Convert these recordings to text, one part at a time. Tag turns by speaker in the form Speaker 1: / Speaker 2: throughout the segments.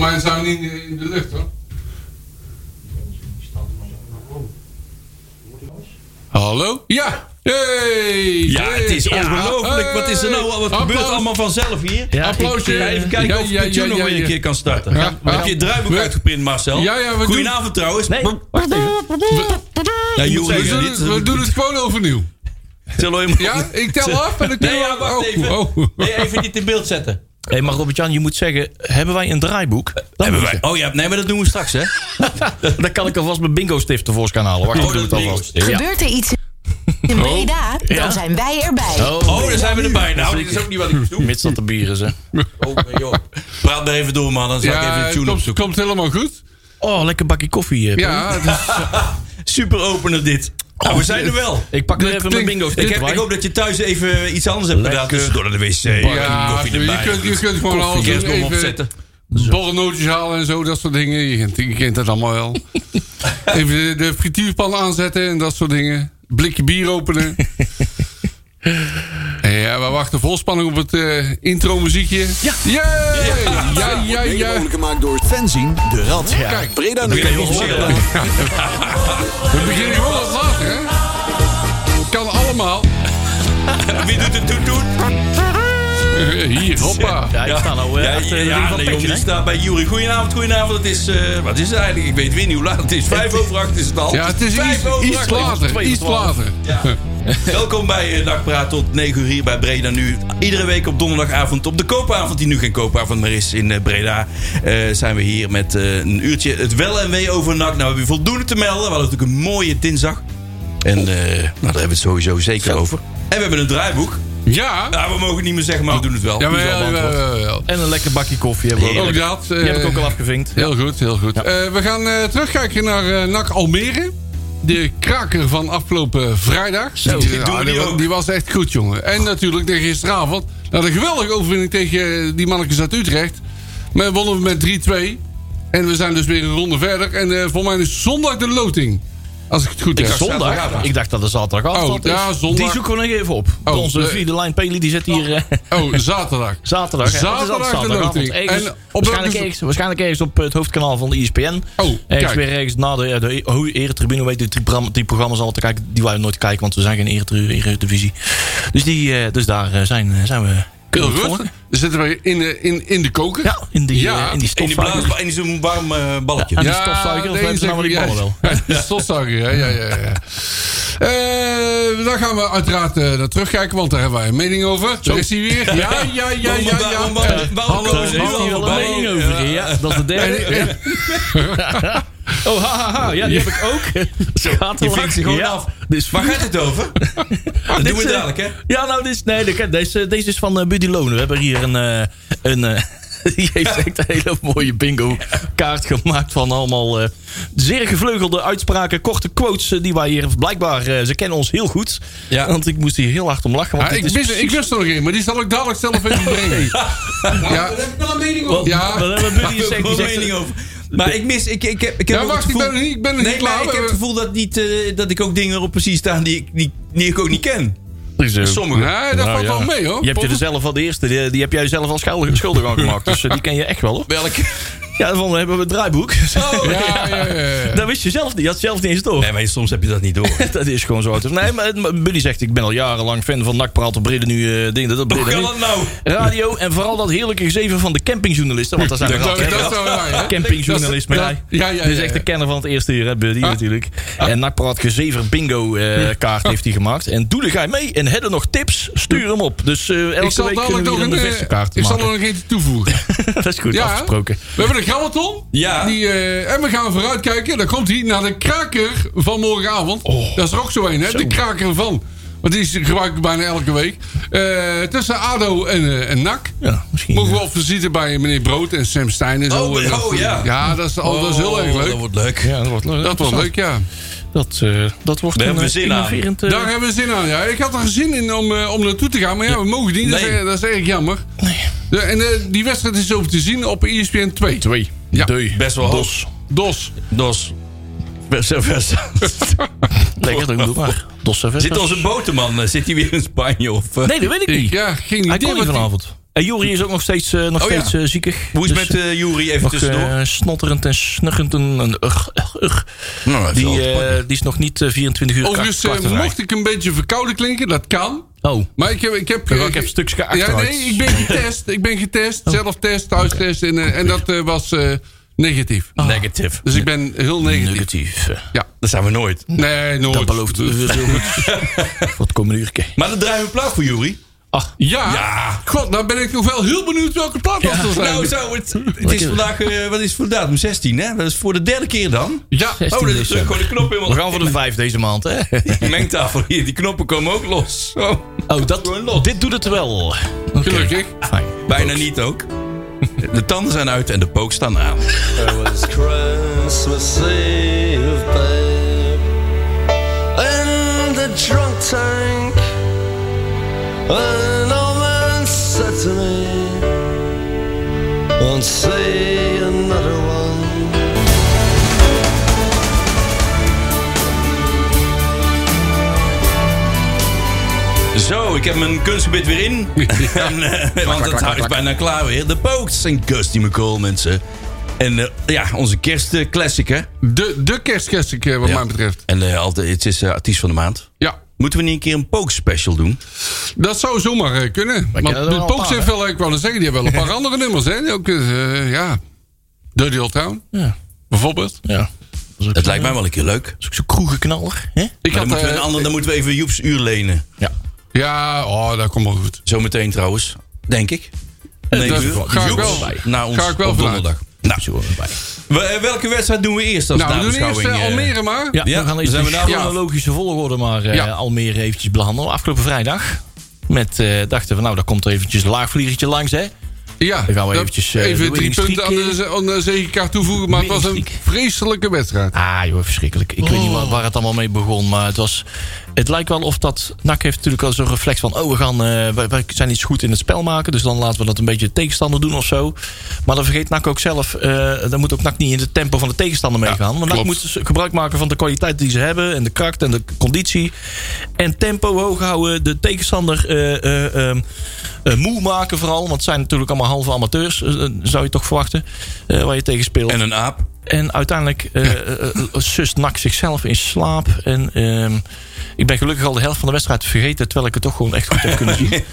Speaker 1: mij zijn we niet in de lucht hoor. Hallo? Ja! Hey!
Speaker 2: Ja, het is
Speaker 1: Hey!
Speaker 2: ongelooflijk. Wat is er nou? Wat
Speaker 1: Applaus.
Speaker 2: gebeurt allemaal vanzelf hier?
Speaker 3: Ja,
Speaker 1: Applausje.
Speaker 2: Ja, even kijken
Speaker 1: Ja,
Speaker 2: of
Speaker 1: ja,
Speaker 2: de tune
Speaker 1: ja,
Speaker 2: nog
Speaker 1: ja,
Speaker 2: weer een
Speaker 1: ja.
Speaker 2: keer kan starten.
Speaker 1: Ja, ja.
Speaker 2: Heb je je draaiboek
Speaker 1: We-
Speaker 2: uitgeprint, Marcel?
Speaker 1: Ja, ja, we doen-
Speaker 2: Goedenavond trouwens.
Speaker 3: Nee,
Speaker 2: Bo-
Speaker 3: wacht even.
Speaker 2: Ja,
Speaker 1: We
Speaker 2: joh,
Speaker 1: doen,
Speaker 2: dit,
Speaker 1: het, we doen het gewoon overnieuw.
Speaker 2: zullen we hem-
Speaker 1: Ja, ik tel af en dan
Speaker 2: Nee,
Speaker 1: kunnen we-
Speaker 2: ja, wacht
Speaker 1: oh,
Speaker 2: even.
Speaker 1: oh.
Speaker 2: Nee, even niet in beeld zetten.
Speaker 3: Hé, maar Robert-Jan, je moet zeggen, hebben wij een draaiboek? Dan
Speaker 2: Hebben
Speaker 3: moet
Speaker 2: wij. Oh ja, nee, maar dat doen we straks, hè?
Speaker 1: Oh,
Speaker 3: je- Dan kan ik alvast mijn bingo-stift tevoorschijn halen. Wacht,
Speaker 2: Oh,
Speaker 3: ik doe
Speaker 2: dat
Speaker 3: het alvast.
Speaker 2: bingo-stift.
Speaker 3: Ja.
Speaker 4: Gebeurt er iets in Breda,
Speaker 3: Ja.
Speaker 4: dan zijn wij erbij.
Speaker 2: Oh, daar zijn we er bijna. Nou, dit is ook niet wat ik moest doen.
Speaker 3: Mits dat de bier is, hè.
Speaker 2: Oh, joh. Praat maar even door, man. Dan zal ik even
Speaker 1: Ja,
Speaker 2: de tune
Speaker 1: komt,
Speaker 2: opzoeken.
Speaker 1: komt helemaal goed.
Speaker 3: Oh, lekker bakje koffie. eh,
Speaker 1: Ja,
Speaker 3: Paul.
Speaker 1: het is-
Speaker 2: Super opener dit. Nou, we zijn er wel.
Speaker 3: Ik pak er
Speaker 1: Oh, Dit
Speaker 3: even mijn
Speaker 1: klinkt-
Speaker 3: bingo
Speaker 2: Ik,
Speaker 3: stift
Speaker 2: heb, ik hoop dat je thuis even iets anders hebt gedaan.
Speaker 3: Lekker.
Speaker 2: Dus door naar de wc.
Speaker 1: ja,
Speaker 2: koffie
Speaker 1: je,
Speaker 2: erbij.
Speaker 1: kunt, je kunt gewoon alles
Speaker 2: Koffie, kerstboom
Speaker 1: even
Speaker 2: opzetten.
Speaker 1: Borrelnootjes halen en zo, dat soort dingen. Je kent, je kent dat allemaal wel. Even de, de frituurpan aanzetten en dat soort dingen. Blikje bier openen. Ja, we wachten vol spanning op het eh, intro-muziekje. Ja. Ja, ja, ja,
Speaker 5: Mede mogelijk gemaakt door fanzine de Rad.
Speaker 1: Kijk.
Speaker 5: Breda nu.
Speaker 2: Weer heel officieel dan.
Speaker 1: We beginnen gewoon wat later, hè? Kan allemaal.
Speaker 2: Wie doet het toet toet?
Speaker 1: Eh, Hier, hoppa.
Speaker 3: Ja, ik sta nou eh,
Speaker 2: Ja,
Speaker 3: achter de
Speaker 2: ja,
Speaker 3: ring van
Speaker 2: Leon
Speaker 3: Petje,
Speaker 2: die
Speaker 3: hè.
Speaker 2: staat bij Jury. Goedenavond, goedenavond. Het is, eh, wat is het eigenlijk? Ik weet weer niet hoe laat het is. Vijf over acht is het al.
Speaker 1: Ja, het is
Speaker 2: Vijf
Speaker 1: iets,
Speaker 2: over
Speaker 1: iets
Speaker 2: acht.
Speaker 1: later. Iets later.
Speaker 2: Ja. Welkom bij eh, Dagpraat tot 9 uur hier bij Breda nu. Iedere week op donderdagavond op de koopavond, die nu geen koopavond meer is in eh, Breda, eh, zijn we hier met eh, een uurtje het wel en wee over NAC. Nou, we hebben hier voldoende te melden. We hadden natuurlijk een mooie dinsdag. En eh, nou, daar hebben we het sowieso zeker over. En we hebben een draaiboek.
Speaker 1: Ja.
Speaker 2: Nou, we mogen het niet meer zeggen, maar we doen het wel.
Speaker 1: Ja,
Speaker 2: Die
Speaker 1: maar
Speaker 2: is wel
Speaker 1: ja,
Speaker 2: beantwoord.
Speaker 1: ja, ja, ja.
Speaker 3: En een lekker bakje koffie hebben we ook.
Speaker 1: Ook
Speaker 3: Die
Speaker 1: dat. eh,
Speaker 3: heb ik ook al afgevinkt.
Speaker 1: Heel goed, heel goed. Eh, we gaan eh, terugkijken naar eh, NAC Almere. De kraker van afgelopen vrijdag. die,
Speaker 2: doen we
Speaker 1: die,
Speaker 2: die
Speaker 1: wa-
Speaker 2: ook.
Speaker 1: die was echt goed, jongen. En natuurlijk de gisteravond. Nou, de geweldige overwinning tegen eh, die mannetjes uit Utrecht. Maar wonnen we met 3-2. En we zijn dus weer een ronde verder. En eh voor mij is zondag de loting. Als ik het goed heb.
Speaker 3: Zondag? Ik dacht dat het zaterdag altijd
Speaker 1: Oh, ja,
Speaker 3: is.
Speaker 1: zondag.
Speaker 3: Die zoeken we nog even op.
Speaker 1: Oh,
Speaker 3: Onze
Speaker 1: eh.
Speaker 3: vierde lijn Peli die zit hier eh,
Speaker 1: Oh, zaterdag.
Speaker 3: zaterdag. hè. Dat is
Speaker 1: Zaterdag
Speaker 3: altijd
Speaker 1: de
Speaker 3: zaterdagavond.
Speaker 1: loting.
Speaker 3: Ergens,
Speaker 1: En op
Speaker 3: waarschijnlijk,
Speaker 1: welke-
Speaker 3: ergens, waarschijnlijk ergens op het hoofdkanaal van de E ISPN.
Speaker 1: Oh,
Speaker 3: ergens
Speaker 1: kijk.
Speaker 3: weer ergens na de, eh, de hoe- eretribune. Weet je, die, programma- die programma's altijd kijken, die wij nooit kijken, want we zijn geen eretru- eredivisie. Dus, die, eh, dus daar eh, zijn, eh, zijn we.
Speaker 1: Heel
Speaker 3: kunnen we
Speaker 1: goed.
Speaker 3: volgen.
Speaker 1: Dan zitten we in de, in, in de koker.
Speaker 3: Ja, in die,
Speaker 1: Ja,
Speaker 3: eh, in die
Speaker 2: In die
Speaker 3: stofzuiger.
Speaker 2: blaas, in zo'n warm eh, balletje.
Speaker 3: Ja. die stofzuiger, of hebben ze nou
Speaker 1: zeker,
Speaker 3: wel die ballen
Speaker 1: ja. Die stofzuiger, ja, ja, ja. ja. Eh, dan gaan we uiteraard eh naar terugkijken, want daar hebben wij een mening over. Daar is hij weer. Ja, ja, ja, ja, ja.
Speaker 2: Waarom- waarom- waarom
Speaker 1: Hallo,
Speaker 2: komen ze nu eh,
Speaker 3: Daar heeft
Speaker 2: al
Speaker 3: hij wel een
Speaker 2: voorbij?
Speaker 3: mening over. Ja, dat is de derde.
Speaker 1: En- en-
Speaker 3: Oh, ha, ha, ha. Ja, die heb ik ook. Gaat
Speaker 2: Je vinkt ze gewoon af.
Speaker 3: Dus
Speaker 2: Waar gaat het over? Dat doen we
Speaker 3: eh,
Speaker 2: dadelijk, hè?
Speaker 3: Ja, nou, dit is, nee, dit- deze, deze is van eh Buddy Loon. We hebben hier een... eh, een eh, die heeft echt een hele mooie bingo kaart gemaakt van allemaal eh, zeer gevleugelde uitspraken, korte quotes eh, die wij hier blijkbaar, eh, ze kennen ons heel goed.
Speaker 2: Ja.
Speaker 3: Want ik moest hier heel hard om lachen. Want
Speaker 1: Ja, ik,
Speaker 3: dit is
Speaker 1: mis, ik wist er nog één, maar die zal ik dadelijk zelf even brengen. Ja,
Speaker 3: Wat-
Speaker 1: Ja.
Speaker 3: wat hebben Buddy gezegd? Die
Speaker 2: Gewoon
Speaker 3: zegt-
Speaker 2: mening over. Maar ik mis, ik, ik heb, ik heb
Speaker 1: ja
Speaker 2: ook het
Speaker 1: wacht, ik
Speaker 2: gevoel-
Speaker 1: ben er niet, ik ben er niet
Speaker 2: Nee,
Speaker 1: klaar.
Speaker 2: maar ik heb het gevoel dat, niet, eh, dat ik ook dingen erop precies staan die ik, die, die ik ook niet ken.
Speaker 3: Dus, eh,
Speaker 2: Sommige.
Speaker 1: Nee, dat valt wel mee hoor.
Speaker 3: Je hebt je dus- er
Speaker 1: Potten.
Speaker 3: zelf al de eerste, die, die heb jij zelf al schuldig, schuldig aan gemaakt. Dus eh, die ken je echt wel, hoor.
Speaker 2: Welke?
Speaker 3: Ja, van hebben we het draaiboek.
Speaker 2: Oh,
Speaker 1: Ja, ja, ja, ja.
Speaker 3: Dat wist je zelf niet. Je had zelf niet eens door.
Speaker 2: Nee, maar soms heb je dat niet door.
Speaker 3: Dat is gewoon zo. uit. Nee, maar maar Buddy zegt, ik ben al jarenlang fan van Nakpraat op Brede nu. eh ding, dat, dat,
Speaker 2: Hoe
Speaker 3: Brede
Speaker 2: kan
Speaker 3: nu.
Speaker 2: dat nou?
Speaker 3: Radio en vooral dat heerlijke gezeven van de campingjournalisten. Want daar zijn we
Speaker 1: Dat-
Speaker 3: altijd.
Speaker 1: dat zijn wij, hè?
Speaker 3: Campingjournalist
Speaker 1: Dat-
Speaker 3: ben
Speaker 1: dat-
Speaker 3: jij.
Speaker 1: ja, ja, ja,
Speaker 3: Dit is
Speaker 1: ja. Ah.
Speaker 3: echt de kenner van het eerste uur, hè, Buddy, natuurlijk. En Nakpraat gezever bingo eh, kaart heeft hij gemaakt. En doelen ga je mee. En hebben nog tips? Stuur hem op. Dus eh, elke
Speaker 1: Ik zal
Speaker 3: week
Speaker 1: dadelijk
Speaker 3: kunnen we
Speaker 1: nog
Speaker 3: hier
Speaker 1: een,
Speaker 3: een
Speaker 1: eh,
Speaker 3: bevestigkaart
Speaker 1: ik zal
Speaker 3: maken.
Speaker 1: er nog eentje toevoegen.
Speaker 3: dat is goed, afgesproken.
Speaker 1: We hebben een grammaton.
Speaker 2: Ja.
Speaker 1: Die, eh, en we gaan vooruitkijken. Dan komt hij naar de kraker van morgenavond.
Speaker 3: Oh.
Speaker 1: Dat is er ook zo een, hè? De kraker van. Want die is- gebruik ik bijna elke week. Eh, tussen ADO en, eh, en NAC.
Speaker 3: Ja, misschien.
Speaker 1: Mogen we
Speaker 3: eh,
Speaker 1: op visite bij meneer Brood en Sam Stein en zo.
Speaker 2: Oh,
Speaker 1: En dat
Speaker 2: oh,
Speaker 1: soort
Speaker 2: ja.
Speaker 1: dingen. Ja, dat is, al- dat is heel erg
Speaker 2: Oh,
Speaker 1: leuk.
Speaker 2: Dat wordt leuk.
Speaker 3: eh, ja, dat wordt leuk.
Speaker 1: Dat wordt leuk, ja.
Speaker 3: Dat, eh, dat wordt
Speaker 2: Daar
Speaker 3: een
Speaker 2: hebben we
Speaker 3: eh,
Speaker 2: zin aan.
Speaker 3: innoverend... eh,
Speaker 1: Daar hebben we zin aan. Ja. Ik had er zin in om, eh, om naartoe te gaan. Maar ja, we mogen niet. Dat, is,
Speaker 2: Nee.
Speaker 1: dat is erg jammer. De- en eh, die wedstrijd is over te zien op E ESPN 2.
Speaker 3: Twee.
Speaker 1: Ja.
Speaker 3: Deu.
Speaker 2: Best wel hoog.
Speaker 3: Dos.
Speaker 1: Dos.
Speaker 2: Dos.
Speaker 3: Best best. Lekker, dat doe maar. Dos
Speaker 2: Zit onze boterman, eh, zit hij weer in Spanje? Of, eh?
Speaker 3: Nee, dat weet ik niet.
Speaker 1: Ja, geen
Speaker 3: Hij
Speaker 1: idee.
Speaker 3: kon niet
Speaker 1: wat die-
Speaker 3: vanavond. En Jori is ook nog steeds, eh, nog
Speaker 2: Oh ja.
Speaker 3: steeds eh, ziekig.
Speaker 2: Hoe is
Speaker 3: Dus,
Speaker 2: het met eh Jury even
Speaker 3: nog,
Speaker 2: tussendoor?
Speaker 3: eh, snotterend en snuggerend en en ugh, ugh, ugh.
Speaker 2: nou, hij heeft
Speaker 3: Die,
Speaker 2: wel te
Speaker 3: eh,
Speaker 2: pakken.
Speaker 3: die is nog niet eh, 24 uur
Speaker 1: Overigens, eh,
Speaker 3: kwart- kwart te
Speaker 1: mocht ik een beetje verkouden klinken, dat kan.
Speaker 3: rijden. Oh,
Speaker 1: Maar ik heb... Ik heb,
Speaker 3: Ja,
Speaker 1: eh,
Speaker 3: ik heb stuks geachteruit.
Speaker 1: Ja, nee, ik ben getest. Ik ben getest. Zelf test, thuistest. En, eh, en dat eh, was eh, negatief.
Speaker 2: Negative.
Speaker 1: Dus ik ben heel negatief.
Speaker 3: Ah. negatief. eh.
Speaker 1: Ja.
Speaker 2: Dat zijn we nooit.
Speaker 1: Nee, nooit.
Speaker 3: Dat belooft eh, heel goed. Ah. Voor het komende uur.
Speaker 2: Maar dat draaien we plaat voor Jury.
Speaker 3: Ach,
Speaker 1: Ja.
Speaker 2: Ja.
Speaker 1: God, nou ben ik nog wel heel benieuwd welke plaat dat zal zijn.
Speaker 2: Nou, zo, het, het is vandaag, eh, wat is het voor datum? 16, hè? Dat is voor de derde keer dan.
Speaker 1: ja.
Speaker 2: Oh, dat is gewoon de knop helemaal.
Speaker 3: we gaan voor de vijf deze maand, hè?
Speaker 2: Die mengtafel hier, die knoppen komen ook los. Zo.
Speaker 3: Oh, dat,
Speaker 2: Gewoon los.
Speaker 3: dit doet het wel. Oké.
Speaker 1: Gelukkig.
Speaker 3: Fijn.
Speaker 2: Bijna niet ook. De tanden zijn uit en de pook staan aan.
Speaker 6: It was Christmas Eve, babe. In the drunk tank, an old man said to me, Won't see another one.
Speaker 2: Zo, ik heb mijn kunstgebied weer in. en, eh, want het huis is bijna klaar weer. De Pokes en Gusty McCall, mensen. En eh, ja, onze kerstclassic, hè?
Speaker 1: De, de kerstclassic, eh, wat
Speaker 2: Ja.
Speaker 1: mij betreft.
Speaker 2: En eh, altijd, het is eh, artiest van de maand.
Speaker 1: Ja.
Speaker 2: Moeten we niet een keer een Pokes special doen?
Speaker 1: Dat zou zomaar eh, kunnen.
Speaker 3: kennen er
Speaker 1: Want de
Speaker 3: wel een
Speaker 1: Pokes
Speaker 3: paar,
Speaker 1: heeft wel, ik wou net zeggen, die hebben wel een paar andere nummers. Hè? Die Ook, eh, ja. Dirty Old Town,
Speaker 3: Ja.
Speaker 1: bijvoorbeeld.
Speaker 3: ja.
Speaker 2: Het lijkt mij wel een keer leuk.
Speaker 3: Dat is ook zo'n kroegenknaller, hè?
Speaker 1: Ik
Speaker 2: Maar dan, moeten we
Speaker 1: eh,
Speaker 2: een ander, dan moeten we even Joep's uur lenen.
Speaker 3: Ja.
Speaker 1: Ja, oh, dat komt wel goed.
Speaker 2: Zometeen trouwens, denk ik. Nee,
Speaker 1: Eh, dat ga ik wel-
Speaker 2: na ons
Speaker 1: ga ik wel
Speaker 2: op
Speaker 1: vanuit.
Speaker 2: donderdag. Nou, we- eh, welke wedstrijd doen we eerst als
Speaker 1: Nou, we doen eerst
Speaker 2: nabeschouwing?
Speaker 1: eh,
Speaker 2: eh?
Speaker 1: Almere maar.
Speaker 3: Ja,
Speaker 2: Ja,
Speaker 3: we gaan
Speaker 2: dan
Speaker 3: even
Speaker 2: zijn we
Speaker 3: de
Speaker 2: daar wel.
Speaker 3: chronologische volgorde maar eh,
Speaker 1: Ja.
Speaker 3: Almere eventjes behandelen. Afgelopen vrijdag met, eh, dachten we, nou, daar komt er eventjes een laagvliegertje langs, hè?
Speaker 1: Ja,
Speaker 3: Dan gaan we
Speaker 1: dat-
Speaker 3: eventjes, eh, de
Speaker 1: even drie
Speaker 3: winningstreek,
Speaker 1: punten aan de, ze- aan de zegenkaart toevoegen. Maar het was een
Speaker 3: Winningstreek.
Speaker 1: vreselijke wedstrijd.
Speaker 3: Ah, joh, verschrikkelijk. Ik weet niet waar, waar het allemaal mee begon, maar het was... Het lijkt wel of dat... NAC heeft natuurlijk al zo'n reflex van... Oh, we gaan, eh, wij, wij zijn iets goed in het spel maken... dus dan laten we dat een beetje de tegenstander doen of zo. Maar dan vergeet NAC ook zelf... eh, dan moet ook NAC niet in het tempo van de tegenstander meegaan. Want NAC
Speaker 1: klopt.
Speaker 3: moet dus gebruik maken van de kwaliteit die ze hebben... en de kracht en de conditie. En tempo hoog houden, de tegenstander... eh, eh, ehm, eh, moe maken vooral, want het zijn natuurlijk allemaal halve amateurs, eh, eh, zou je toch verwachten, eh, waar je tegen speelt.
Speaker 2: En een aap.
Speaker 3: En uiteindelijk eh eh, sust Nak zichzelf in slaap. En ehm, ik ben gelukkig al de helft van de wedstrijd vergeten. Terwijl ik het toch gewoon echt goed heb kunnen zien.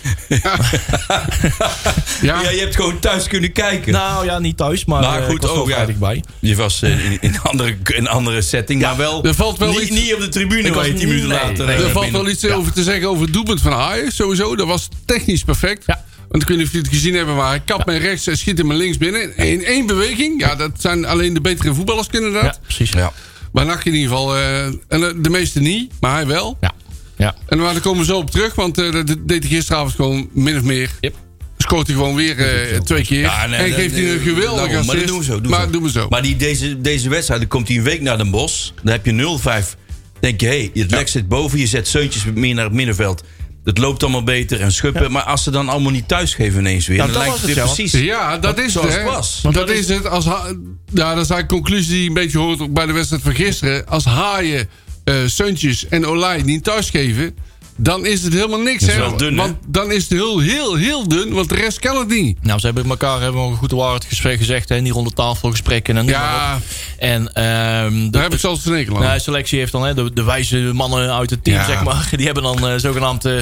Speaker 1: Ja,
Speaker 2: Ja, je hebt gewoon thuis kunnen kijken.
Speaker 3: nou ja, niet thuis, maar,
Speaker 2: Maar
Speaker 3: eh,
Speaker 2: goed,
Speaker 3: ik was wel
Speaker 2: ook,
Speaker 3: vrij
Speaker 2: ja.
Speaker 3: dichtbij.
Speaker 2: Je was eh, in, in, een andere, in een andere setting, maar wel,
Speaker 1: er valt wel
Speaker 2: niet,
Speaker 1: iets-
Speaker 2: niet op de tribune
Speaker 3: Ik
Speaker 2: waar
Speaker 3: was
Speaker 2: je tien
Speaker 3: niet-
Speaker 2: minuten
Speaker 3: nee,
Speaker 2: later...
Speaker 3: nee.
Speaker 2: eh,
Speaker 1: er valt
Speaker 2: binnen-
Speaker 1: wel iets over te zeggen over het doelpunt van Haaien. Sowieso, dat was technisch perfect.
Speaker 3: Ja.
Speaker 1: Want ik weet niet of jullie het gezien hebben, maar ik kap mijn rechts en schiet hem mijn links binnen. In één beweging. Ja, dat zijn alleen de betere voetballers kunnen dat.
Speaker 3: Ja, precies. Ja.
Speaker 1: Maar Nak in ieder geval, eh, en eh, de meeste niet, maar hij wel.
Speaker 3: Ja. ja.
Speaker 1: En maar daar komen we zo op terug, want eh, dat deed hij gisteravond gewoon min of meer.
Speaker 3: Yep.
Speaker 1: Scoort hij gewoon weer eh, twee keer.
Speaker 2: Ja, nee,
Speaker 1: en
Speaker 2: dat-
Speaker 1: geeft hij een
Speaker 2: eh,
Speaker 1: geweldig assist.
Speaker 2: daarom, Maar dat doen we zo. Doen
Speaker 1: maar
Speaker 2: zo.
Speaker 1: doen we zo.
Speaker 2: Maar die, deze, deze wedstrijd, dan komt hij een week naar Den Bosch. Dan heb je 0-5. denk je, hé, hey, het lek zit boven. Je zet zeuntjes meer naar het middenveld. Het loopt allemaal beter en schuppen. Maar als ze dan allemaal niet thuisgeven ineens weer...
Speaker 3: Nou,
Speaker 2: dan
Speaker 3: dat
Speaker 2: lijkt
Speaker 3: was
Speaker 2: het
Speaker 3: het,
Speaker 2: weer
Speaker 3: ja,
Speaker 2: precies...
Speaker 1: Dus Ja, dat is het.
Speaker 2: zoals
Speaker 1: hè.
Speaker 2: het was.
Speaker 1: Dat, is, het. Als Ha- ja, dat is eigenlijk een conclusie die je een beetje hoort ook bij de wedstrijd van gisteren. Als Haaien, eh Suntjes en Olij niet thuisgeven, dan is het helemaal niks.
Speaker 2: is
Speaker 1: hè?
Speaker 2: wel dun, hè?
Speaker 1: want dan is het heel, heel, heel dun, want de rest kan het niet.
Speaker 3: Nou, ze hebben elkaar hebben we een goed waarheid gesprek gezegd. Hè, en die rond de tafel gesprekken. En noem maar
Speaker 1: Ja,
Speaker 3: op. En ehm, de-
Speaker 1: daar heb ik zelfs een enkel aan.
Speaker 3: Nou, selectie heeft dan hè, de, de wijze mannen uit het team,
Speaker 1: Oh. Ja.
Speaker 3: zeg maar. Die hebben dan eh, zogenaamd eh,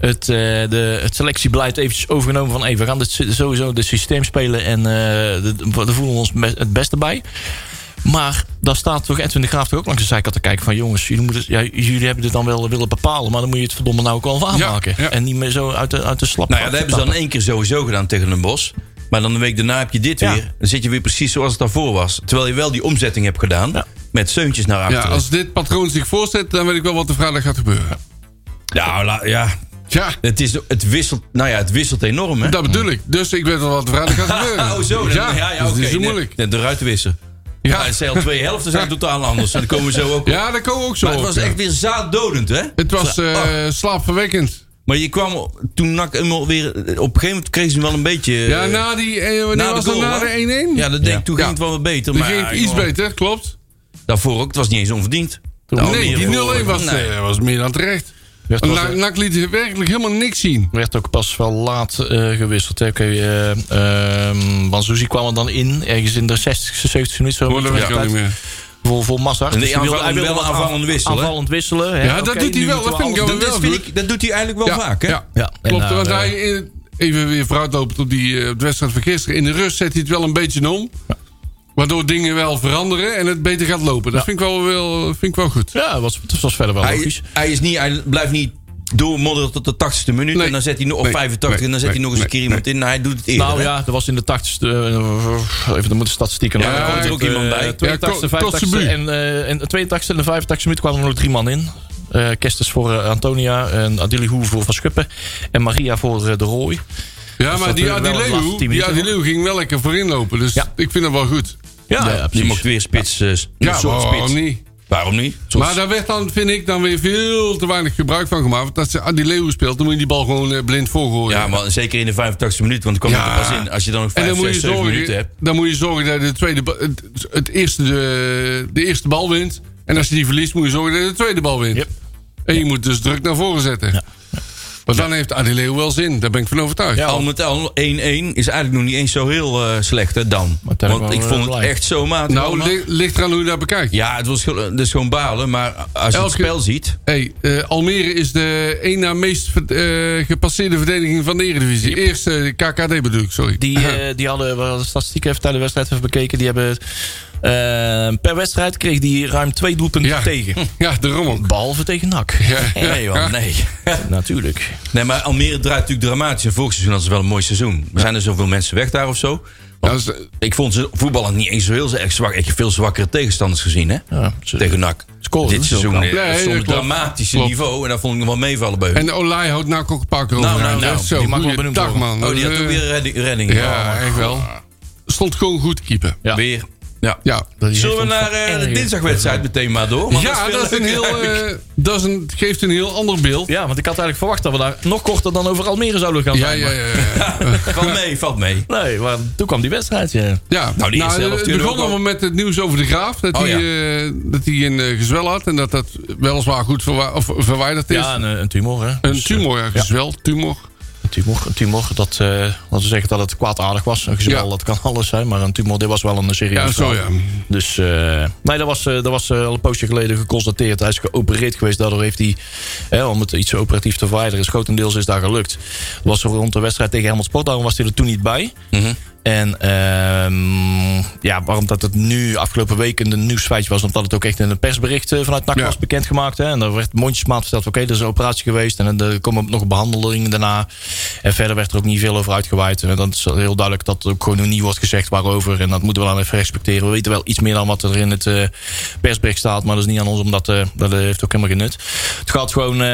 Speaker 3: het, eh, de, het selectiebeleid eventjes overgenomen van... Hey, we gaan dit, sy- sowieso dit systeem spelen en eh de- de- daar voelen we ons me- het beste bij. Maar daar staat toch Edwin de Graaf toch ook langs de zijkant te kijken van... jongens, jullie, moeten, ja, jullie hebben dit dan wel willen bepalen... maar dan moet je het verdomme nou ook wel aanmaken.
Speaker 1: ja.
Speaker 3: En niet meer zo uit de, uit de slap.
Speaker 2: Nou ja, dat hebben ze dan één keer sowieso gedaan tegen Den Bosch. Maar dan een week daarna heb je dit
Speaker 3: Ja.
Speaker 2: weer. Dan zit je weer precies zoals het daarvoor was. Terwijl je wel die omzetting hebt gedaan.
Speaker 3: Ja.
Speaker 2: Met zeuntjes naar
Speaker 1: ja,
Speaker 2: achteren.
Speaker 1: als dit patroon zich voorzet, dan weet ik wel wat er vrijdag gaat gebeuren.
Speaker 2: Nou, la- ja.
Speaker 1: Ja,
Speaker 2: Het, is, het, wisselt, nou ja, het wisselt enorm, hè?
Speaker 1: dat bedoel ik. Dus ik weet wel wat er vrijdag gaat gebeuren.
Speaker 2: Oh, zo.
Speaker 1: Ja,
Speaker 2: Ja, ja, ja
Speaker 1: dus
Speaker 2: oké.
Speaker 1: het is zo
Speaker 2: Net-
Speaker 1: moeilijk.
Speaker 2: Net de ruitenwisser. Ja,
Speaker 1: Ja,
Speaker 2: het zijn al twee helften zijn totaal anders. En dan komen we zo ook op.
Speaker 1: ja dat komen we ook zo.
Speaker 2: maar het
Speaker 1: op,
Speaker 2: was
Speaker 1: ja.
Speaker 2: echt weer zaaddodend, hè? Oh,
Speaker 1: Het was eh, slaapverwekkend.
Speaker 2: Maar je kwam toen Nak eenmaal weer... eh, Op een gegeven moment kreeg ze wel een beetje...
Speaker 1: Ja,
Speaker 2: eh,
Speaker 1: na die. eh, wanneer
Speaker 2: na de
Speaker 1: was dat?
Speaker 2: goal,
Speaker 1: Na
Speaker 2: hoor.
Speaker 1: de 1-1?
Speaker 2: Ja, dat denk ik. Toen
Speaker 1: Ja.
Speaker 2: ging het wel wat beter.
Speaker 1: Die
Speaker 2: maar
Speaker 1: ging
Speaker 2: ja,
Speaker 1: iets
Speaker 2: jongen,
Speaker 1: beter, klopt.
Speaker 2: Daarvoor ook. Het was Nou, niet eens onverdiend.
Speaker 1: nee,
Speaker 2: Almere
Speaker 1: die 0-1 was,
Speaker 2: Nee.
Speaker 1: eh, was meer dan terecht.
Speaker 3: Werd
Speaker 1: Want
Speaker 3: wat-
Speaker 1: Na- NAC liet werkelijk helemaal niks zien.
Speaker 3: werd ook pas wel laat eh, gewisseld. Hè. Oké, eh, ehm, Banzuzi kwam er dan in, ergens in de 60ste, 70ste minuut. Zo
Speaker 1: Hoor, dat weet ik
Speaker 3: Ja.
Speaker 1: ook niet meer.
Speaker 3: Voor, voor Massa. Dus
Speaker 2: Nee, aanvallend- wel
Speaker 3: wat
Speaker 2: aanvallend
Speaker 3: aan-
Speaker 2: wisselen, hè?
Speaker 3: Aanvallend wisselen. hè.
Speaker 1: Ja, dat
Speaker 3: Oké,
Speaker 1: doet hij
Speaker 3: nu
Speaker 1: wel.
Speaker 3: moeten
Speaker 1: Dat
Speaker 3: we
Speaker 1: vind ik
Speaker 3: alles-
Speaker 1: wel
Speaker 2: Dat,
Speaker 1: wel
Speaker 2: vind
Speaker 1: goed.
Speaker 2: ik, dat doet hij eigenlijk wel
Speaker 1: Ja,
Speaker 2: vaak, hè?
Speaker 1: Ja,
Speaker 3: Ja, en
Speaker 1: klopt.
Speaker 3: nou,
Speaker 1: want
Speaker 3: eh,
Speaker 1: hij, eh, even weer vooruitlopend op die eh, op de wedstrijd van gisteren. In de rust zet hij het wel een beetje om. Waardoor dingen wel veranderen en het beter gaat lopen. Dat vind, ik wel, wel, vind ik wel goed.
Speaker 3: Ja, dat was, dat was verder wel
Speaker 2: Hij,
Speaker 3: logisch.
Speaker 2: hij, is niet, hij blijft niet doormodderen tot de 80ste minuut.
Speaker 1: Nee.
Speaker 2: En dan zet hij nog op
Speaker 1: Nee.
Speaker 2: 85 en dan zet
Speaker 1: Nee.
Speaker 2: hij nog eens een
Speaker 1: Nee.
Speaker 2: keer iemand in. Nou, hij doet het eerder.
Speaker 3: Nou
Speaker 2: hè?
Speaker 3: ja, dat was in de 80ste. eh, even, dan moeten statistieken Eh,
Speaker 1: Ja,
Speaker 3: naar.
Speaker 1: daar komt er
Speaker 2: ook iemand bij.
Speaker 3: 82,
Speaker 1: Ja, Ko-
Speaker 3: 85
Speaker 1: Kotzebu.
Speaker 3: en, eh, en 82 en de 85 minuut kwamen er nog drie man in. Eh Kestes voor eh, Antonia en Adili Hoe voor Van Schuppen. En Maria voor eh, De Rooij.
Speaker 1: Ja, maar
Speaker 3: Dus dat
Speaker 1: die
Speaker 3: duurt wel de laatste
Speaker 1: Adileu,
Speaker 3: 10
Speaker 1: die
Speaker 3: minuten,
Speaker 1: Adileu ging wel lekker voorin lopen. Dus
Speaker 3: Ja.
Speaker 1: ik vind dat wel goed.
Speaker 3: Ja,
Speaker 2: die mocht weer spits. eh, een
Speaker 1: Ja,
Speaker 2: soort
Speaker 1: waarom
Speaker 2: spits.
Speaker 1: niet?
Speaker 2: Waarom niet? Een soort-
Speaker 1: Maar daar werd dan, vind ik, dan weer veel te weinig gebruik van gemaakt. Want als je Adileu speelt, dan moet je die bal gewoon eh, blind voorgooien.
Speaker 2: ja, maar zeker in de 85ste minuut, want dan kwam
Speaker 1: Ja.
Speaker 2: er pas in. Als je dan nog
Speaker 1: En dan
Speaker 2: 5,
Speaker 1: moet,
Speaker 2: 6,
Speaker 1: je
Speaker 2: 7 minuten
Speaker 1: zorgen,
Speaker 2: hebt.
Speaker 1: dan moet je zorgen dat je de, tweede, ba- het, het eerste, de, de eerste bal wint. En als je die verliest, moet je zorgen dat je de tweede bal wint.
Speaker 3: Yep.
Speaker 1: En je moet dus druk naar voren zetten. Want dan heeft Adileo wel zin. Daar ben ik van overtuigd.
Speaker 2: Al met al, 1-1 is eigenlijk nog niet eens zo heel eh, slecht, hè, dan.
Speaker 3: uiteindelijk
Speaker 2: Want ik
Speaker 3: wel,
Speaker 2: vond
Speaker 3: eh,
Speaker 2: het
Speaker 3: blij.
Speaker 2: echt zo matig.
Speaker 1: nou,
Speaker 2: allemaal.
Speaker 1: li- ligt eraan hoe je dat bekijkt.
Speaker 2: ja, het was gewoon- het is gewoon balen, maar als je het
Speaker 1: Elke-
Speaker 2: spel ziet...
Speaker 1: Hey, eh, Almere is de één na meest ver- eh, gepasseerde verdediging van de Eredivisie. Eerste eh, KKD bedoel ik, sorry.
Speaker 3: Die, eh, die hadden, we hadden de statistieken even tijdens de wedstrijd even bekeken. Die hebben eh, per wedstrijd kreeg die ruim twee doelpunten
Speaker 1: Ja.
Speaker 3: tegen.
Speaker 1: ja, daarom ook.
Speaker 3: Behalve tegen NAC.
Speaker 2: Nee, man, nee.
Speaker 3: Natuurlijk.
Speaker 2: Nee, maar Almere draait natuurlijk dramatisch. En vorig seizoen hadden ze wel een mooi seizoen. Er zijn er zoveel mensen weg daar of zo.
Speaker 1: Ja,
Speaker 2: Want
Speaker 1: dat is-
Speaker 2: ik vond ze voetballen niet eens zo heel erg zwak. Ik heb veel zwakkere tegenstanders gezien, hè?
Speaker 3: Ja, ze-
Speaker 2: Tegen NAC.
Speaker 3: Scoren
Speaker 2: Dit
Speaker 3: doen ze
Speaker 2: seizoen
Speaker 3: ook
Speaker 2: eh,
Speaker 1: al. Nee,
Speaker 2: soms
Speaker 1: dat klopt.
Speaker 2: dramatische
Speaker 1: Klopt.
Speaker 2: niveau. En daar vond ik nog wel meevallen bij hun.
Speaker 1: En Olij houdt nou ook een paar keer
Speaker 2: Nou,
Speaker 1: over.
Speaker 2: nou, nou.
Speaker 1: Zo,
Speaker 3: Die mag wel benoemd
Speaker 1: dag
Speaker 3: worden.
Speaker 1: man.
Speaker 2: oh, die had
Speaker 1: Eh,
Speaker 2: ook weer redding. redding.
Speaker 1: Ja, echt wel. Stond gewoon goed keeper.
Speaker 3: Ja.
Speaker 2: Weer. Ja.
Speaker 1: Ja,
Speaker 2: Zullen we naar eh, de dinsdagwedstrijd meteen maar door? Want
Speaker 1: ja
Speaker 2: veel
Speaker 1: dat, is een
Speaker 2: leuker.
Speaker 1: heel, eh, dat is een, geeft een heel ander beeld.
Speaker 3: Ja, want ik had eigenlijk verwacht dat we daar nog korter dan over Almere zouden gaan.
Speaker 1: Ja,
Speaker 3: zijn,
Speaker 1: ja,
Speaker 3: maar-
Speaker 1: ja. ja.
Speaker 2: Valt mee, valt mee.
Speaker 3: Nee, maar toen kwam die wedstrijd. Ja.
Speaker 1: ja.
Speaker 2: Nou, die eerste helft
Speaker 1: het
Speaker 2: duurde ook
Speaker 1: begon
Speaker 2: al-
Speaker 1: allemaal met het nieuws over de graaf. Dat
Speaker 2: Oh,
Speaker 1: hij eh, dat hij een eh, gezwel had. En dat dat weliswaar goed verwa- of verwijderd is.
Speaker 3: Ja, een, een tumor. Hè.
Speaker 1: Een
Speaker 3: Dus,
Speaker 1: tumor, ja, gezwel, tumor.
Speaker 3: Een tumor, een tumor dat, eh, laten we zeggen dat het kwaadaardig was. Een gezwel,
Speaker 1: Ja.
Speaker 3: dat kan alles zijn. Maar een tumor, dit was wel een serieus
Speaker 1: Ja, zo
Speaker 3: verhaal.
Speaker 1: ja.
Speaker 3: Dus eh, nee, dat was, eh, dat was eh, al een poosje geleden geconstateerd. Hij is geopereerd geweest. Daardoor heeft hij, hè, om het iets operatief te verwijderen, is grotendeels is daar gelukt. Dat was rond de wedstrijd tegen Helmond Sport. Daarom was hij er toen niet bij.
Speaker 1: Mhm.
Speaker 3: En ehm, ja, waarom dat het nu afgelopen weken een nieuwsfeitje was. Omdat het ook echt in een persbericht eh, vanuit NAC
Speaker 1: Ja.
Speaker 3: was bekendgemaakt. Hè? En daar werd mondjesmaat verteld. Oké, er is een operatie geweest. En er komen nog behandelingen daarna. En verder werd er ook niet veel over uitgeweid. En dan is heel duidelijk dat er ook gewoon niet wordt gezegd waarover. En dat moeten we dan even respecteren. We weten wel iets meer dan wat er in het eh, persbericht staat. Maar dat is niet aan ons, omdat eh, dat eh, heeft ook helemaal geen nut. Het gaat gewoon... eh,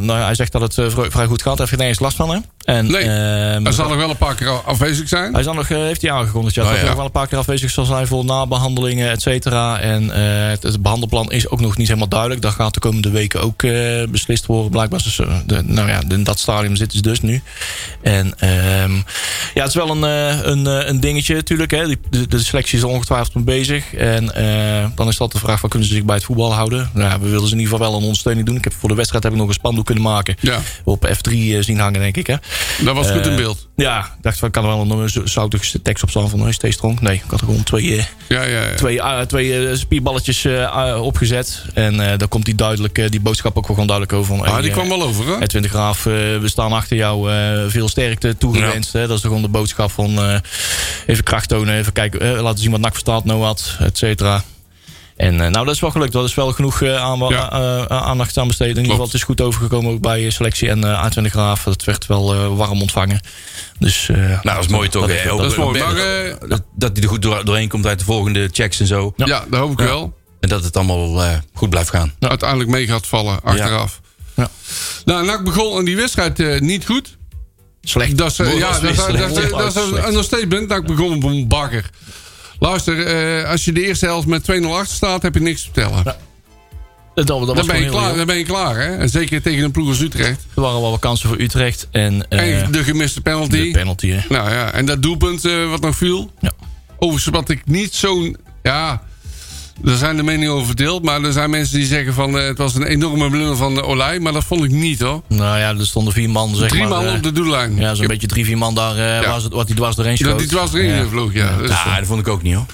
Speaker 3: nou, ja, hij zegt dat het eh, vrij- vrij goed gaat. Hij heeft er nergens last van, hè? En,
Speaker 1: Nee.
Speaker 3: ehm,
Speaker 1: Hij zal nog wel een paar keer afwezig zijn.
Speaker 3: hij is dan nog, eh, heeft hij aangekondigd ja,
Speaker 1: Oh,
Speaker 3: dat hij
Speaker 1: ja.
Speaker 3: nog wel een paar keer afwezig zal zijn voor nabehandelingen, et cetera. En eh, het, het behandelplan is ook nog niet helemaal duidelijk. Dat gaat de komende weken ook eh, beslist worden. Blijkbaar dus, eh, de, nou ja, in dat stadium zitten ze dus nu. En ehm, ja, het is wel een, eh, een, eh, een dingetje natuurlijk. Hè. Die- De, de selectie is er ongetwijfeld mee bezig. En eh, dan is dat de vraag, van, kunnen ze zich bij het voetbal houden? Nou, ja, we willen ze in ieder geval wel een ondersteuning doen. Ik heb voor de wedstrijd heb ik nog een spandoek kunnen maken.
Speaker 1: Ja,
Speaker 3: Op F3 zien hangen, denk ik. Hè.
Speaker 1: dat was goed in
Speaker 3: Eh,
Speaker 1: beeld.
Speaker 3: Ja, ik dacht van, ik kan er wel een eh, zoutige tekst op staan van eh, Stay Strong. Nee, ik had er gewoon twee, eh,
Speaker 1: Ja, ja, ja.
Speaker 3: twee, ah, twee eh, spierballetjes eh, ah, opgezet. En eh, daar komt die, duidelijk, eh, die boodschap ook wel gewoon duidelijk over. Van,
Speaker 1: Ah,
Speaker 3: hey,
Speaker 1: die
Speaker 3: eh,
Speaker 1: kwam wel over, hè?
Speaker 3: Edwin de Graaf, eh, we staan achter jou. eh, veel sterkte toegewenst. Hè? Dat is gewoon de boodschap van eh, even kracht tonen. Even kijken, eh, laten zien wat NAC verstaat, nou wat, et cetera. En eh, nou, dat is wel gelukt. Dat is wel genoeg eh, aan,
Speaker 1: Ja.
Speaker 3: eh, aandacht aan besteed. In ieder geval, het is goed overgekomen ook bij eh, selectie en eh Edwin de Graaf. Dat werd wel eh, warm ontvangen. Dus, eh,
Speaker 2: Nou, dat is mooi toch? hè?
Speaker 1: Dat is mooi.
Speaker 2: Ben-
Speaker 1: Maar, eh,
Speaker 2: dat, dat hij er goed door- doorheen komt uit de volgende checks en zo.
Speaker 1: ja. dat hoop ik wel.
Speaker 2: En dat het allemaal eh, goed blijft gaan.
Speaker 1: Nou, Uiteindelijk mee gaat vallen, achteraf.
Speaker 3: Ja.
Speaker 1: Nou, NAC begon aan die wedstrijd eh, niet goed.
Speaker 3: Slecht.
Speaker 1: Dat is, eh,
Speaker 2: Boer
Speaker 1: ja,
Speaker 2: was
Speaker 1: dat, is-
Speaker 2: slecht.
Speaker 1: dat is- dat is een
Speaker 3: Slecht.
Speaker 1: understatement. Nou, ik begon op een bakker. Luister, eh, als je de eerste helft met 2-0 achter staat, heb je niks te vertellen.
Speaker 3: Dat, dat was
Speaker 1: dan, ben je
Speaker 3: gewoon heel
Speaker 1: klaar,
Speaker 3: jammer.
Speaker 1: dan ben je klaar, hè? En zeker tegen een ploeg als Utrecht.
Speaker 3: Er waren wel wat kansen voor Utrecht. En, eh,
Speaker 1: en de gemiste penalty.
Speaker 3: de penalty. hè.
Speaker 1: nou ja, en dat doelpunt eh, wat nog viel.
Speaker 3: Ja.
Speaker 1: Overigens, wat ik niet zo'n... Ja, Daar zijn de meningen over verdeeld. Maar er zijn mensen die zeggen van eh, het was een enorme blunder van eh, Olij. Maar dat vond ik niet hoor.
Speaker 3: Nou ja, er stonden vier man, zeg
Speaker 1: Drie
Speaker 3: maar.
Speaker 1: maal
Speaker 3: eh,
Speaker 1: op de doellijn.
Speaker 3: Ja, zo'n beetje drie, vier man daar eh,
Speaker 1: Ja.
Speaker 3: was het, wat die dwars doorheen schoot.
Speaker 1: Dat die was erin
Speaker 3: Ja.
Speaker 1: gevlogen, ja. Dus, eh,
Speaker 2: Ja, dat vond ik ook niet hoor.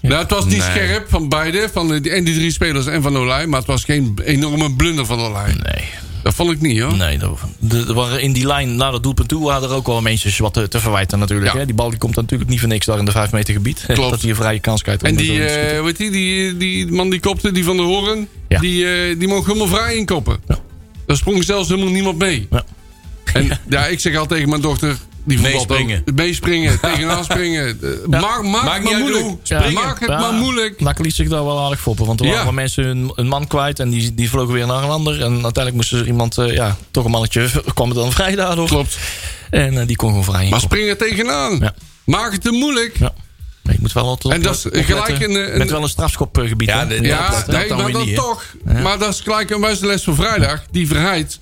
Speaker 1: nou, het was niet
Speaker 2: Nee.
Speaker 1: scherp van beide, van eh, die, en die drie spelers en van Olij. Maar het was geen enorme blunder van Olij.
Speaker 3: Nee,
Speaker 1: Dat vond ik niet hoor.
Speaker 3: nee. Dat, de- er waren in die lijn naar dat doelpunt toe waren er ook wel mensen wat te, te verwijten natuurlijk.
Speaker 1: Ja.
Speaker 3: Hè? Die bal die komt natuurlijk niet voor niks daar in de vijf meter gebied.
Speaker 1: Klopt.
Speaker 3: Dat hij een vrije kans krijgt. om
Speaker 1: En
Speaker 3: er
Speaker 1: die,
Speaker 3: zo in te schieten.
Speaker 1: eh weet je, die, die man die kopte, die van de Horen,
Speaker 3: Ja.
Speaker 1: die, eh, die mocht helemaal vrij inkoppen.
Speaker 3: Ja.
Speaker 1: Daar sprong zelfs helemaal niemand mee.
Speaker 3: Ja.
Speaker 1: En ja. ik zeg al tegen mijn dochter, die voetbalt
Speaker 2: Meespringen.
Speaker 1: ook. Meespringen, tegenaan springen. Eh, Maak, maak,
Speaker 2: Maakt
Speaker 1: het
Speaker 2: niet
Speaker 1: maar
Speaker 2: uit
Speaker 1: moeilijk.
Speaker 2: hoe.
Speaker 1: Ja. Maak het
Speaker 3: Ja,
Speaker 1: maar moeilijk.
Speaker 3: Nak liet zich daar wel aardig foppen. Want er waren
Speaker 1: Ja.
Speaker 3: wel mensen hun, een man kwijt. En die, die vlogen weer naar een ander. En uiteindelijk moest er iemand, eh, ja, toch een mannetje, kwam er dan vrij daardoor.
Speaker 1: Klopt.
Speaker 3: En eh, die kon gewoon vrij
Speaker 1: Maar
Speaker 3: inkoppen.
Speaker 1: spring er tegenaan.
Speaker 3: Ja.
Speaker 1: Maak het te moeilijk.
Speaker 3: Ja. Maar je moet wel altijd
Speaker 1: En dat is
Speaker 3: opletten.
Speaker 1: gelijk een, eh, een-
Speaker 3: Met wel een strafschopgebied.
Speaker 2: Ja,
Speaker 3: hè?
Speaker 2: dit-
Speaker 3: Moet je
Speaker 1: Ja,
Speaker 3: opletten.
Speaker 2: dat
Speaker 1: nee,
Speaker 2: dan
Speaker 1: maar
Speaker 2: weer
Speaker 1: dat
Speaker 2: niet, hè?
Speaker 1: toch. Maar dat is gelijk een wijze les van vrijdag. Die vrijheid,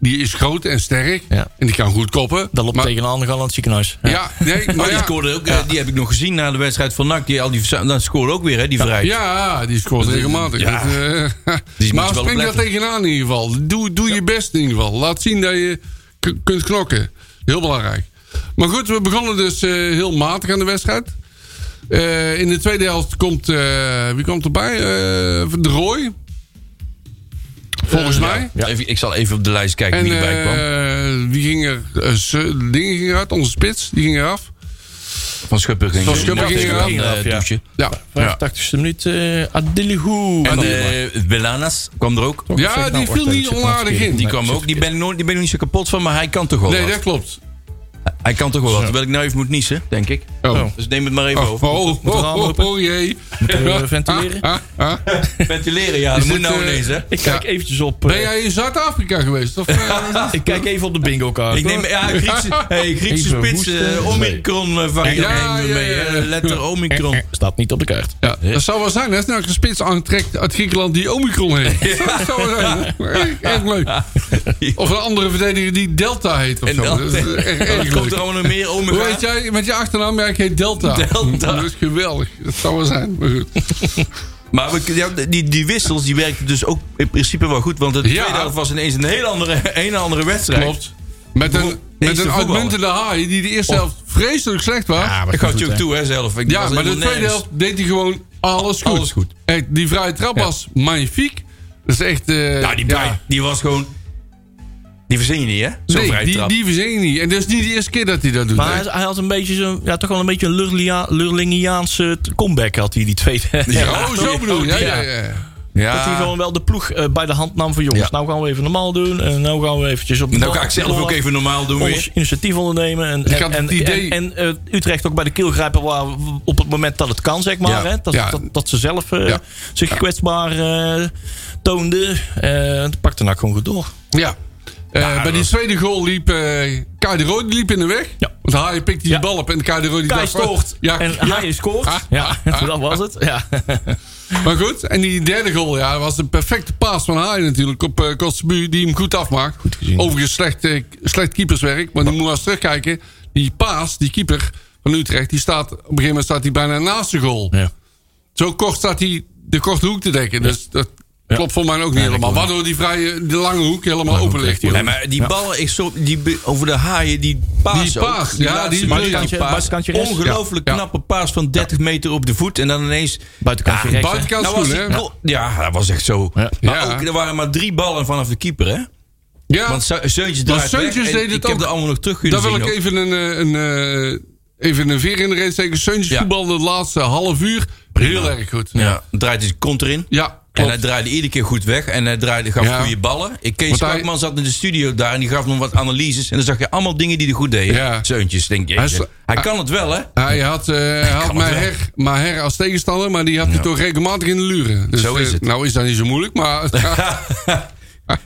Speaker 1: die is groot en sterk.
Speaker 3: Ja.
Speaker 1: En die kan goed koppen.
Speaker 3: Dat loopt
Speaker 1: maar,
Speaker 3: tegen een ander aan het ziekenhuis.
Speaker 1: Ja, nee, maar
Speaker 2: Maar Oh, die
Speaker 1: ja.
Speaker 2: scoorde ook, eh, die heb ik nog gezien na de wedstrijd van NAC. Die, al die, verza- dan scoorde ook weer, hè, die vrijheid.
Speaker 1: Ja, die scoort regelmatig.
Speaker 2: Ja.
Speaker 1: Dus, eh,
Speaker 2: je
Speaker 1: maar spring
Speaker 2: wel
Speaker 1: daar
Speaker 2: opletten.
Speaker 1: tegenaan in ieder geval. Doe, doe je best in ieder geval. Laat zien dat je k- kunt knokken. Heel belangrijk. Maar goed, we begonnen dus eh, heel matig aan de wedstrijd. Eh, in de tweede helft komt... eh, wie komt erbij? Eh, de Roy. Volgens
Speaker 2: Eh,
Speaker 1: mij.
Speaker 2: Even, ik zal even op de lijst kijken
Speaker 1: En
Speaker 2: wie erbij kwam.
Speaker 1: eh, wie ging er... eh, ze- dingen ging eruit. Onze spits. Die ging eraf.
Speaker 2: Van Schupper ging
Speaker 1: Van Schupper
Speaker 2: Ja,
Speaker 1: ging
Speaker 2: tegen
Speaker 1: eraf,
Speaker 2: een, eh,
Speaker 3: ja.
Speaker 2: douche.
Speaker 1: Ja. ja.
Speaker 3: 85 e minuut. eh Adelihu.
Speaker 2: En eh Belanas kwam er ook.
Speaker 1: Ja, die viel niet onaardig in.
Speaker 2: Die kwam ook. Die ben, ik nooit- die ben ik niet zo kapot van, maar hij kan toch wel
Speaker 1: Nee,
Speaker 2: wat.
Speaker 1: dat klopt.
Speaker 2: Hij kan toch wel wat. Terwijl ik nou even moet niezen, denk ik.
Speaker 1: Oh.
Speaker 2: Dus neem het maar even
Speaker 1: Oh,
Speaker 2: over.
Speaker 1: oh,
Speaker 3: er
Speaker 1: oh,
Speaker 3: ramen
Speaker 1: oh,
Speaker 3: open?
Speaker 1: oh jee.
Speaker 3: we ventileren?
Speaker 1: Ah, ah, ah.
Speaker 2: Ventileren, ja. Dat
Speaker 1: Is
Speaker 2: moet
Speaker 1: dit,
Speaker 2: nou
Speaker 1: eh,
Speaker 2: ineens, hè.
Speaker 3: Ik kijk
Speaker 1: Ja.
Speaker 3: eventjes op. eh,
Speaker 1: Ben jij in Zuid-Afrika geweest? Of, eh,
Speaker 3: Ik kijk even op de bingo kaart.
Speaker 2: Ik neem ja, Griekse, hey, Griekse
Speaker 3: Even
Speaker 2: spits,
Speaker 3: hoesten.
Speaker 2: eh, Omicron eh, variant
Speaker 1: Ja,
Speaker 2: nemen we
Speaker 1: ja,
Speaker 2: mee.
Speaker 1: ja,
Speaker 2: hè.
Speaker 1: ja.
Speaker 2: Letter Omicron.
Speaker 3: Staat niet op de kaart.
Speaker 1: ja, dat zou wel zijn, hè? Als nou een spits aantrekt uit Griekenland die Omicron heet. Dat zou wel zijn. hè? Echt, echt leuk. Of een andere verdediger die Delta heet. Of
Speaker 2: En
Speaker 1: zo.
Speaker 2: dan,
Speaker 1: Dat is echt erg
Speaker 2: dan komt
Speaker 1: leuk.
Speaker 2: er allemaal nog meer
Speaker 1: Hoe
Speaker 2: Omega.
Speaker 1: heet jij met je achternaam? Ja, ik heet Delta.
Speaker 2: Delta.
Speaker 1: Dat is geweldig. Dat zou wel zijn. Maar goed.
Speaker 2: Maar we, ja, die, die wissels die werkten dus ook in principe wel goed. Want de
Speaker 1: Ja.
Speaker 2: tweede helft was ineens een hele andere, een andere wedstrijd.
Speaker 1: Klopt. Met een, met
Speaker 2: Deze
Speaker 1: een
Speaker 2: voetballer. Oh.
Speaker 1: uitmuntende haai die de eerste helft vreselijk slecht was.
Speaker 2: Ik gaf je ook toe, hè, zelf. Ik
Speaker 1: Ja,
Speaker 2: was
Speaker 1: maar de
Speaker 2: helemaal
Speaker 1: tweede helft
Speaker 2: nergens.
Speaker 1: deed hij gewoon alles goed.
Speaker 2: Alles goed.
Speaker 1: Echt, die vrije trap was magnifiek. Dat is echt... eh,
Speaker 2: Nou, die, Brian, die was gewoon... Die verzin je niet, hè? Zo'n
Speaker 1: nee,
Speaker 2: vrije
Speaker 1: die,
Speaker 2: trap.
Speaker 1: die verzin je niet. En dat is niet de eerste keer dat hij dat doet.
Speaker 3: Maar
Speaker 1: hè?
Speaker 3: hij, hij had een beetje zo'n, ja, toch wel een beetje een Lurlia- Lurlingiaanse t- comeback had hij, die tweede.
Speaker 1: oh, zo bedoel je. Ja, ja, ja.
Speaker 2: ja.
Speaker 3: Dat hij gewoon wel de ploeg eh, bij de hand nam van jongens, nou gaan we even normaal doen. En nou gaan we eventjes op de
Speaker 2: Nou
Speaker 3: bal-
Speaker 2: ga ik zelf
Speaker 3: bal-
Speaker 2: ook even normaal doen weer.
Speaker 3: ons initiatief ondernemen. En, en,
Speaker 1: had
Speaker 3: en,
Speaker 1: het idee-
Speaker 3: en, en, eh, Utrecht ook bij de keel grijpen waar, op het moment dat het kan, zeg maar.
Speaker 2: Ja.
Speaker 3: Hè? Dat,
Speaker 1: Ja.
Speaker 3: dat, dat ze zelf eh,
Speaker 1: Ja.
Speaker 3: zich kwetsbaar eh, toonden. Eh, het pakte nou gewoon goed door.
Speaker 1: Ja. Eh, bij die tweede goal liep eh Kai de Roy die liep in de weg.
Speaker 3: Ja.
Speaker 1: Want hij pikte die
Speaker 3: Ja.
Speaker 1: bal op en Kai de Roy die
Speaker 3: Kai
Speaker 1: dacht,
Speaker 3: stoort
Speaker 1: Ja,
Speaker 3: en
Speaker 1: ja.
Speaker 3: hij scoort.
Speaker 1: Ah,
Speaker 3: ja,
Speaker 1: ah,
Speaker 3: dat was het. Ja.
Speaker 1: Maar goed, en die derde goal ja, was een perfecte paas van Haaien natuurlijk op eh Kotzebue, die hem goed afmaakt.
Speaker 3: gezien.
Speaker 1: Overigens slecht, eh, slecht keeperswerk, maar die moet wel eens terugkijken. Die paas, die keeper van Utrecht, die staat, op een gegeven moment staat hij bijna naast de goal.
Speaker 3: Ja.
Speaker 1: Zo kort staat hij de korte hoek te dekken. Dus dat klopt voor mij ook niet helemaal. Waardoor die vrije, de lange hoek helemaal open ligt.
Speaker 2: Nee, maar die bal is zo, die, be- over de haaien, die paas
Speaker 1: Die paas,
Speaker 2: ook,
Speaker 1: ja,
Speaker 2: laatste
Speaker 1: die
Speaker 2: minuut,
Speaker 1: buitenkantje-
Speaker 2: paas.
Speaker 3: buitenkantje rechts.
Speaker 2: Ongelooflijk
Speaker 1: Ja.
Speaker 2: knappe paas van 30 meter op de voet. En dan ineens...
Speaker 3: Buitenkantje
Speaker 2: Ja,
Speaker 3: rechts. hè?
Speaker 1: Buitenkant
Speaker 2: Nou was
Speaker 1: schoen,
Speaker 2: die
Speaker 1: hè?
Speaker 2: goal- ja, dat was echt zo.
Speaker 3: Ja.
Speaker 2: Maar
Speaker 1: Ja.
Speaker 2: ook, er waren maar drie ballen vanaf de keeper, hè?
Speaker 1: Ja,
Speaker 2: Want Seu- Seuntjes draait
Speaker 1: Seuntjes
Speaker 2: weg en
Speaker 1: deed het
Speaker 2: Ik heb
Speaker 1: ook.
Speaker 2: er allemaal nog terug kunnen
Speaker 1: daar wil
Speaker 2: zien
Speaker 1: ik
Speaker 2: ook.
Speaker 1: even een, eh, een, eh, even een veer in de reet steken. Seuntjes
Speaker 2: Ja.
Speaker 1: voetbal de laatste half uur. Heel erg goed.
Speaker 2: Ja, draait hij kont erin.
Speaker 1: Ja,
Speaker 2: En
Speaker 1: klopt.
Speaker 2: hij draaide iedere keer goed weg. En hij draaide, gaf
Speaker 1: Ja.
Speaker 2: goede ballen. Ik, Kees
Speaker 1: Want hij-
Speaker 2: Schakman zat in de studio daar. En die gaf me wat analyses. En dan zag je allemaal dingen die hij goed deed.
Speaker 1: Ja.
Speaker 2: Zeuntjes, denk je.
Speaker 1: Hij
Speaker 2: Hij,
Speaker 1: is-
Speaker 2: kan het wel, hè?
Speaker 1: Hij had, eh, hij had
Speaker 2: kan het wel.
Speaker 1: Maher, Maher als tegenstander, maar die had hij toch regelmatig in de luren. Dus,
Speaker 2: Zo is
Speaker 1: eh,
Speaker 2: het.
Speaker 1: nou is dat niet zo moeilijk, maar...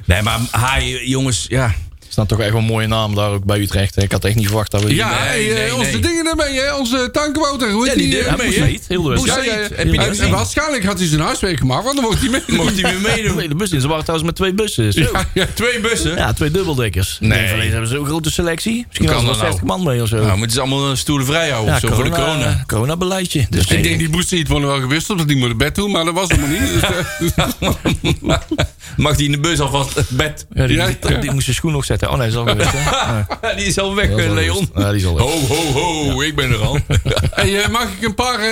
Speaker 2: nee, maar hij, jongens, ja.
Speaker 3: staan toch echt wel mooie namen daar ook bij Utrecht. hè. Ik had echt niet verwacht dat we...
Speaker 1: Ja,
Speaker 2: Nee,
Speaker 1: hey, eh,
Speaker 2: nee,
Speaker 1: onze
Speaker 2: nee.
Speaker 1: dingen ermee, hè? Onze tuinkwoter. Hoe heet
Speaker 2: Ja, die
Speaker 1: die?
Speaker 2: deed
Speaker 1: eh,
Speaker 2: mee,
Speaker 1: Moes-
Speaker 2: hè?
Speaker 3: Heet, heel de wedstrijd.
Speaker 1: Moes-
Speaker 2: Moes-
Speaker 1: ja,
Speaker 2: Moes-
Speaker 1: ja.
Speaker 2: Heb je die
Speaker 1: En-
Speaker 2: gezien?
Speaker 1: En waarschijnlijk had hij zijn huiswerk gemaakt, want dan mocht hij mee.
Speaker 2: Mocht hij weer
Speaker 3: De
Speaker 2: meedoen?
Speaker 3: hele bus in. Ze waren trouwens met twee bussen. Zo. Ja.
Speaker 1: Ja, ja.
Speaker 2: Twee bussen?
Speaker 3: twee dubbeldekkers.
Speaker 2: Nee.
Speaker 3: Nee. Van deze hebben ze zo'n grote selectie. Misschien
Speaker 2: Kan
Speaker 3: hadden er
Speaker 2: dat nou?
Speaker 3: 60 man mee of zo.
Speaker 2: Nou, maar het is allemaal een stoelen vrij houden
Speaker 3: ja, eh,
Speaker 2: of zo voor de corona.
Speaker 3: Corona-beleidje. Dus
Speaker 1: Ik denk die Boester het wel gewist had, dat die moet naar bed toe, maar dat was helemaal niet. Dus, eh,
Speaker 2: Mag die in de bus alvast het bed?
Speaker 3: Ja, die,
Speaker 1: Ja,
Speaker 3: moest-
Speaker 1: ja.
Speaker 3: die moest zijn schoen nog zetten. Oh nee, dat is al geweest. hè? Ja,
Speaker 2: Die is al weg, eh,
Speaker 3: dat is al
Speaker 2: Leon.
Speaker 3: geweest. Eh, Ja, die is al weg.
Speaker 2: Ho, ho, ho, ik ben er al.
Speaker 1: hey, eh, mag ik een paar, eh,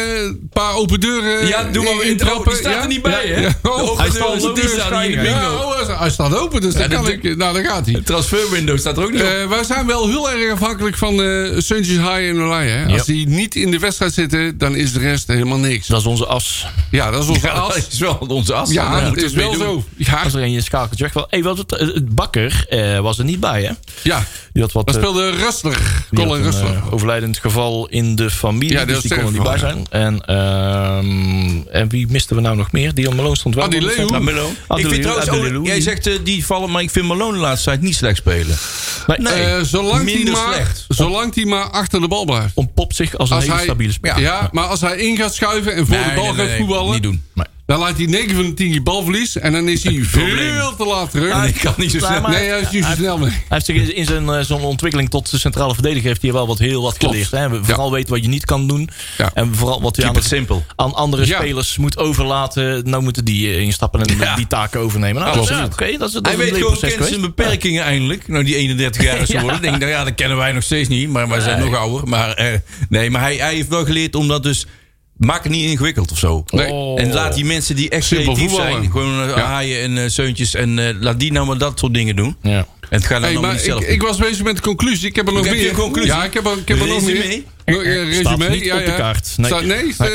Speaker 1: paar open deuren eh,
Speaker 2: Ja, doe maar weer
Speaker 1: in-
Speaker 2: intro.
Speaker 1: intrappen?
Speaker 2: Die staat er niet bij, hè?
Speaker 1: Ja. Oh,
Speaker 2: De open
Speaker 1: hij
Speaker 2: deur
Speaker 1: staat
Speaker 2: is
Speaker 1: open.
Speaker 2: die
Speaker 1: deur
Speaker 2: staat hier,
Speaker 1: schijnen.
Speaker 2: bingo.
Speaker 1: Ja, oh, hij- hij staat open, dus
Speaker 2: Ja,
Speaker 1: dan kan
Speaker 2: dat-
Speaker 1: ik... Nou, daar gaat hij.
Speaker 2: Transferwindow staat er ook nog.
Speaker 1: Eh, wij zijn wel heel erg afhankelijk van eh Suntjes High en Olij. hè. Als
Speaker 3: Ja.
Speaker 1: die niet in de wedstrijd zitten, dan is de rest helemaal niks.
Speaker 3: Dat is onze as.
Speaker 1: Ja, dat is onze as.
Speaker 2: dat is wel onze as.
Speaker 1: Ja,
Speaker 2: Daar
Speaker 1: dat
Speaker 2: moeten
Speaker 1: is
Speaker 2: we mee
Speaker 1: wel
Speaker 2: doen.
Speaker 1: zo. Ja,
Speaker 3: Als er een je schakelt je weg. Wel, hey, wat het, het bakker eh, was er niet bij, hè?
Speaker 1: ja.
Speaker 3: Die had wat.
Speaker 1: dat
Speaker 3: eh,
Speaker 1: speelde Rustler.
Speaker 3: die had
Speaker 1: Colin
Speaker 3: een,
Speaker 1: Rustler.
Speaker 3: eh, overlijdend geval in de familie.
Speaker 1: Ja, die
Speaker 3: dus
Speaker 1: had
Speaker 3: die kon er niet bij
Speaker 1: sterfgeval,
Speaker 3: zijn. En, ehm, en wie misten we nou nog meer? Dion Malone stond wel.
Speaker 1: Adi
Speaker 3: want die
Speaker 1: Leeuw.
Speaker 2: Nou,
Speaker 3: stond-
Speaker 2: Malone. ik
Speaker 3: Adelou-
Speaker 2: vind trouwens ook,
Speaker 3: Adelou-
Speaker 2: jij zegt eh, die vallen, maar ik vind Malone de laatste tijd niet slecht spelen.
Speaker 3: Nee,
Speaker 2: Nee.
Speaker 1: Eh, zolang die
Speaker 2: minder
Speaker 1: maar,
Speaker 2: slecht.
Speaker 1: zolang die maar achter de bal blijft.
Speaker 3: ontpopt zich als een
Speaker 1: Als
Speaker 3: hele
Speaker 1: hij,
Speaker 3: stabiele
Speaker 1: ja.
Speaker 3: speler.
Speaker 1: maar als hij in gaat schuiven en voor
Speaker 2: Nee,
Speaker 1: de bal
Speaker 2: nee,
Speaker 1: gaat
Speaker 2: nee, nee,
Speaker 1: voetballen,
Speaker 2: niet doen.
Speaker 3: Nee.
Speaker 1: dan laat hij 9 van de 10 die bal verliest. En dan is hij veel te laat terug.
Speaker 2: En ik kan niet zo
Speaker 3: Ja,
Speaker 2: snel.
Speaker 3: maar-
Speaker 1: nee, hij is niet zo snel mee.
Speaker 3: Hij heeft zich in- in zijn, eh, zo'n ontwikkeling tot de centrale verdediger heeft hij wel wat heel wat
Speaker 1: Klopt.
Speaker 3: geleerd. Hè? We- Vooral weten wat je niet kan doen.
Speaker 1: Ja.
Speaker 3: En vooral wat je aan,
Speaker 2: Keep it
Speaker 3: het-
Speaker 2: simpel.
Speaker 3: aan andere
Speaker 1: Ja.
Speaker 3: spelers moet overlaten. Nou moeten die eh, instappen en
Speaker 2: Ja.
Speaker 3: die taken overnemen. Nou,
Speaker 2: Klopt.
Speaker 3: ja, oké, dat is, dat
Speaker 2: Hij
Speaker 3: is een
Speaker 2: weet gewoon,
Speaker 3: leerproces
Speaker 2: kent zijn
Speaker 3: geweest.
Speaker 2: beperkingen eindelijk. Nou, die 31 jaar is geworden. Ik denk, nou ja, dat kennen wij nog steeds niet. Maar wij zijn nog ouder. Maar, eh, nee, maar hij, hij heeft wel geleerd om dat dus... Maak het niet ingewikkeld of zo.
Speaker 1: Nee.
Speaker 3: Oh.
Speaker 2: En laat die mensen die echt
Speaker 1: Simpel
Speaker 2: creatief
Speaker 1: voetballen.
Speaker 2: zijn... gewoon eh,
Speaker 1: Ja.
Speaker 2: haaien en eh, zeuntjes... en eh, laat die nou maar dat soort dingen doen.
Speaker 3: Ja. Ja.
Speaker 2: En het gaat
Speaker 1: Hey,
Speaker 2: nou nog
Speaker 1: maar
Speaker 2: niet
Speaker 1: ik,
Speaker 2: zelf.
Speaker 1: ik was bezig met de conclusie. Ik heb er nog
Speaker 2: Heb je
Speaker 1: meer.
Speaker 2: een conclusie?
Speaker 1: Ja, ik heb er, ik heb er nog
Speaker 2: Resume?
Speaker 1: meer. Nog, eh, Resume.
Speaker 3: Staat niet
Speaker 1: ja,
Speaker 3: op de
Speaker 1: ja.
Speaker 3: kaart. Nee.
Speaker 1: Staat- nee, staat-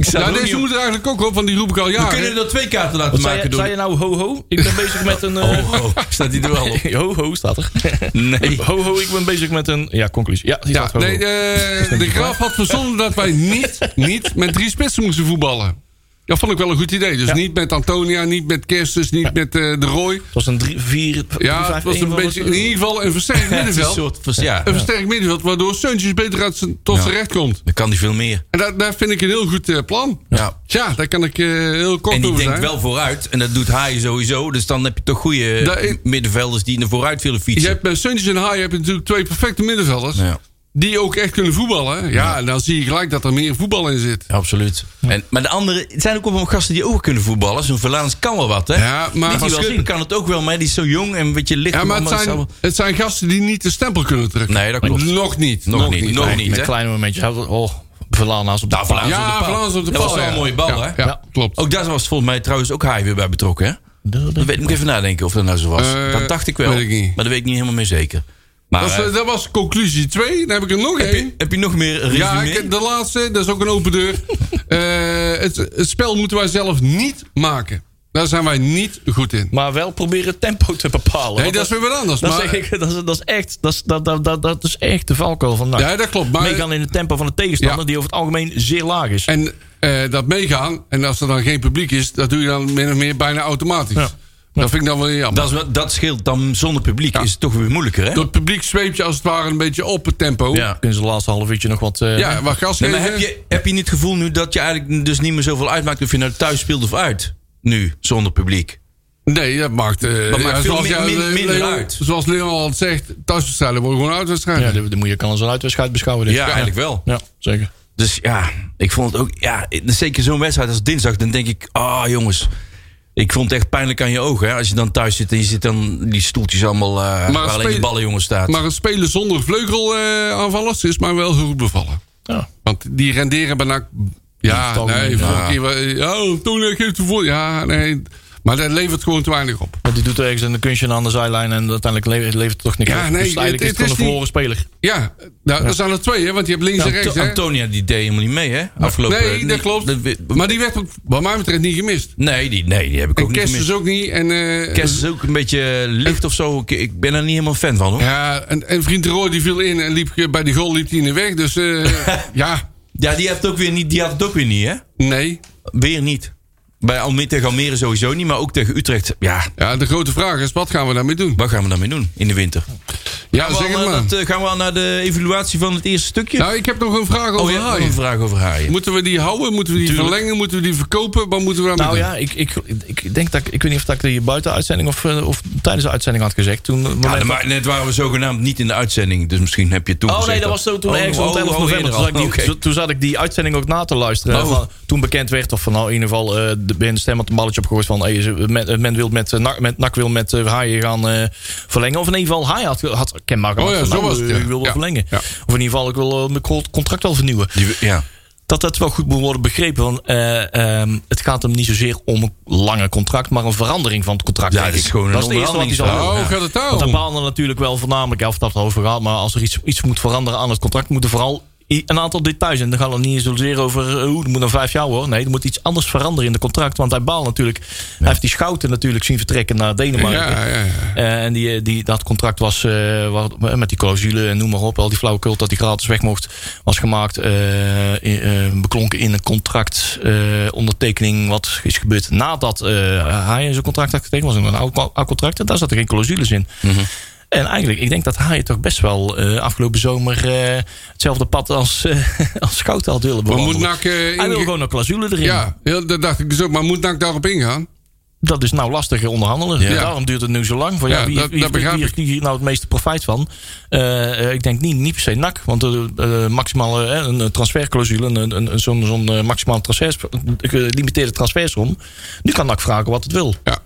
Speaker 2: staat
Speaker 1: ja,
Speaker 2: ook niet
Speaker 1: deze
Speaker 2: op.
Speaker 1: moet er eigenlijk ook op, want die roep ik al
Speaker 2: We
Speaker 1: jaren.
Speaker 2: kunnen er twee kaarten laten
Speaker 3: Wat zei,
Speaker 2: maken
Speaker 3: je,
Speaker 2: doen.
Speaker 3: zei je nou ho ho? Ik ben bezig met een... eh,
Speaker 2: Oh, oh, staat die er wel op?
Speaker 3: ho ho staat er.
Speaker 2: Nee.
Speaker 3: ho ho, ik ben bezig met een... Ja, conclusie. Ja, die
Speaker 1: Ja,
Speaker 3: staat ho,
Speaker 1: nee,
Speaker 3: ho.
Speaker 1: eh, de Graaf had verzonnen dat wij niet, niet met drie spitsen moesten voetballen. Dat vond ik wel een goed idee. Dus niet met Antonia, niet met Kerstus, niet met eh, De Roy.
Speaker 3: Het was een 3, 4,
Speaker 1: Ja, het was een beetje, in ieder geval een versterkt
Speaker 2: Het is een
Speaker 1: middenveld.
Speaker 2: soort vers- ja,
Speaker 1: Een versterkt middenveld, waardoor Suntjes beter uit zijn- tot zijn recht komt.
Speaker 2: dan kan die veel meer.
Speaker 1: En dat, dat vind ik een heel goed eh, plan.
Speaker 2: Ja.
Speaker 1: Tja, daar kan ik eh, heel kort
Speaker 2: En die
Speaker 1: over
Speaker 2: denkt
Speaker 1: zijn.
Speaker 2: wel vooruit. En dat doet Haaien sowieso. Dus dan heb je toch goede
Speaker 1: Da- ik-
Speaker 2: middenvelders die naar vooruit willen
Speaker 1: Je
Speaker 2: fietsen.
Speaker 1: hebt bij Suntjes en Haai heb je natuurlijk twee perfecte middenvelders.
Speaker 2: Ja.
Speaker 1: Die ook echt kunnen voetballen. Ja, en dan zie je gelijk dat er meer voetbal in zit.
Speaker 2: Absoluut. En, maar de andere, het zijn ook allemaal gasten die ook kunnen voetballen. Zo'n Verlaans kan wel wat, hè?
Speaker 1: Ja, maar-
Speaker 2: Van
Speaker 1: Niet wel
Speaker 2: Schulpen kan het ook wel, maar die is zo jong en een beetje licht.
Speaker 1: Ja, maar het
Speaker 2: allemaal
Speaker 1: zijn,
Speaker 2: hetzelfde.
Speaker 1: het zijn gasten die niet de stempel kunnen drukken.
Speaker 2: Nee, dat klopt.
Speaker 1: Nog niet.
Speaker 2: Nog niet, nog
Speaker 1: nee.
Speaker 2: niet.
Speaker 3: Oh, Met
Speaker 2: hè?
Speaker 3: kleine momentjes. Oh, Verlaana's op de
Speaker 2: Nou, Verlaan is
Speaker 1: Ja,
Speaker 2: op de paal.
Speaker 1: Vlaams op de
Speaker 2: Dat
Speaker 1: paal.
Speaker 2: was wel
Speaker 1: ja.
Speaker 2: een mooie bal,
Speaker 1: Ja,
Speaker 2: hè?
Speaker 1: Ja, klopt.
Speaker 2: Ook daar was volgens mij trouwens ook Haaien weer bij betrokken, hè? Dat weet, moet ik even nadenken of dat nou zo was.
Speaker 1: Eh,
Speaker 2: dat dacht ik wel,
Speaker 1: weet ik niet.
Speaker 2: maar dat weet ik niet helemaal meer zeker. Maar,
Speaker 1: dat, was,
Speaker 2: eh,
Speaker 1: eh, dat was conclusie 2. Dan heb ik er nog
Speaker 2: heb, je,
Speaker 1: één.
Speaker 2: heb je nog meer resume?
Speaker 1: Ja, ik- de laatste, dat is ook een open deur. Eh, het, het spel moeten wij zelf niet maken. Daar zijn wij niet goed in.
Speaker 3: Maar wel proberen het tempo te bepalen.
Speaker 1: Nee,
Speaker 3: Want
Speaker 1: dat is weer wat anders.
Speaker 3: dat
Speaker 1: maar,
Speaker 3: zeg ik, dat is, dat is echt, dat is, dat, dat, dat, dat is echt de valkuil van NAC.
Speaker 1: Ja, dat klopt. Maar,
Speaker 3: Meegaan in het tempo van de tegenstander,
Speaker 1: Ja.
Speaker 3: die over het algemeen zeer laag is.
Speaker 1: En eh, dat meegaan, en als er dan geen publiek is, dat doe je dan min of meer bijna automatisch.
Speaker 3: Ja.
Speaker 1: Dat vind ik dan wel jammer.
Speaker 2: Dat, is wel- dat scheelt dan zonder publiek is het toch weer moeilijker, hè?
Speaker 1: Door het publiek zweep je als het ware een beetje op het tempo.
Speaker 2: Ja.
Speaker 3: Kunnen ze de laatste half uurtje nog wat... eh,
Speaker 1: Ja, wat gas
Speaker 2: Nee, maar
Speaker 1: geven.
Speaker 2: heb je, heb je niet het gevoel nu dat je eigenlijk dus niet meer zoveel uitmaakt of je nou thuis speelt of uit? Nu, zonder publiek.
Speaker 1: Nee, dat maakt, eh,
Speaker 2: Dat maakt veel
Speaker 1: zoals,
Speaker 2: min-
Speaker 1: jij-
Speaker 2: min-
Speaker 1: Le-
Speaker 2: minder
Speaker 1: Leon-
Speaker 2: uit.
Speaker 1: zoals Leon al zegt, thuiswedstrijden worden gewoon uitwedstrijden.
Speaker 3: ja, dan dan moet je kan als een uitwedstrijd beschouwen. denk
Speaker 2: Ja,
Speaker 3: ik.
Speaker 2: eigenlijk wel.
Speaker 3: Ja, zeker.
Speaker 2: Dus ja, ik vond het ook. Ja, zeker zo'n wedstrijd als dinsdag, dan denk ik, ah jongens. Ik vond het echt pijnlijk aan je ogen. Hè? Als je dan thuis zit en je zit dan die stoeltjes allemaal. eh, waar alleen
Speaker 1: spelen-
Speaker 2: die ballen jongens staat.
Speaker 1: Maar het spelen zonder vleugelaanvallers is mij wel heel goed bevallen.
Speaker 3: Ja.
Speaker 1: Want die renderen bijna...
Speaker 3: het
Speaker 1: Ja,
Speaker 3: algemeen,
Speaker 1: nee,
Speaker 3: ja.
Speaker 1: vorige keer... wa- Oh, toen geeft de voor... Ja, nee. Maar dat levert gewoon te weinig op.
Speaker 3: Want die doet ergens een kunstje aan de zijlijn en uiteindelijk le- levert het toch niks
Speaker 1: Ja,
Speaker 3: op.
Speaker 1: nee,
Speaker 3: dus eigenlijk
Speaker 1: het-
Speaker 3: is het
Speaker 1: het
Speaker 3: gewoon een
Speaker 1: is
Speaker 3: verloren speler.
Speaker 1: Ja, nou, dat zijn er twee, hè? Want je hebt links en rechts,
Speaker 2: Anto-
Speaker 1: hè?
Speaker 2: Antonia die deed helemaal niet mee, hè? Afgelopen
Speaker 1: Nee, dat klopt.
Speaker 2: maar,
Speaker 1: Maar die werd ook, wat mij betreft, niet gemist.
Speaker 2: nee, die, nee, die heb ik ook
Speaker 1: En
Speaker 2: niet
Speaker 1: Kerst
Speaker 2: gemist.
Speaker 1: is ook niet. En, eh,
Speaker 2: Kerst is ook een beetje eh, licht of zo. Ik, ik ben er niet helemaal fan van hoor. Ja,
Speaker 1: Ja, en, en vriend de Roy die viel in en liep, eh, bij die goal liep hij in de weg. Dus eh, ja,
Speaker 2: die, heeft ook weer niet, die had het ook weer niet, hè?
Speaker 1: nee.
Speaker 2: Weer niet. Bij Almere, tegen Almere sowieso niet, maar ook tegen Utrecht. Ja,
Speaker 1: Ja, de grote vraag is, wat gaan we daarmee doen?
Speaker 2: wat gaan we daarmee doen in de winter?
Speaker 1: Ja,
Speaker 2: Gaan we,
Speaker 1: zeg
Speaker 2: al,
Speaker 1: het
Speaker 2: eh,
Speaker 1: maar.
Speaker 2: dat, eh, gaan we al naar de evaluatie van het eerste stukje?
Speaker 1: Nou, ik heb nog een vraag
Speaker 2: oh,
Speaker 1: over
Speaker 2: je hebt nog
Speaker 1: haaien.
Speaker 2: een vraag over haaien.
Speaker 1: Moeten we die houden? Moeten we die
Speaker 2: Tuurlijk.
Speaker 1: verlengen? Moeten we die verkopen? Wat moeten we daarmee
Speaker 3: Nou
Speaker 1: doen?
Speaker 3: ja, ik, ik, ik denk dat ik, ik weet niet of dat ik die buiten de uitzending of, eh, of tijdens de uitzending had gezegd. Toen, eh,
Speaker 2: Ja, dan maar net waren we zogenaamd niet in de uitzending, dus misschien heb je het toen
Speaker 3: Oh nee,
Speaker 2: gezegd
Speaker 3: dat was zo toen
Speaker 2: Oh,
Speaker 3: ergens rond
Speaker 2: oh,
Speaker 3: 11
Speaker 2: oh,
Speaker 3: november.
Speaker 2: eerder
Speaker 3: Toen zat, ik
Speaker 2: al.
Speaker 3: die,
Speaker 2: Oké.
Speaker 3: zo- toen zat ik die uitzending ook na te luisteren.
Speaker 2: Oh.
Speaker 3: Van- toen bekend werd, of van nou in ieder geval eh, de binnen stem had een balletje opgegooid van hey, ze- men, men wil met, eh, NAC- met NAC wil met eh, haaien gaan eh, verlengen. Of in ieder geval haaien had, had kenmaken.
Speaker 1: Oh
Speaker 3: had
Speaker 1: ja,
Speaker 3: van,
Speaker 1: zo
Speaker 3: nou,
Speaker 1: was het,
Speaker 3: eh,
Speaker 1: ja.
Speaker 3: Ik wil wel
Speaker 1: Ja.
Speaker 3: verlengen.
Speaker 1: Ja.
Speaker 3: Of in ieder geval ik wil eh, mijn co- contract wel vernieuwen.
Speaker 2: Die- ja.
Speaker 3: Dat dat wel goed moet worden begrepen. Want eh, ehm, het gaat hem niet zozeer om een lange contract, maar een verandering van het contract.
Speaker 2: Ja,
Speaker 3: denk
Speaker 2: dat is
Speaker 3: ik.
Speaker 2: gewoon een
Speaker 3: dat is het eerste wat hij zal
Speaker 2: onderhandelingsverhaal.
Speaker 3: doen.
Speaker 1: Oh,
Speaker 2: Ja.
Speaker 1: gaat het
Speaker 3: Want daar
Speaker 1: daarom?
Speaker 3: balen natuurlijk wel voornamelijk, ja, of dat over gaat, maar als er iets, iets moet veranderen aan het contract, moeten vooral i- een aantal details. En dan gaan we het niet eens zozeer over eh, hoe, het moet dan vijf jaar hoor. Nee, er moet iets anders veranderen in het contract. Want hij baalt natuurlijk, hij heeft die schouten natuurlijk zien vertrekken naar
Speaker 1: Ja,
Speaker 3: Denemarken.
Speaker 1: ja, ja.
Speaker 3: Eh, en die, eh, die, dat contract was eh, wat- met die clausule en noem maar op. Al die flauwekul dat hij gratis weg mocht. Was gemaakt, eh, in- eh, beklonken in een contract. eh, ondertekening wat is gebeurd nadat eh, hij zijn contract had getekend. Was een oud co- oud contract. En daar zaten geen clausules in. En eigenlijk, ik denk dat Haaien toch best wel eh, afgelopen zomer eh, hetzelfde pad als, eh als Schouten had willen
Speaker 1: Maar
Speaker 3: bewandelen.
Speaker 1: moet NAC... eh,
Speaker 3: Hij wil
Speaker 1: inge-
Speaker 3: gewoon een clausule erin.
Speaker 1: Ja, heel- dat dacht ik dus ook. Maar moet NAC daarop ingaan?
Speaker 3: Dat is nou lastig onderhandelen.
Speaker 1: Ja.
Speaker 3: Daarom duurt het nu zo lang. Van, ja,
Speaker 1: Ja,
Speaker 3: wie
Speaker 1: dat-
Speaker 3: wie,
Speaker 1: dat
Speaker 3: wie,
Speaker 1: begrijp
Speaker 3: wie
Speaker 1: ik.
Speaker 3: heeft hier nou het meeste profijt van? Eh, eh, ik denk niet, niet per se NAC. Want eh eh, maximale, eh, een eh, transferclausule, een, een, een- zo'n zo'n, eh, maximale transfers, gelimiteerde transfersom. Nu kan NAC vragen wat het wil.
Speaker 1: Ja.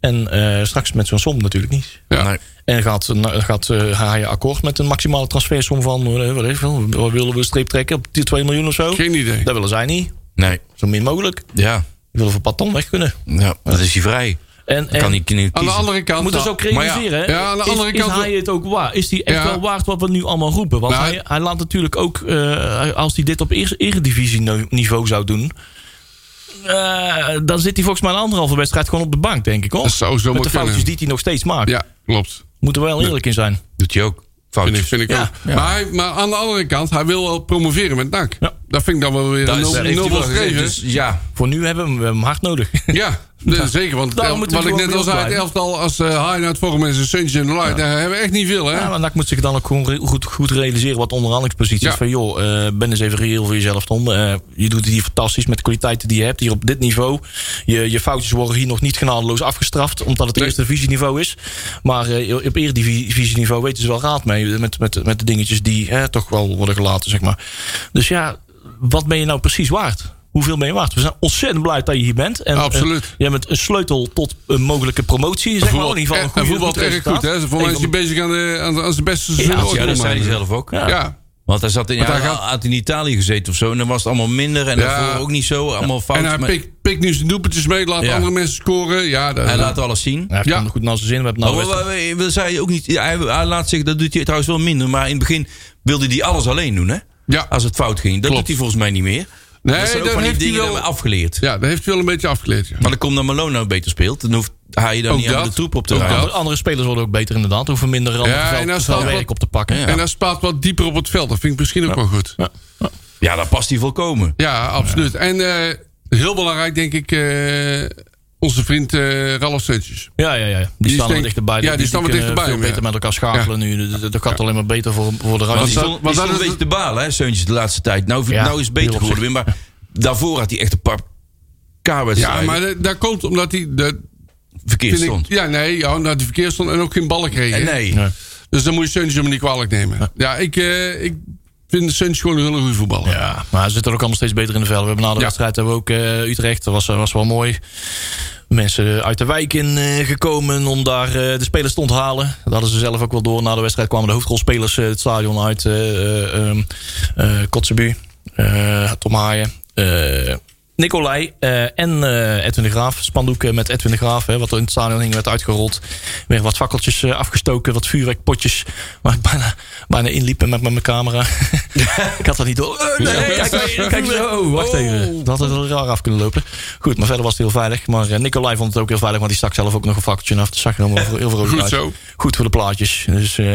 Speaker 3: En eh, straks met zo'n som natuurlijk niet.
Speaker 1: Ja.
Speaker 2: Nee.
Speaker 3: En gaat, na- gaat eh, Haaien akkoord met een maximale transfersom van... eh, wat weet ik veel, wat willen we een streep trekken op 2 miljoen of zo?
Speaker 1: Geen idee.
Speaker 3: Dat willen zij niet.
Speaker 2: Nee.
Speaker 3: Zo min mogelijk. Die
Speaker 2: Ja.
Speaker 3: willen voor Paton weg kunnen.
Speaker 2: ja, dat is hij vrij.
Speaker 3: En,
Speaker 2: Dan
Speaker 3: en-
Speaker 2: kan hij niet
Speaker 1: Aan de
Speaker 2: kiezen.
Speaker 1: andere kant...
Speaker 3: moet ons
Speaker 1: nou,
Speaker 3: ook realiseren.
Speaker 1: maar
Speaker 3: hè?
Speaker 1: Ja, ja, aan de
Speaker 3: Is-
Speaker 1: andere
Speaker 3: is,
Speaker 1: kant... eh,
Speaker 3: hij het ook waard? Is die echt
Speaker 1: Ja.
Speaker 3: wel waard wat we nu allemaal roepen? Want
Speaker 1: Nou,
Speaker 3: hij, hij laat natuurlijk ook, eh, als hij dit op eer- eredivisieniveau zou doen... eh, dan zit hij volgens mij een anderhalve wedstrijd gewoon op de bank, denk ik. Hoor.
Speaker 1: Dat zou zo
Speaker 3: Met
Speaker 1: maar
Speaker 3: de foutjes
Speaker 1: kunnen.
Speaker 3: die hij nog steeds maakt.
Speaker 1: Ja, klopt.
Speaker 3: Moeten we wel eerlijk in zijn.
Speaker 2: Doet hij ook
Speaker 1: Vind ik,
Speaker 2: foutjes.
Speaker 1: vind ik
Speaker 3: Ja,
Speaker 1: ook. Maar, hij- maar aan de andere kant, hij wil wel promoveren met NAC.
Speaker 3: Ja.
Speaker 1: Dat vind ik dan wel weer
Speaker 2: Dat
Speaker 1: een
Speaker 2: is- dat
Speaker 1: nobel-
Speaker 2: heeft hij
Speaker 1: nobel
Speaker 2: wel gezegd,
Speaker 1: streven.
Speaker 2: dus ja.
Speaker 3: Voor nu hebben we hem- we hebben hem hard nodig.
Speaker 1: Ja, de- zeker. Want het
Speaker 3: Daarom
Speaker 1: elf-
Speaker 3: moeten
Speaker 1: wat
Speaker 3: we
Speaker 1: ik
Speaker 3: gewoon
Speaker 1: net al
Speaker 3: bij
Speaker 1: zei, het
Speaker 3: ons
Speaker 1: elftal
Speaker 3: blijven.
Speaker 1: als eh High Night Forum en zijn Sunshine Light, daar hebben we echt niet veel, hè?
Speaker 3: Ja, maar NAC moet zich dan ook gewoon re- goed, goed realiseren wat de onderhandelingspositie
Speaker 1: Ja.
Speaker 3: is. Van joh, eh, ben eens even reëel voor jezelf, Tom. Eh, je doet het hier fantastisch met de kwaliteiten die je hebt hier op dit niveau. Je, je foutjes worden hier nog niet genadeloos afgestraft, omdat het
Speaker 1: Nee.
Speaker 3: eerste divisieniveau is. Maar eh op eredivisieniveau weten ze wel raad mee eh, met, met, met de dingetjes die eh, toch wel worden gelaten, zeg maar. Dus ja, wat ben je nou precies waard? Hoeveel ben je waard? We zijn ontzettend blij dat je hier bent. En,
Speaker 1: Absoluut.
Speaker 3: eh, jij bent een sleutel tot een mogelijke promotie. Zeg maar, in ieder geval een
Speaker 1: en
Speaker 3: goede-
Speaker 1: voetbal
Speaker 3: goed
Speaker 1: erg goed, hè?
Speaker 3: resultaat.
Speaker 1: Voor mij
Speaker 3: Een
Speaker 1: is hij
Speaker 3: van de-
Speaker 1: bezig aan, de, aan, aan zijn beste seizoen
Speaker 3: Ja,
Speaker 1: ooit
Speaker 2: Ja, dat
Speaker 1: te
Speaker 2: zei hij
Speaker 1: maken.
Speaker 2: zelf ook.
Speaker 3: Ja.
Speaker 1: Ja.
Speaker 2: Want hij zat in,
Speaker 1: Want hij
Speaker 2: hij
Speaker 1: gaat-
Speaker 2: had in Italië gezeten of zo. En dan was het allemaal minder. En
Speaker 1: Ja.
Speaker 2: daarvoor ook niet zo. Allemaal fout.
Speaker 1: En hij
Speaker 2: maar
Speaker 1: pikt, pikt nu zijn doelpuntjes mee, laat
Speaker 2: Ja.
Speaker 1: andere mensen scoren. Ja, dat,
Speaker 2: hij laat alles zien.
Speaker 3: Ja, hij
Speaker 1: Ja. Oh,
Speaker 3: kan er goed naar zijn zin. We hebben nou
Speaker 2: Maar
Speaker 3: best-
Speaker 2: we- we- we zeiden ook niet, hij, hij laat zich, dat doet hij trouwens wel minder. Maar in het begin wilde hij alles alleen doen. Hè?
Speaker 1: Ja.
Speaker 2: Als het fout ging. Dat
Speaker 1: Klopt.
Speaker 2: doet hij volgens mij niet meer.
Speaker 1: Nee,
Speaker 2: dat zijn ook
Speaker 1: dat
Speaker 2: van die
Speaker 1: heeft hij
Speaker 2: dingen
Speaker 1: wel-
Speaker 2: die we afgeleerd.
Speaker 1: ja, dat heeft hij wel een beetje afgeleerd. Ja.
Speaker 2: Maar dan komt dat Malone nou beter speelt. Dan hoeft hij dan
Speaker 1: Ook
Speaker 2: niet aan
Speaker 1: dat.
Speaker 2: de troep op te
Speaker 1: Ook
Speaker 2: ruimen.
Speaker 1: dat.
Speaker 3: Andere- Andere spelers worden ook beter inderdaad. Hoeven minder randen
Speaker 1: oh. Ja, en
Speaker 3: veld,
Speaker 1: als dat-
Speaker 3: veldwerk op te pakken.
Speaker 2: Ja.
Speaker 1: En hij spaart wat dieper op het veld. Dat vind ik misschien ook wel goed.
Speaker 2: Ja, dan past hij volkomen.
Speaker 1: Ja, absoluut. En eh, heel belangrijk, denk ik, eh, onze vriend eh Ralf Seuntjes.
Speaker 3: Ja, ja, ja. Die,
Speaker 1: is
Speaker 3: staan er
Speaker 1: denk-
Speaker 3: dichterbij.
Speaker 1: ja, die staan er
Speaker 3: kunnen
Speaker 1: dichterbij,
Speaker 3: veel
Speaker 1: ja.
Speaker 3: beter met elkaar schakelen nu. Dat- Dat dat gaat alleen maar beter voor, voor de
Speaker 2: Want
Speaker 1: dat-
Speaker 2: die
Speaker 3: ruimte.
Speaker 2: stond,
Speaker 1: want
Speaker 2: die stond
Speaker 1: dat
Speaker 2: een
Speaker 1: is-
Speaker 2: beetje te balen, hè, Seuntjes, de laatste tijd. Nou,
Speaker 3: Ja,
Speaker 2: nou is het
Speaker 3: heel
Speaker 2: beter
Speaker 3: op
Speaker 2: geworden weer.
Speaker 3: zich.
Speaker 2: Maar daarvoor had hij echt een paar
Speaker 1: Ja,
Speaker 2: K-wedstrijden
Speaker 1: maar dat, dat komt omdat hij... Dat,
Speaker 2: verkeerd
Speaker 1: vind ik,
Speaker 2: stond.
Speaker 1: ja, nee, ja, omdat hij verkeerd stond en ook geen ballen kreeg. hè?
Speaker 2: En nee.
Speaker 3: Ja.
Speaker 1: Dus dan moet je Suntje hem niet kwalijk nemen. Ja, ik, eh, ik vind Suntje gewoon een hele goede voetballer.
Speaker 3: Ja, maar ze zitten er ook allemaal steeds beter in de veld. We hebben na de
Speaker 1: Ja.
Speaker 3: wedstrijd hebben we ook eh, Utrecht. Dat was, was wel mooi. Mensen uit de wijk in eh, gekomen om daar eh, de spelers te onthalen. Dat hadden ze zelf ook wel door. Na de wedstrijd kwamen de hoofdrolspelers eh, het stadion uit. eh eh, ehm, eh, Kotzebue, eh, Tom Haaien, eh, Nicolai eh, en eh, Edwin de Graaf. Spandoeken met Edwin de Graaf, hè, wat er in het stadion hing, werd uitgerold. Weer wat fakkeltjes eh, afgestoken, wat vuurwerkpotjes. Waar ik bijna, bijna inliepen met, met mijn camera. ik had dat niet door. Eh, nee, Oh, kijk, kijk, kijk zo. Wacht even. Dat had het er raar af kunnen lopen. Goed, maar verder was het heel veilig. Maar eh, Nicolai vond het ook heel veilig, want die stak zelf ook nog een fakkeltje af. Dat zag er allemaal heel heel vrolijk
Speaker 1: Goed
Speaker 3: uit.
Speaker 1: zo.
Speaker 3: Goed voor de plaatjes. Dus eh,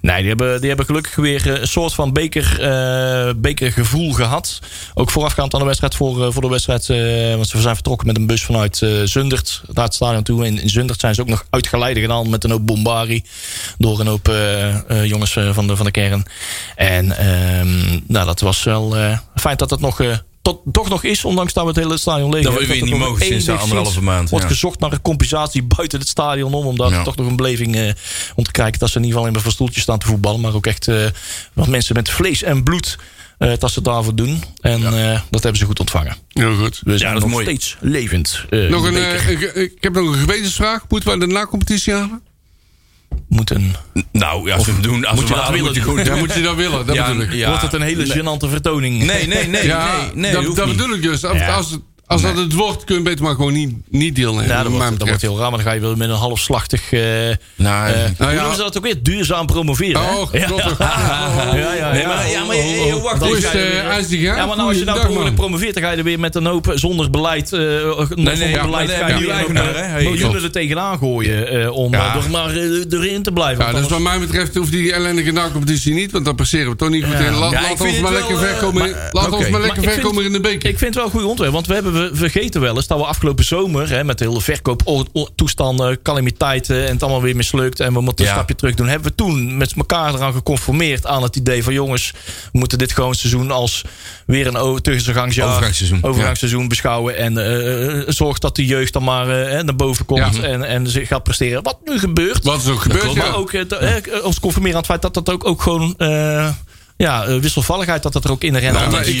Speaker 3: nee, die hebben, die hebben gelukkig weer eh, een soort van beker, eh, bekergevoel gehad. Ook voorafgaand aan de wedstrijd voor, eh, voor de wedstrijd, eh, want ze zijn vertrokken met een bus vanuit eh, Zundert naar het stadion toe. In, in Zundert zijn ze ook nog uitgeleide gedaan met een hoop bombari door een hoop eh, eh, jongens eh, van, de, van de kern. En ehm, nou, dat was wel eh, fijn dat dat nog... eh, tot, toch nog is, ondanks dat we het hele stadion leeg
Speaker 2: Dat we
Speaker 3: hebben,
Speaker 2: weer
Speaker 3: er
Speaker 2: niet
Speaker 3: nog
Speaker 2: mogen sinds de
Speaker 3: enigszins
Speaker 2: anderhalve maand,
Speaker 3: Wordt
Speaker 2: ja.
Speaker 3: gezocht naar een compensatie buiten het stadion om. Om daar
Speaker 2: Ja.
Speaker 3: toch nog een beleving eh, om te kijken. Dat ze in ieder geval in een stoeltje staan te voetballen. Maar ook echt eh, wat mensen met vlees en bloed. eh dat ze het daarvoor doen. En eh, dat hebben ze goed ontvangen.
Speaker 1: Heel goed.
Speaker 3: We
Speaker 2: dat
Speaker 3: zijn
Speaker 2: is
Speaker 3: nog
Speaker 2: mooi.
Speaker 3: steeds levend. eh,
Speaker 1: Nog
Speaker 3: in
Speaker 1: een,
Speaker 3: de beker.
Speaker 1: eh, ik, ik heb nog een gewetensvraag. Moeten we de na-competitie halen?
Speaker 3: Moeten.
Speaker 2: Nou, ja, als we hem doen, als
Speaker 3: moet
Speaker 2: we
Speaker 3: je
Speaker 2: hem
Speaker 3: dat
Speaker 2: halen,
Speaker 3: willen
Speaker 2: moet je
Speaker 1: Ja,
Speaker 2: goed.
Speaker 1: moet je dat willen. Dat bedoel ik.
Speaker 2: Oh, Ja,
Speaker 3: Wordt het een hele
Speaker 2: nee.
Speaker 3: gênante vertoning?
Speaker 2: Nee, nee, nee,
Speaker 1: Ja,
Speaker 2: nee, nee,
Speaker 1: dat, dat bedoel ik dus. Als,
Speaker 3: Ja.
Speaker 1: als, als dat het wordt, kun je beter maar gewoon niet, niet deelnemen.
Speaker 3: Ja, dat
Speaker 1: wat mij
Speaker 3: wordt, dat
Speaker 1: betreft.
Speaker 3: wordt heel raar. Maar dan ga je wel met een halfslachtig... eh eh
Speaker 2: Nou,
Speaker 3: hoe
Speaker 1: ja.
Speaker 3: noemen ze dat ook weer? Duurzaam promoveren. hè?
Speaker 1: Oh, god. Ja.
Speaker 3: ja, ja, Oh,
Speaker 2: Nee, maar, ja, maar eh, eh, wacht
Speaker 1: Hoe
Speaker 2: even.
Speaker 1: is
Speaker 2: Ja,
Speaker 1: de ijsdiga?
Speaker 3: Ja, maar nou, als je nou per ongeluk promoveert, dan ga je er weer met een hoop zonder beleid, eh zonder
Speaker 2: nee, ja,
Speaker 3: beleid
Speaker 2: maar
Speaker 3: ga
Speaker 2: nee,
Speaker 3: je
Speaker 2: nieuwe
Speaker 3: weer
Speaker 2: eigenaar,
Speaker 3: ook, eh,
Speaker 2: hè? Hey,
Speaker 3: miljoenen
Speaker 2: klopt.
Speaker 3: er tegenaan gooien eh, om
Speaker 1: Ja.
Speaker 3: eh, toch maar eh, erin te blijven.
Speaker 1: Ja,
Speaker 3: Want
Speaker 1: dus wat
Speaker 3: anders-
Speaker 1: mij betreft hoeft die ellendige na-competitie niet, want dan passeren we toch niet goed in. Laat,
Speaker 2: Ja, ik
Speaker 1: laat
Speaker 2: vind
Speaker 1: ons
Speaker 2: het
Speaker 1: maar
Speaker 2: wel,
Speaker 1: lekker ver
Speaker 2: eh,
Speaker 1: komen in-
Speaker 2: maar-
Speaker 1: laat
Speaker 2: oké.
Speaker 1: ons maar
Speaker 2: Maar
Speaker 1: lekker
Speaker 3: ik
Speaker 1: ver
Speaker 3: vind-
Speaker 1: komen in de beker.
Speaker 3: Ik vind het wel een goed onderwerp, want we hebben we vergeten wel eens dat we afgelopen zomer hè, met de hele verkooptoestanden, calamiteiten en het allemaal weer mislukt en we moeten een
Speaker 2: Ja.
Speaker 3: stapje terug doen. Hebben we toen met elkaar eraan geconformeerd aan het idee van jongens, we moeten dit gewoon seizoen als weer een o- tussengangsjaar,
Speaker 2: Overgangsseizoen, ja.
Speaker 3: overgangsseizoen beschouwen en eh, eh, zorg dat de jeugd dan maar eh, naar boven komt
Speaker 1: Ja.
Speaker 3: en, en zich gaat presteren. Wat nu gebeurt,
Speaker 1: Wat is er ook gebeurd?
Speaker 3: maar
Speaker 1: ja.
Speaker 3: ook eh, te- eh, ons conformeren aan het feit dat dat ook, ook gewoon. eh, ja, eh, wisselvalligheid dat dat er ook in de
Speaker 2: Nou,
Speaker 3: rennen
Speaker 2: maar ik- ik-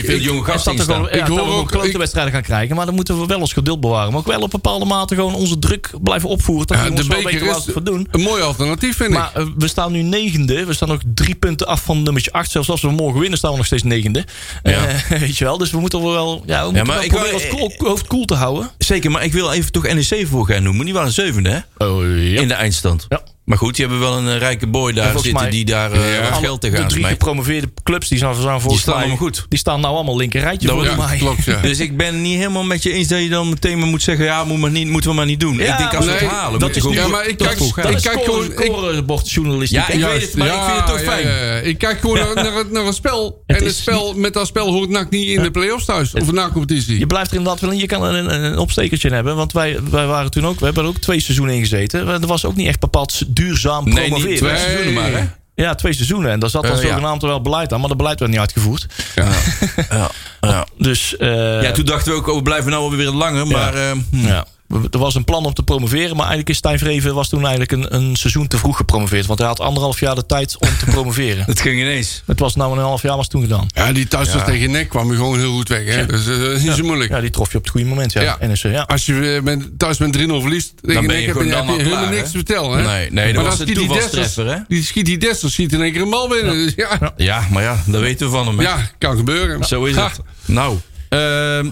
Speaker 3: gasten
Speaker 2: ik-
Speaker 3: dat er gewoon,
Speaker 1: ik
Speaker 3: ja, dat
Speaker 1: hoor
Speaker 3: we gewoon
Speaker 1: ook-
Speaker 3: klote
Speaker 1: ik-
Speaker 3: wedstrijden gaan krijgen. Maar dan moeten we wel ons geduld bewaren. Maar ook wel op bepaalde mate gewoon onze druk blijven opvoeren. Dat
Speaker 1: Ja,
Speaker 3: we
Speaker 1: de
Speaker 3: ons wel weten
Speaker 1: beker
Speaker 3: waar we
Speaker 1: is
Speaker 3: het voor doen.
Speaker 1: een mooi alternatief, vind ik.
Speaker 3: Maar eh, we staan nu negende. We staan nog drie punten af van nummertje acht. Zelfs als we morgen winnen, staan we nog steeds negende. Eh, weet je wel. Dus we moeten wel, ja, we moeten
Speaker 2: maar
Speaker 3: wel
Speaker 2: ik
Speaker 3: proberen
Speaker 2: wou-
Speaker 3: ons koel- hoofd koel te houden.
Speaker 2: Zeker, maar ik wil even toch NEC voor gaan noemen. Die waren zevende, hè?
Speaker 1: Oh,
Speaker 2: In de eindstand.
Speaker 3: Ja.
Speaker 2: Maar goed, die hebben wel een eh, rijke boy daar
Speaker 3: volgens
Speaker 2: zitten
Speaker 3: mij-
Speaker 2: die daar eh,
Speaker 1: Ja.
Speaker 2: wat
Speaker 3: Alle-
Speaker 2: geld tegenaan
Speaker 3: De drie
Speaker 2: smijt.
Speaker 3: gepromoveerde clubs die zijn, zijn volgens
Speaker 2: staan
Speaker 3: mij-
Speaker 2: allemaal goed.
Speaker 3: Die staan nou allemaal linkerrijtje
Speaker 2: Dat-
Speaker 3: volgens
Speaker 1: ja,
Speaker 3: mij.
Speaker 1: klopt, ja.
Speaker 2: Dus ik ben niet helemaal met je eens dat je dan meteen maar moet zeggen... ja, moet maar niet, moeten we maar niet doen. ik denk als we
Speaker 1: nee,
Speaker 2: het
Speaker 1: dat
Speaker 2: halen... moet je
Speaker 1: is
Speaker 2: gewoon-
Speaker 1: nu- Ja, maar ik kijk-
Speaker 2: toch gaan.
Speaker 1: ik
Speaker 3: Dat is
Speaker 1: kijk
Speaker 3: scoren-
Speaker 1: gewoon- ik-
Speaker 3: scorebordjournalistiek.
Speaker 2: Ja, ik
Speaker 3: Ja,
Speaker 2: weet het, maar ik vind het toch fijn.
Speaker 1: ja, ja, ja. Ik kijk gewoon naar, naar, het- naar het spel. en het
Speaker 3: is
Speaker 1: spel, met dat spel hoort NAC niet in de play-offs thuis. Of na
Speaker 3: Je
Speaker 1: competitie.
Speaker 3: blijft er inderdaad wel in. Je kan een, een, een opstekertje hebben. Want wij, wij waren toen ook. We hebben er ook twee seizoenen in gezeten. Er was ook niet echt bepaald duurzaam
Speaker 2: Nee,
Speaker 3: promoveren.
Speaker 2: niet twee seizoenen maar, hè?
Speaker 3: Ja, twee seizoenen. En daar zat dan
Speaker 2: Eh, ja.
Speaker 3: zogenaamd wel beleid aan. Maar dat beleid werd niet uitgevoerd.
Speaker 2: Ja, ja.
Speaker 3: Dus eh,
Speaker 2: Ja, toen dachten we ook, oh, we blijven nou wel weer langer. Maar eh, hm.
Speaker 3: ja. Er was een plan om te promoveren, maar eigenlijk is Stijn Vreven was toen eigenlijk een, een seizoen te vroeg gepromoveerd. Want hij had anderhalf jaar de tijd om te promoveren.
Speaker 2: het ging ineens.
Speaker 3: Het was nou een half jaar was toen gedaan.
Speaker 1: Ja, die thuisstad tegen NEC kwam je gewoon heel goed weg. Hè? Dus eh, dat is niet zo moeilijk.
Speaker 3: Ja, die trof je op het goede moment. Ja,
Speaker 1: Ja.
Speaker 3: NSC, ja.
Speaker 1: Als je eh, met, thuis met 3-0 verliest tegen
Speaker 2: ben je
Speaker 1: NEC, heb je, heb
Speaker 2: gewoon dan
Speaker 1: je
Speaker 2: al
Speaker 1: helemaal
Speaker 2: klaar, hè?
Speaker 1: niks te vertellen. Hè?
Speaker 2: Nee, nee, dat
Speaker 1: maar
Speaker 2: was
Speaker 1: dan
Speaker 2: een
Speaker 1: schiet die Dessers,
Speaker 2: toevalstreffer, hè?
Speaker 1: die schiet die Dessers, schiet in één keer een bal binnen. Dus Ja, ja.
Speaker 2: Ja, maar ja, dat weten we van hem. hè.
Speaker 1: kan gebeuren.
Speaker 2: Zo is
Speaker 1: Ha.
Speaker 2: het. Nou, ehm,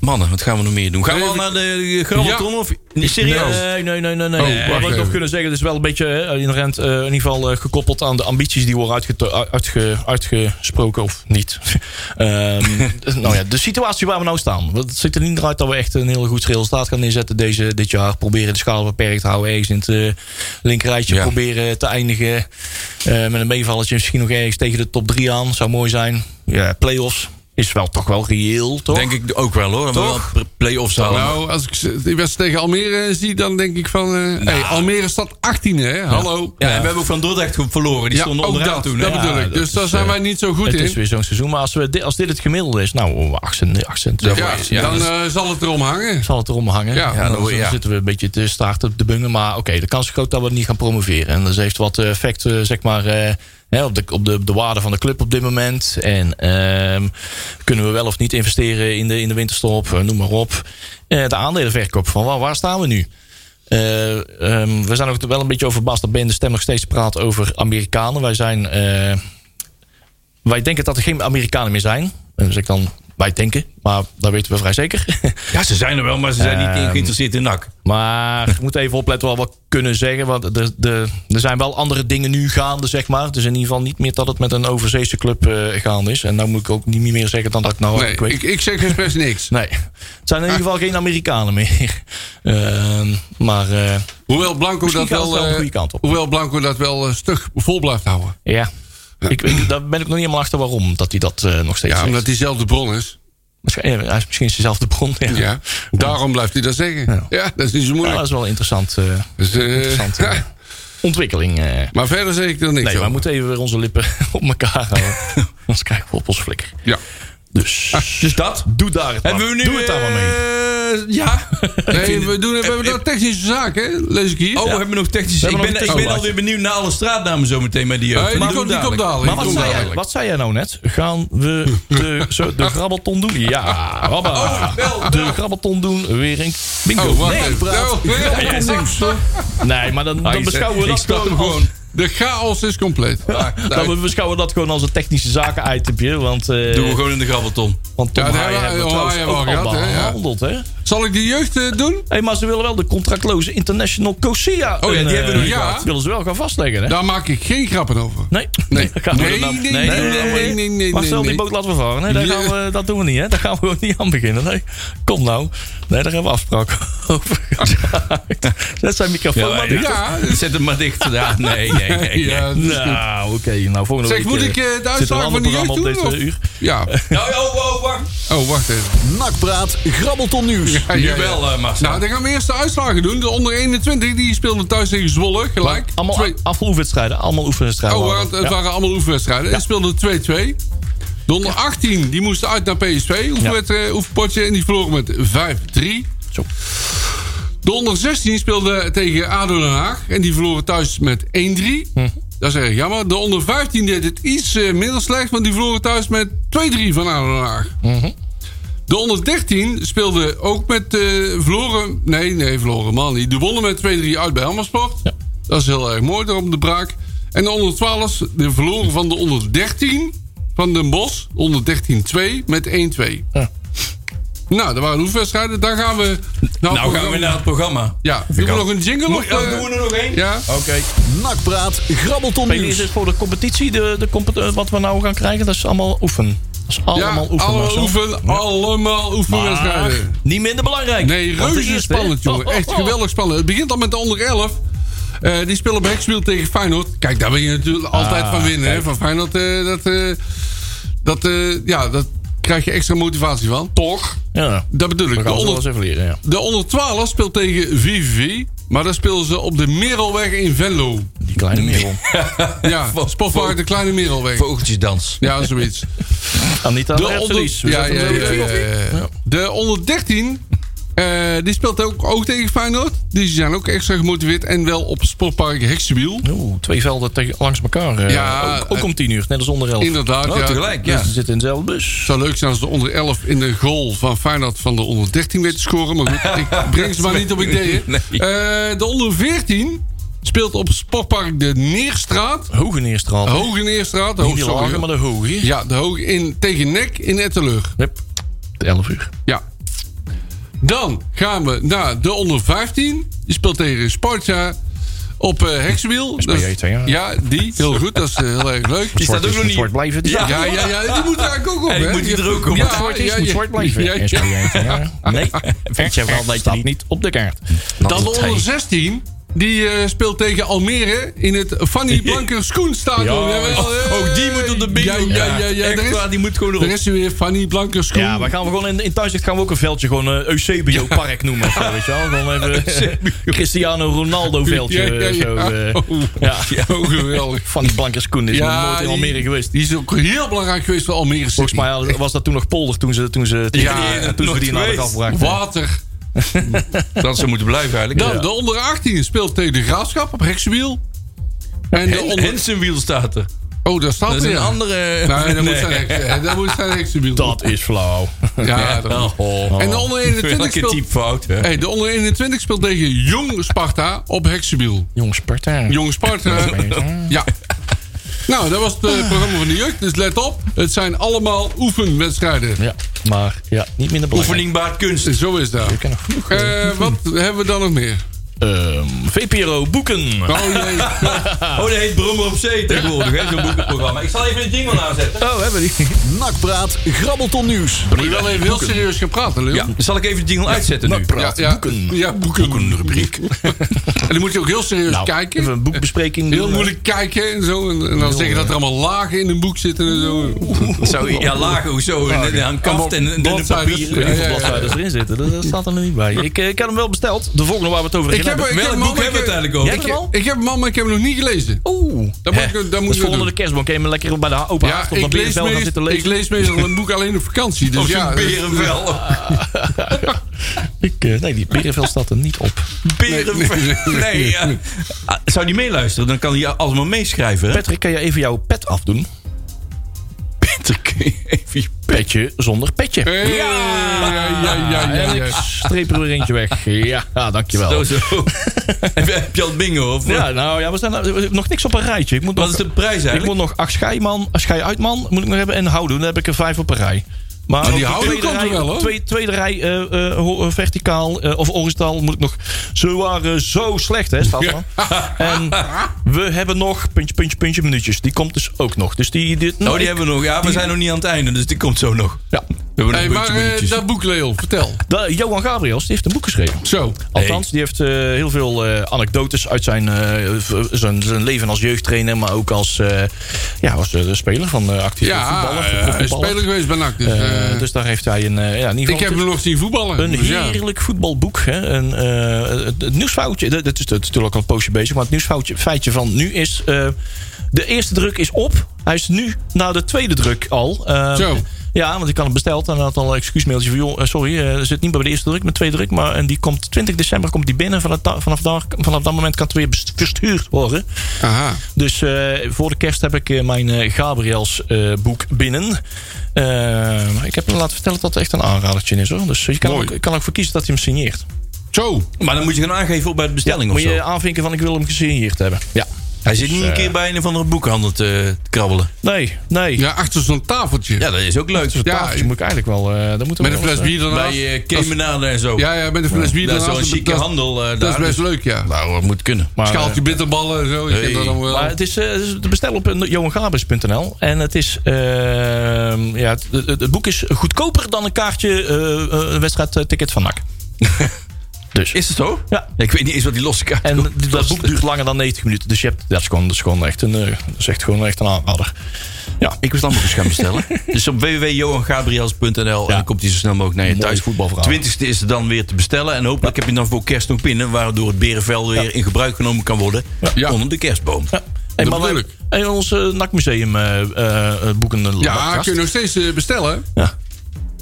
Speaker 2: mannen, wat gaan we nog meer doen? Gaan we al naar de grabbelton?
Speaker 1: Ja.
Speaker 2: Of, nee, serieus?
Speaker 3: Nee, nee, nee, nee. nee.
Speaker 1: Oh, wacht
Speaker 3: Maar wat ik nog
Speaker 1: even.
Speaker 3: kunnen zeggen, het is wel een beetje eh, inherent, eh, in ieder geval eh, gekoppeld aan de ambities die worden uitgeto- u- uitge- uitgesproken of niet. Ehm, nou ja, de situatie waar we nou staan. Want Het ziet er niet uit dat we echt een heel goed resultaat gaan neerzetten deze, dit jaar. Proberen de schaal beperkt te houden, ergens in het eh, linkerrijtje
Speaker 2: Ja.
Speaker 3: proberen te eindigen. eh, met een meevalletje misschien nog ergens tegen de top 3 aan. Zou mooi zijn. Ja, play-offs is wel toch wel reëel, toch?
Speaker 2: Denk ik ook wel hoor. Dan
Speaker 3: Toch?
Speaker 2: moeten we wel play-offs halen.
Speaker 1: Nou, als ik ze- die wedstrijd tegen Almere zie, dan denk ik van... eh, hey, Almere staat 18e, hè? Hallo.
Speaker 2: ja, en we hebben ook van Dordrecht verloren. Die
Speaker 1: Ja,
Speaker 2: stonden
Speaker 1: ook
Speaker 2: onderaan
Speaker 1: dat.
Speaker 2: toen. hè?
Speaker 1: dat
Speaker 2: Ja,
Speaker 1: bedoel ik. Dus
Speaker 2: is,
Speaker 1: daar zijn
Speaker 2: eh,
Speaker 1: wij niet zo goed
Speaker 3: het
Speaker 1: in.
Speaker 3: is weer zo'n seizoen. Maar als, we dit, als dit het gemiddelde is, nou, 18, 18
Speaker 1: Ja,
Speaker 2: Ja,
Speaker 1: dan
Speaker 2: dat is-
Speaker 1: eh, zal het erom hangen.
Speaker 3: zal het erom hangen.
Speaker 1: Ja,
Speaker 3: Ja, dan,
Speaker 2: dat hoor je, ja.
Speaker 3: zitten we een beetje te staart op de bungen. Maar oké, de kans is groot dat we niet gaan promoveren. En dat heeft wat eh, effect eh, zeg maar, eh, hè, op, de, op, de, op de waarde van de club op dit moment. En ehm, kunnen we wel of niet investeren in de, in de winterstop, eh, noem maar op. Eh, de aandelenverkoop, van waar, waar staan we nu? Eh, ehm, we zijn ook wel een beetje over Bas dat Ben de stem nog steeds praat over Amerikanen. Wij zijn... eh, wij denken dat er geen Amerikanen meer zijn. En Dus ik dan, wij denken, maar dat weten we vrij zeker.
Speaker 2: Ja, ze zijn er wel, maar ze zijn niet
Speaker 3: Ehm,
Speaker 2: geïnteresseerd in NAC.
Speaker 3: Maar je moet even opletten wat we kunnen zeggen. Want er, er, er zijn wel andere dingen nu gaande, zeg maar. Het is in ieder geval niet meer dat het met een overzeese club eh, gaande is. En nou moet ik ook niet meer zeggen dan dat ik nou
Speaker 1: Nee,
Speaker 3: ik weet.
Speaker 1: ik, ik zeg expres niks.
Speaker 3: Nee, het zijn in ieder geval geen Amerikanen meer. Ehm, maar eh,
Speaker 1: Hoewel Blanco
Speaker 3: Misschien
Speaker 1: dat
Speaker 3: gaat
Speaker 1: wel,
Speaker 3: het wel de
Speaker 1: eh,
Speaker 3: goede kant op.
Speaker 1: Hoewel Blanco dat wel eh, stug vol blijft houden.
Speaker 3: ja, ik, ik, daar ben ik nog niet helemaal achter waarom dat hij dat eh, nog steeds
Speaker 1: Ja,
Speaker 3: zegt.
Speaker 1: omdat hij zelf de bron is.
Speaker 3: Waarschijnlijk, hij is misschien dezelfde bron. Ja.
Speaker 1: Ja, daarom blijft hij dat zeggen.
Speaker 3: Ja.
Speaker 1: Ja, dat is niet zo
Speaker 3: Nou,
Speaker 1: moeilijk.
Speaker 3: dat is wel een interessant, eh,
Speaker 1: Dus, eh,
Speaker 3: interessante
Speaker 1: ja,
Speaker 3: ontwikkeling. eh.
Speaker 1: maar verder zeg ik er niks
Speaker 3: Nee, maar
Speaker 1: over.
Speaker 3: we moeten even weer onze lippen op elkaar houden. Anders krijgen we op ons flikker.
Speaker 1: Ja.
Speaker 3: Dus,
Speaker 2: Dus dat.
Speaker 3: doe daar het maar.
Speaker 2: Hebben we nu, eh,
Speaker 3: doe het daar maar mee.
Speaker 2: mee. Ja. Ik
Speaker 1: Nee,
Speaker 2: vind
Speaker 1: we
Speaker 2: het-
Speaker 1: doen we hebben nog technische zaken, hè? lees ik hier.
Speaker 2: Oh, we hebben nog technische. Ik
Speaker 3: hebben
Speaker 2: ben,
Speaker 3: nog
Speaker 2: ik
Speaker 3: een
Speaker 2: ben
Speaker 3: technische-
Speaker 2: alweer benieuwd naar alle straatnamen zo meteen bij die jeugd.
Speaker 1: Nee, Eh, die,
Speaker 2: Maar
Speaker 1: komt,
Speaker 2: doe
Speaker 1: die komt dadelijk. die
Speaker 3: Maar wat
Speaker 1: komt
Speaker 3: zei, jij,
Speaker 1: dadelijk.
Speaker 3: wat zei jij nou net? Gaan we de, zo, de grabbelton doen? Ja, rabba.
Speaker 2: wel,
Speaker 3: de grabbelton doen, weer een bingo.
Speaker 1: Oh, wacht
Speaker 3: nee,
Speaker 1: even. Nou, ja, ja, ja.
Speaker 3: nee, maar dan, dan
Speaker 2: Hij
Speaker 3: beschouwen we
Speaker 2: zegt,
Speaker 3: dat
Speaker 2: ik snap
Speaker 3: gewoon...
Speaker 2: hem
Speaker 3: als-
Speaker 2: gewoon.
Speaker 1: De chaos is compleet. Ja,
Speaker 3: Dan we beschouwen dat gewoon als een technische zaken itempje. Want, eh
Speaker 2: Doen we gewoon in de grabbelton.
Speaker 3: want Tom
Speaker 1: Ja,
Speaker 3: ja,
Speaker 1: daar
Speaker 3: Haaien
Speaker 1: hebben
Speaker 3: hebben
Speaker 1: we-
Speaker 3: we trouwens
Speaker 1: Haaien
Speaker 3: ook
Speaker 1: hebben we
Speaker 3: al
Speaker 1: al gehad, hè, ja.
Speaker 3: behandeld. Hè?
Speaker 1: Zal ik de jeugd eh, doen?
Speaker 3: Hey, maar ze willen wel de contractloze International COSIA.
Speaker 1: ja, die hebben we nog, ja.
Speaker 3: Dat willen ze wel gaan vastleggen. Hè?
Speaker 1: Daar maak ik geen grappen over.
Speaker 3: Nee.
Speaker 1: Nee.
Speaker 3: Dat gaan we
Speaker 1: Nee,
Speaker 3: dan-
Speaker 1: nee, nee, nee, nee, nee,
Speaker 3: Marcel,
Speaker 1: nee.
Speaker 3: die boot laten we varen. Nee, daar
Speaker 1: Ja.
Speaker 3: gaan we, dat doen we niet, hè? Daar gaan we gewoon niet aan beginnen. Nee. Kom nou. Nee, daar hebben we afspraken over gemaakt. Zet zijn microfoon maar dicht.
Speaker 1: Ja.
Speaker 2: Zet hem maar dicht. Ja, nee, nee, nee. nee.
Speaker 1: Ah, dus- Ja, dat is goed.
Speaker 3: Nou, oké. Nou, volgende
Speaker 1: Zeg,
Speaker 3: week,
Speaker 1: moet
Speaker 3: eh,
Speaker 1: ik eh, de
Speaker 3: zit er
Speaker 1: uitslag
Speaker 3: een
Speaker 1: van
Speaker 3: ander
Speaker 1: de
Speaker 3: programma
Speaker 1: jeugd
Speaker 3: op
Speaker 1: doen?
Speaker 3: deze
Speaker 1: of-
Speaker 3: uur.
Speaker 1: Ja.
Speaker 2: Nou, oh, oh, wacht.
Speaker 1: Oh, wacht even.
Speaker 5: Nakpraat, grabbelton nieuws.
Speaker 1: Ja, ja, ja.
Speaker 2: Nu wel, eh, Marcel.
Speaker 1: Nou, dan gaan we eerst de uitslagen doen. De onder 21 die speelde thuis tegen Zwolle, gelijk.
Speaker 3: Allemaal
Speaker 1: Twee-
Speaker 3: afgelopen oefenwedstrijden. Allemaal oefenwedstrijden.
Speaker 1: Oh,
Speaker 3: waren
Speaker 1: het,
Speaker 3: dat.
Speaker 1: het
Speaker 3: Ja.
Speaker 1: waren allemaal oefenwedstrijden. Ze speelden 2-2. De onder 18 die moesten uit naar PSV. Oefenwedstrijd, oefenpotje. En die verloren met 5-3.
Speaker 3: Zo.
Speaker 1: De onder 16 speelde tegen ADO Den Haag. En die verloren thuis met 1-3.
Speaker 3: Hm.
Speaker 1: Dat is erg jammer. De onder 15 deed het iets eh, minder slecht. Want die verloren thuis met 2-3 van ADO Den Haag. De onder 13 speelde ook met eh verloren. Nee, nee, verloren man niet. Die wonnen met 2-3 uit bij Helmersport. Dat is heel erg mooi, daarom de braak. En de onder 12, de verloren van de onder 13 van Den Bos. Onder 13-2 met 1-2.
Speaker 3: Ja.
Speaker 1: Nou, dat waren hoefwedstrijden. Dan gaan we.
Speaker 2: Nou gaan we naar het programma.
Speaker 1: Ja, doen we nog een jingle?
Speaker 2: Moet-
Speaker 1: of,
Speaker 2: oh,
Speaker 1: eh,
Speaker 2: doen we er nog één?
Speaker 1: Ja.
Speaker 2: Oké.
Speaker 5: Nakpraat, grabbelton
Speaker 3: Peter, is
Speaker 5: nieuws.
Speaker 3: dit voor de competitie, de, de compet- eh, wat we nou gaan krijgen? Dat is allemaal oefen. Dat is allemaal
Speaker 1: ja,
Speaker 3: oefen.
Speaker 1: allemaal
Speaker 3: Marcel.
Speaker 1: oefen, allemaal oefenwedstrijden.
Speaker 3: Maar niet minder belangrijk.
Speaker 1: Nee,
Speaker 3: Want de
Speaker 1: reuze
Speaker 3: eerste-
Speaker 1: spannend, jongen.
Speaker 3: Oh, oh,
Speaker 1: Echt
Speaker 3: oh.
Speaker 1: geweldig spannend. Het begint al met de onder 11. Eh, die spelen op Hekspiel tegen Feyenoord. Kijk, daar wil je natuurlijk
Speaker 3: Ah,
Speaker 1: altijd van winnen. Hè? Van Feyenoord, eh, dat, eh, dat, eh, ja, dat krijg je extra motivatie van. Toch?
Speaker 3: Ja,
Speaker 1: Dat bedoel
Speaker 3: we
Speaker 1: ik. De
Speaker 3: gaan ze wel
Speaker 1: onder,
Speaker 3: eens even leren, ja.
Speaker 1: de onder 12 speelt tegen VVV. Maar dan spelen ze op de Merelweg in Venlo.
Speaker 3: Die kleine merel.
Speaker 1: Ja, Sportpark de Kleine Merelweg.
Speaker 2: Vogeltjesdans.
Speaker 1: Ja, zoiets.
Speaker 3: Anita
Speaker 1: De onder,
Speaker 3: Hertelis. We
Speaker 1: ja,
Speaker 3: zetten
Speaker 1: ja,
Speaker 3: hem zo
Speaker 1: ja,
Speaker 3: weer op.
Speaker 1: ja, ja. De onder 13, eh, die speelt ook, ook tegen Feyenoord. Dus Die zijn ook extra gemotiveerd en wel op Sportpark Heksenwiel.
Speaker 3: Oeh, twee velden tegen, langs elkaar. eh,
Speaker 1: Ja,
Speaker 3: ook, ook om tien uur, net als onder elf.
Speaker 1: Inderdaad,
Speaker 2: Oh,
Speaker 1: ja.
Speaker 2: tegelijk,
Speaker 3: Dus
Speaker 2: ja.
Speaker 3: ze zitten in dezelfde bus.
Speaker 1: Het zou leuk zijn als de onder 11 in de goal van Feyenoord van de onder 13 weet te scoren. Maar goed, ik breng ze maar niet op ideeën.
Speaker 2: Nee.
Speaker 1: Eh, de onder 14 speelt op Sportpark de Neerstraat.
Speaker 3: Hoge neerstraal.
Speaker 1: Hoge Neerstraat.
Speaker 3: Niet
Speaker 1: Hoog,
Speaker 3: die lage, maar
Speaker 1: sorry.
Speaker 3: de hoge.
Speaker 1: Ja, de hoog in, tegen Nek in Etteleur.
Speaker 3: Hup, de elf uur.
Speaker 1: Ja. Dan gaan we naar de onder 15. Die speelt tegen Sparta op eh Heksenwiel.
Speaker 3: SPJ,
Speaker 1: Dat is-
Speaker 3: hè, ja.
Speaker 1: Ja, die. Heel goed. Dat is eh, heel erg leuk.
Speaker 2: Die staat ook nog
Speaker 3: Dus moet zwart
Speaker 2: niet.
Speaker 3: blijven. Die
Speaker 2: Ja.
Speaker 1: Ja, ja, ja. Die moet er eigenlijk ook op,
Speaker 2: Ja, die
Speaker 1: hè?
Speaker 2: moet die er ook op.
Speaker 1: Ja,
Speaker 2: Wat
Speaker 3: zwart is,
Speaker 1: ja,
Speaker 3: moet
Speaker 1: ja.
Speaker 3: zwart blijven.
Speaker 1: Ja, ja.
Speaker 3: SPJ, ja. Nee, vind je wel dat je niet, op de kaart.
Speaker 1: Dan de onder 16. Die eh, speelt tegen Almere in het Fanny Blanker Schoenstadion.
Speaker 3: Ja.
Speaker 1: Jawel, hè.
Speaker 2: Ook Oh, die moet op de bingo.
Speaker 1: Ja, eh? ja, ja. ja.
Speaker 2: Echt
Speaker 1: Daar,
Speaker 2: waar,
Speaker 1: is,
Speaker 2: die moet gewoon
Speaker 1: daar
Speaker 2: erop.
Speaker 1: is hij weer, Fanny Blanker Schoen.
Speaker 3: Ja, maar gaan we gewoon in, in Thuislicht gaan we ook een veldje gewoon eh, Eusebio Park noemen. of Zo, weet je wel? Gewoon even Cristiano Ronaldo veldje.
Speaker 1: Ja, ja, ja.
Speaker 3: Zo, eh,
Speaker 1: Oh.
Speaker 3: ja.
Speaker 1: Oh, geweldig.
Speaker 3: Van die blanke schoen is nog nooit in Almere
Speaker 1: die-
Speaker 3: geweest.
Speaker 1: Die is ook heel belangrijk geweest voor Almere City.
Speaker 3: Volgens mij was dat toen nog polder toen ze, toen ze,
Speaker 1: Ja,
Speaker 3: toen, toen ze
Speaker 2: nooit
Speaker 3: die naam
Speaker 2: geweest.
Speaker 3: afbraken.
Speaker 1: Water.
Speaker 2: Dat ze moeten blijven eigenlijk.
Speaker 1: Dan, de onder 18 speelt tegen de Graafschap op Heksenwiel. En de
Speaker 2: Hen-
Speaker 1: onder...
Speaker 2: Hensenwiel staat er.
Speaker 1: Oh, daar staat
Speaker 2: Dat is
Speaker 1: er,
Speaker 2: een
Speaker 1: ja.
Speaker 2: andere...
Speaker 1: Nee, dat moet
Speaker 2: Nee.
Speaker 1: zijn Heksen- dat moet zijn Heksenwiel.
Speaker 3: Dat is flauw.
Speaker 1: Ja, dat moet-
Speaker 2: Oh.
Speaker 1: En de onder 21
Speaker 2: Welke
Speaker 1: speelt...
Speaker 2: type fout, hè?
Speaker 1: Hey, de onder 21 speelt tegen Jong Sparta op Heksenwiel.
Speaker 3: Jong Sparta.
Speaker 1: Jong Sparta.
Speaker 3: Sparta.
Speaker 1: Ja. Nou, dat was het eh, programma van de jeugd. Dus let op, het zijn allemaal oefenwedstrijden.
Speaker 3: Ja, maar ja, niet minder belangrijk.
Speaker 2: Oefening baart kunst.
Speaker 1: Zo is dat.
Speaker 3: ken nog genoeg,
Speaker 1: Eh, wat hebben we dan nog meer?
Speaker 3: ehm, VPRO Boeken.
Speaker 1: Oh jee.
Speaker 2: Oh, dat heet Brommer op Zee tegenwoordig, hè, zo'n boekenprogramma. Ik zal even de jingle aanzetten.
Speaker 3: Oh, hebben die.
Speaker 5: Nakpraat Grabbelton Nieuws.
Speaker 1: Moet je wel even heel serieus gaan praten, Leon.
Speaker 2: Ja, zal ik even de jingle uitzetten nu?
Speaker 1: Ja, ja,
Speaker 3: boeken.
Speaker 1: Ja, boeken.
Speaker 3: rubriek.
Speaker 1: En dan moet je ook heel serieus kijken.
Speaker 3: Nou, Even eh, een boekbespreking.
Speaker 1: Heel
Speaker 3: doen.
Speaker 1: moeilijk kijken en zo. En, en dan zeggen dat er allemaal lagen in een boek zitten en zo.
Speaker 2: Zou je, Oh, ja, laag of zo. En en aan kaft en, en, en
Speaker 1: Bladzijden.
Speaker 2: papier.
Speaker 1: Ja, ja, ja.
Speaker 3: Bladzijden erin zitten, dat, dat staat er nog niet bij. Ik, eh, ik had hem wel besteld. De volgende waar we het over
Speaker 1: Ik
Speaker 3: gaan
Speaker 1: heb, ik
Speaker 3: hebben.
Speaker 1: heb
Speaker 2: Welk
Speaker 1: hem
Speaker 2: boek
Speaker 1: al, maar
Speaker 2: hebben we
Speaker 1: ik-
Speaker 2: het eigenlijk over?
Speaker 3: Jij-
Speaker 1: Ik, ik heb hem al, maar ik heb hem nog niet gelezen.
Speaker 3: Oeh.
Speaker 1: Dat moet ik- dat moeten we
Speaker 3: Oh, volgende
Speaker 1: doen.
Speaker 3: de kerstboom. Kun je hem lekker bij de open haard
Speaker 1: Ja,
Speaker 3: op
Speaker 1: ik
Speaker 3: dat
Speaker 1: lees,
Speaker 3: berenvel gaan
Speaker 1: meest,
Speaker 3: zitten
Speaker 1: ik
Speaker 3: lezen. Oh,
Speaker 1: lees meestal een boek alleen op vakantie. Dus
Speaker 2: Of zo'n
Speaker 1: ja,
Speaker 2: berenvel.
Speaker 3: Ik, eh, nee, die berenvel staat er niet op.
Speaker 2: Berenvel. Nee, ja. Ah, Zou die meeluisteren? Dan kan hij allemaal meeschrijven, hè?
Speaker 3: Patrick, kan je even jouw pet afdoen?
Speaker 2: Patrick, even je
Speaker 3: Petje zonder petje.
Speaker 1: Hey, ja, ja, ja, ja, ja.
Speaker 3: En ik streep er weer eentje weg. Ja, dankjewel.
Speaker 2: Zo, zo. heb, je, heb je al bingo? Of?
Speaker 3: Oh. Ja, nou ja, we zijn nou- nog niks op een rijtje. Ik moet
Speaker 2: Wat
Speaker 3: nog,
Speaker 2: is de prijs
Speaker 3: ik moet
Speaker 2: eigenlijk?
Speaker 3: nog acht schijman, schij uitman moet ik nog hebben en houden. Dan heb ik er vijf op een rij. Maar
Speaker 1: die
Speaker 3: op de
Speaker 1: houden komt er
Speaker 3: rij,
Speaker 1: wel, hoor.
Speaker 3: Tweede, tweede rij eh, eh, ho- eh, verticaal eh, of horizontaal moet ik nog. Ze waren zo slecht, hè, staat er. En we hebben nog puntje, puntje, puntje minuutjes. Die komt dus ook nog. Dus die, dit,
Speaker 2: oh, die hebben we nog. Ja, we zijn nog niet aan het einde, dus die komt zo nog. We
Speaker 3: ja.
Speaker 2: hebben nog
Speaker 1: Hey,
Speaker 2: een
Speaker 1: maar
Speaker 2: puntje,
Speaker 1: eh,
Speaker 2: minuutjes.
Speaker 1: dat boek, Leon, vertel.
Speaker 3: Da- Johan Gabriels die heeft een boek geschreven.
Speaker 1: Zo.
Speaker 3: Althans, die heeft eh, heel veel eh, anekdotes uit zijn, eh, v- zijn, zijn leven als jeugdtrainer, maar ook als, eh, ja, als eh, speler van eh actieve
Speaker 1: Ja,
Speaker 3: voetballer.
Speaker 1: eh, hij is
Speaker 3: profvoetballer.
Speaker 1: speler geweest bij NAC. Dus,
Speaker 3: Eh,
Speaker 1: eh,
Speaker 3: dus daar heeft hij een, eh, ja, in ieder
Speaker 1: ik
Speaker 3: geval
Speaker 1: heb hem nog zien voetballen.
Speaker 3: een
Speaker 1: dus ja.
Speaker 3: heerlijk voetbalboek. Hè? Een, eh, het, het nieuwsfoutje, dat, dat is dat is natuurlijk al een poosje bezig, maar het nieuwsfoutje feitje van nu is, eh, de eerste druk is op. Hij is nu na de tweede druk al. Eh,
Speaker 1: Zo.
Speaker 3: Ja, want ik had hem besteld en hij had al een excuusmailtje van... joh, eh, sorry, eh, er zit niet bij de eerste druk, maar tweede druk. Maar en die komt 20 december komt die binnen. Vanaf, da- vanaf, daar, vanaf dat moment kan het weer best- verstuurd worden.
Speaker 1: Aha.
Speaker 3: Dus eh, voor de kerst heb ik eh, mijn eh, Gabriels eh, boek binnen. Eh, ik heb hem laten vertellen dat het echt een aanradertje is. hoor. Dus je kan,
Speaker 1: Mooi.
Speaker 3: ook, je kan ook voor kiezen dat hij hem signeert.
Speaker 1: Zo.
Speaker 2: Maar dan moet je gaan aangeven op bij de bestelling of
Speaker 3: Moet
Speaker 2: zo. Dus, eh,
Speaker 3: je aanvinken van ik wil hem gesigneerd hebben. Ja.
Speaker 2: Hij zit niet een keer bij een of andere boekhandel te te krabbelen.
Speaker 3: Nee, nee.
Speaker 1: Ja, achter zo'n tafeltje.
Speaker 2: Ja, dat is ook leuk.
Speaker 3: Zo'n
Speaker 1: Ja,
Speaker 3: tafeltje moet ik eigenlijk wel... eh dat moet er
Speaker 1: Met een
Speaker 3: wel
Speaker 1: fles
Speaker 3: zijn.
Speaker 1: bier daarnaast.
Speaker 2: Bij eh Kemenade en zo.
Speaker 1: Ja, ja, met een fles bier
Speaker 2: dat is wel een
Speaker 1: daarnaast.
Speaker 2: chique
Speaker 1: dat-
Speaker 2: handel. eh,
Speaker 1: Dat is
Speaker 2: daar,
Speaker 1: best
Speaker 2: dus-
Speaker 1: leuk, ja.
Speaker 2: Nou, dat moet kunnen.
Speaker 3: Maar, eh,
Speaker 1: Schaaltje bitterballen en zo. Ik
Speaker 2: Hey.
Speaker 1: heb dat dan wel.
Speaker 3: Maar het is, eh, het is te bestellen op eh, johangabers.nl. En het is. eh, ja, het, het- het boek is goedkoper dan een kaartje. eh, eh, een wedstrijdticket van NAC. dus.
Speaker 2: Is het zo?
Speaker 3: Ja.
Speaker 2: Ik weet niet eens wat die losse kaart
Speaker 3: En
Speaker 2: kost.
Speaker 3: dat boek duurt langer dan 90 minuten. Dus je hebt, dat, is gewoon, dat, is gewoon echt een, eh, dat is echt gewoon echt een aanrader.
Speaker 2: Ik was dan eens gaan bestellen. dus op www.johangabriels.nl en dan komt hij zo snel mogelijk naar je
Speaker 3: Mooi
Speaker 2: thuis.
Speaker 3: voetbalverhaal.
Speaker 2: 20e is er dan weer te bestellen. En hopelijk heb je dan voor kerst nog binnen. Waardoor het berenvel weer in gebruik genomen kan worden.
Speaker 1: Ja.
Speaker 2: Onder de kerstboom.
Speaker 3: Ja. En,
Speaker 1: Dat
Speaker 3: maar
Speaker 1: bedoel ik.
Speaker 3: wij- en ons eh, NAC-museum eh eh, eh, boeken. eh,
Speaker 1: Ja,
Speaker 3: podcast.
Speaker 1: kun je nog steeds eh, bestellen.
Speaker 3: Ja.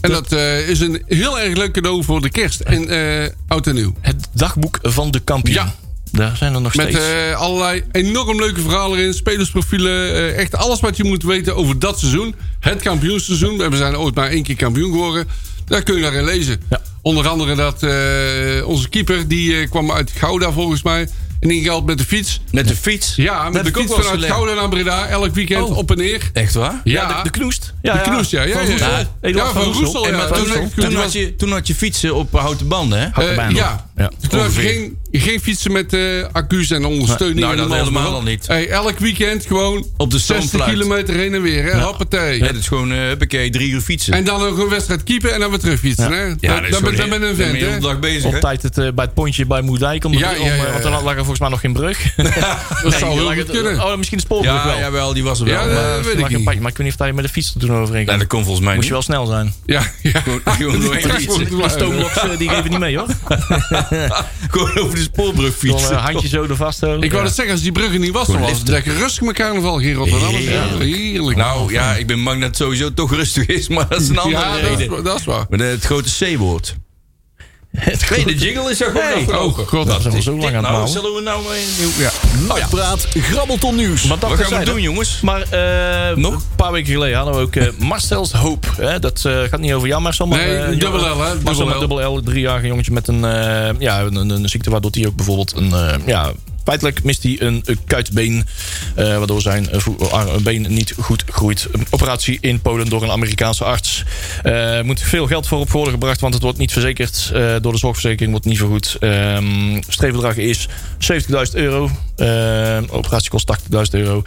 Speaker 1: En dat eh, is een heel erg leuk cadeau voor de kerst en eh, oud en nieuw.
Speaker 3: Het dagboek van de kampioen.
Speaker 1: Ja.
Speaker 3: Daar zijn er nog
Speaker 1: Met
Speaker 3: steeds.
Speaker 1: eh, allerlei enorm leuke verhalen in, spelersprofielen. eh, echt alles wat je moet weten over dat seizoen. Het kampioenseizoen. We zijn ooit maar één keer kampioen geworden. Daar kun je daarin lezen.
Speaker 3: Ja.
Speaker 1: Onder andere dat eh, onze keeper, die eh, kwam uit Gouda volgens mij. En die geldt met de fiets.
Speaker 2: Met de fiets.
Speaker 1: Ja,
Speaker 2: heb
Speaker 1: met de
Speaker 2: ik ook
Speaker 1: fiets
Speaker 2: wel eens
Speaker 1: vanuit
Speaker 2: geleerd.
Speaker 1: Gouda naar Breda. Elk weekend
Speaker 3: Oh.
Speaker 1: op en neer.
Speaker 2: Echt waar?
Speaker 1: Ja,
Speaker 3: de, de knoest. Ja,
Speaker 1: De knoest, ja. Ja,
Speaker 3: Van
Speaker 1: ja,
Speaker 3: Roesel.
Speaker 1: ja.
Speaker 3: Eduard
Speaker 1: Ja, van Roesel,
Speaker 2: En
Speaker 1: ja.
Speaker 2: maar
Speaker 1: Toen
Speaker 2: toen,
Speaker 1: ik- toen
Speaker 2: toen
Speaker 1: was-
Speaker 2: had je, toen had je fietsen op houten banden, hè?
Speaker 3: Houten
Speaker 1: Eh,
Speaker 3: baan
Speaker 1: ja.
Speaker 3: nog. Ja,
Speaker 1: Toen had je
Speaker 2: ongeveer.
Speaker 1: geen, geen fietsen met eh, accu's en ondersteuning.
Speaker 2: Nou, dat
Speaker 1: en alles
Speaker 2: helemaal
Speaker 1: maar op.
Speaker 2: al niet.
Speaker 1: Hey, elk weekend gewoon
Speaker 2: Op de
Speaker 1: 60
Speaker 2: stoomfluit.
Speaker 1: kilometer heen en weer. Hè? Hoppatee.
Speaker 2: Ja, dat is gewoon, eh huppakee, drie uur fietsen.
Speaker 1: En dan nog een wedstrijd keeper en dan weer terugfietsen. Hè?
Speaker 2: ja,
Speaker 1: dat, dat, ben- dat ben een
Speaker 2: dan ben
Speaker 1: vent,
Speaker 2: je de
Speaker 1: hè?
Speaker 2: hele dag bezig,
Speaker 3: Op
Speaker 2: hè?
Speaker 3: tijd het, eh, bij het pontje bij Moerdijk. Om de-
Speaker 1: Ja, ja,
Speaker 3: om, eh,
Speaker 1: ja, ja.
Speaker 3: Want dan lag er volgens mij nog geen brug. dat
Speaker 1: Dat zou heel goed kunnen.
Speaker 3: Oh, misschien de spoorbrug
Speaker 2: Ja,
Speaker 3: wel. Ja,
Speaker 2: jawel, die was er wel.
Speaker 1: Ja,
Speaker 2: maar-
Speaker 1: dat weet ik
Speaker 3: maar,
Speaker 1: niet.
Speaker 3: maar ik weet niet of daar je met de fiets te doen overheen
Speaker 2: Nou,
Speaker 3: kan.
Speaker 2: dat kon volgens mij
Speaker 3: Moet
Speaker 2: niet.
Speaker 3: je wel snel zijn.
Speaker 1: Ja, ja.
Speaker 2: gewoon
Speaker 1: Die
Speaker 2: doorheen
Speaker 1: krijgt gewoon
Speaker 2: fietsen.
Speaker 1: te blijven.
Speaker 3: Stoomloks eh, die geven niet mee hoor.
Speaker 2: Gewoon over de spoorbrug
Speaker 3: Dan
Speaker 2: fietsen.
Speaker 3: eh, handje zo er vast. eh,
Speaker 1: Ik wou
Speaker 3: ja.
Speaker 1: net zeggen, als die bruggen niet was, dan was het lekker rustig met carnaval hier in Rotterdam. Ja, Heerlijk.
Speaker 2: Nou ja, ik ben bang dat het sowieso toch rustig is, maar dat is een andere
Speaker 1: ja, dat is,
Speaker 2: reden.
Speaker 1: wa- dat is waar.
Speaker 2: Maar eh, het grote C-woord. Nee, de jingle is er gewoon
Speaker 3: Hey.
Speaker 2: afgelopen.
Speaker 1: Oh, god, dat
Speaker 3: zijn we zo lang aan het
Speaker 2: nou,
Speaker 3: mouwen.
Speaker 2: zullen we nou maar een nieuw... Ja.
Speaker 5: Nakpraat Grabbelton Nieuws.
Speaker 3: Maar dat
Speaker 2: Wat gaan we
Speaker 3: terzijde.
Speaker 2: doen, jongens?
Speaker 3: Maar eh,
Speaker 2: Nog?
Speaker 3: een paar weken geleden hadden we ook eh, Marcel's Hoop. Hè? Dat eh, gaat niet over Jan Marcel, maar...
Speaker 1: Nee,
Speaker 3: eh,
Speaker 1: dubbel
Speaker 3: jongen-
Speaker 1: L, hè?
Speaker 3: Marcel
Speaker 1: Dubbel
Speaker 3: met
Speaker 1: L.
Speaker 3: dubbel L, driejarige jongetje met een, eh, ja, een, een, een ziekte... waardoor hij ook bijvoorbeeld een, eh, ja, feitelijk mist hij een eh, kuitbeen, eh, waardoor zijn eh, vo- ar- been niet goed groeit. Een operatie in Polen door een Amerikaanse arts. Er moet veel geld voor op worden gebracht, want het wordt niet verzekerd. eh, door de zorgverzekering wordt het niet vergoed. Ehm streefbedrag is 70.000 euro. Ehm, operatie kost 80.000 euro.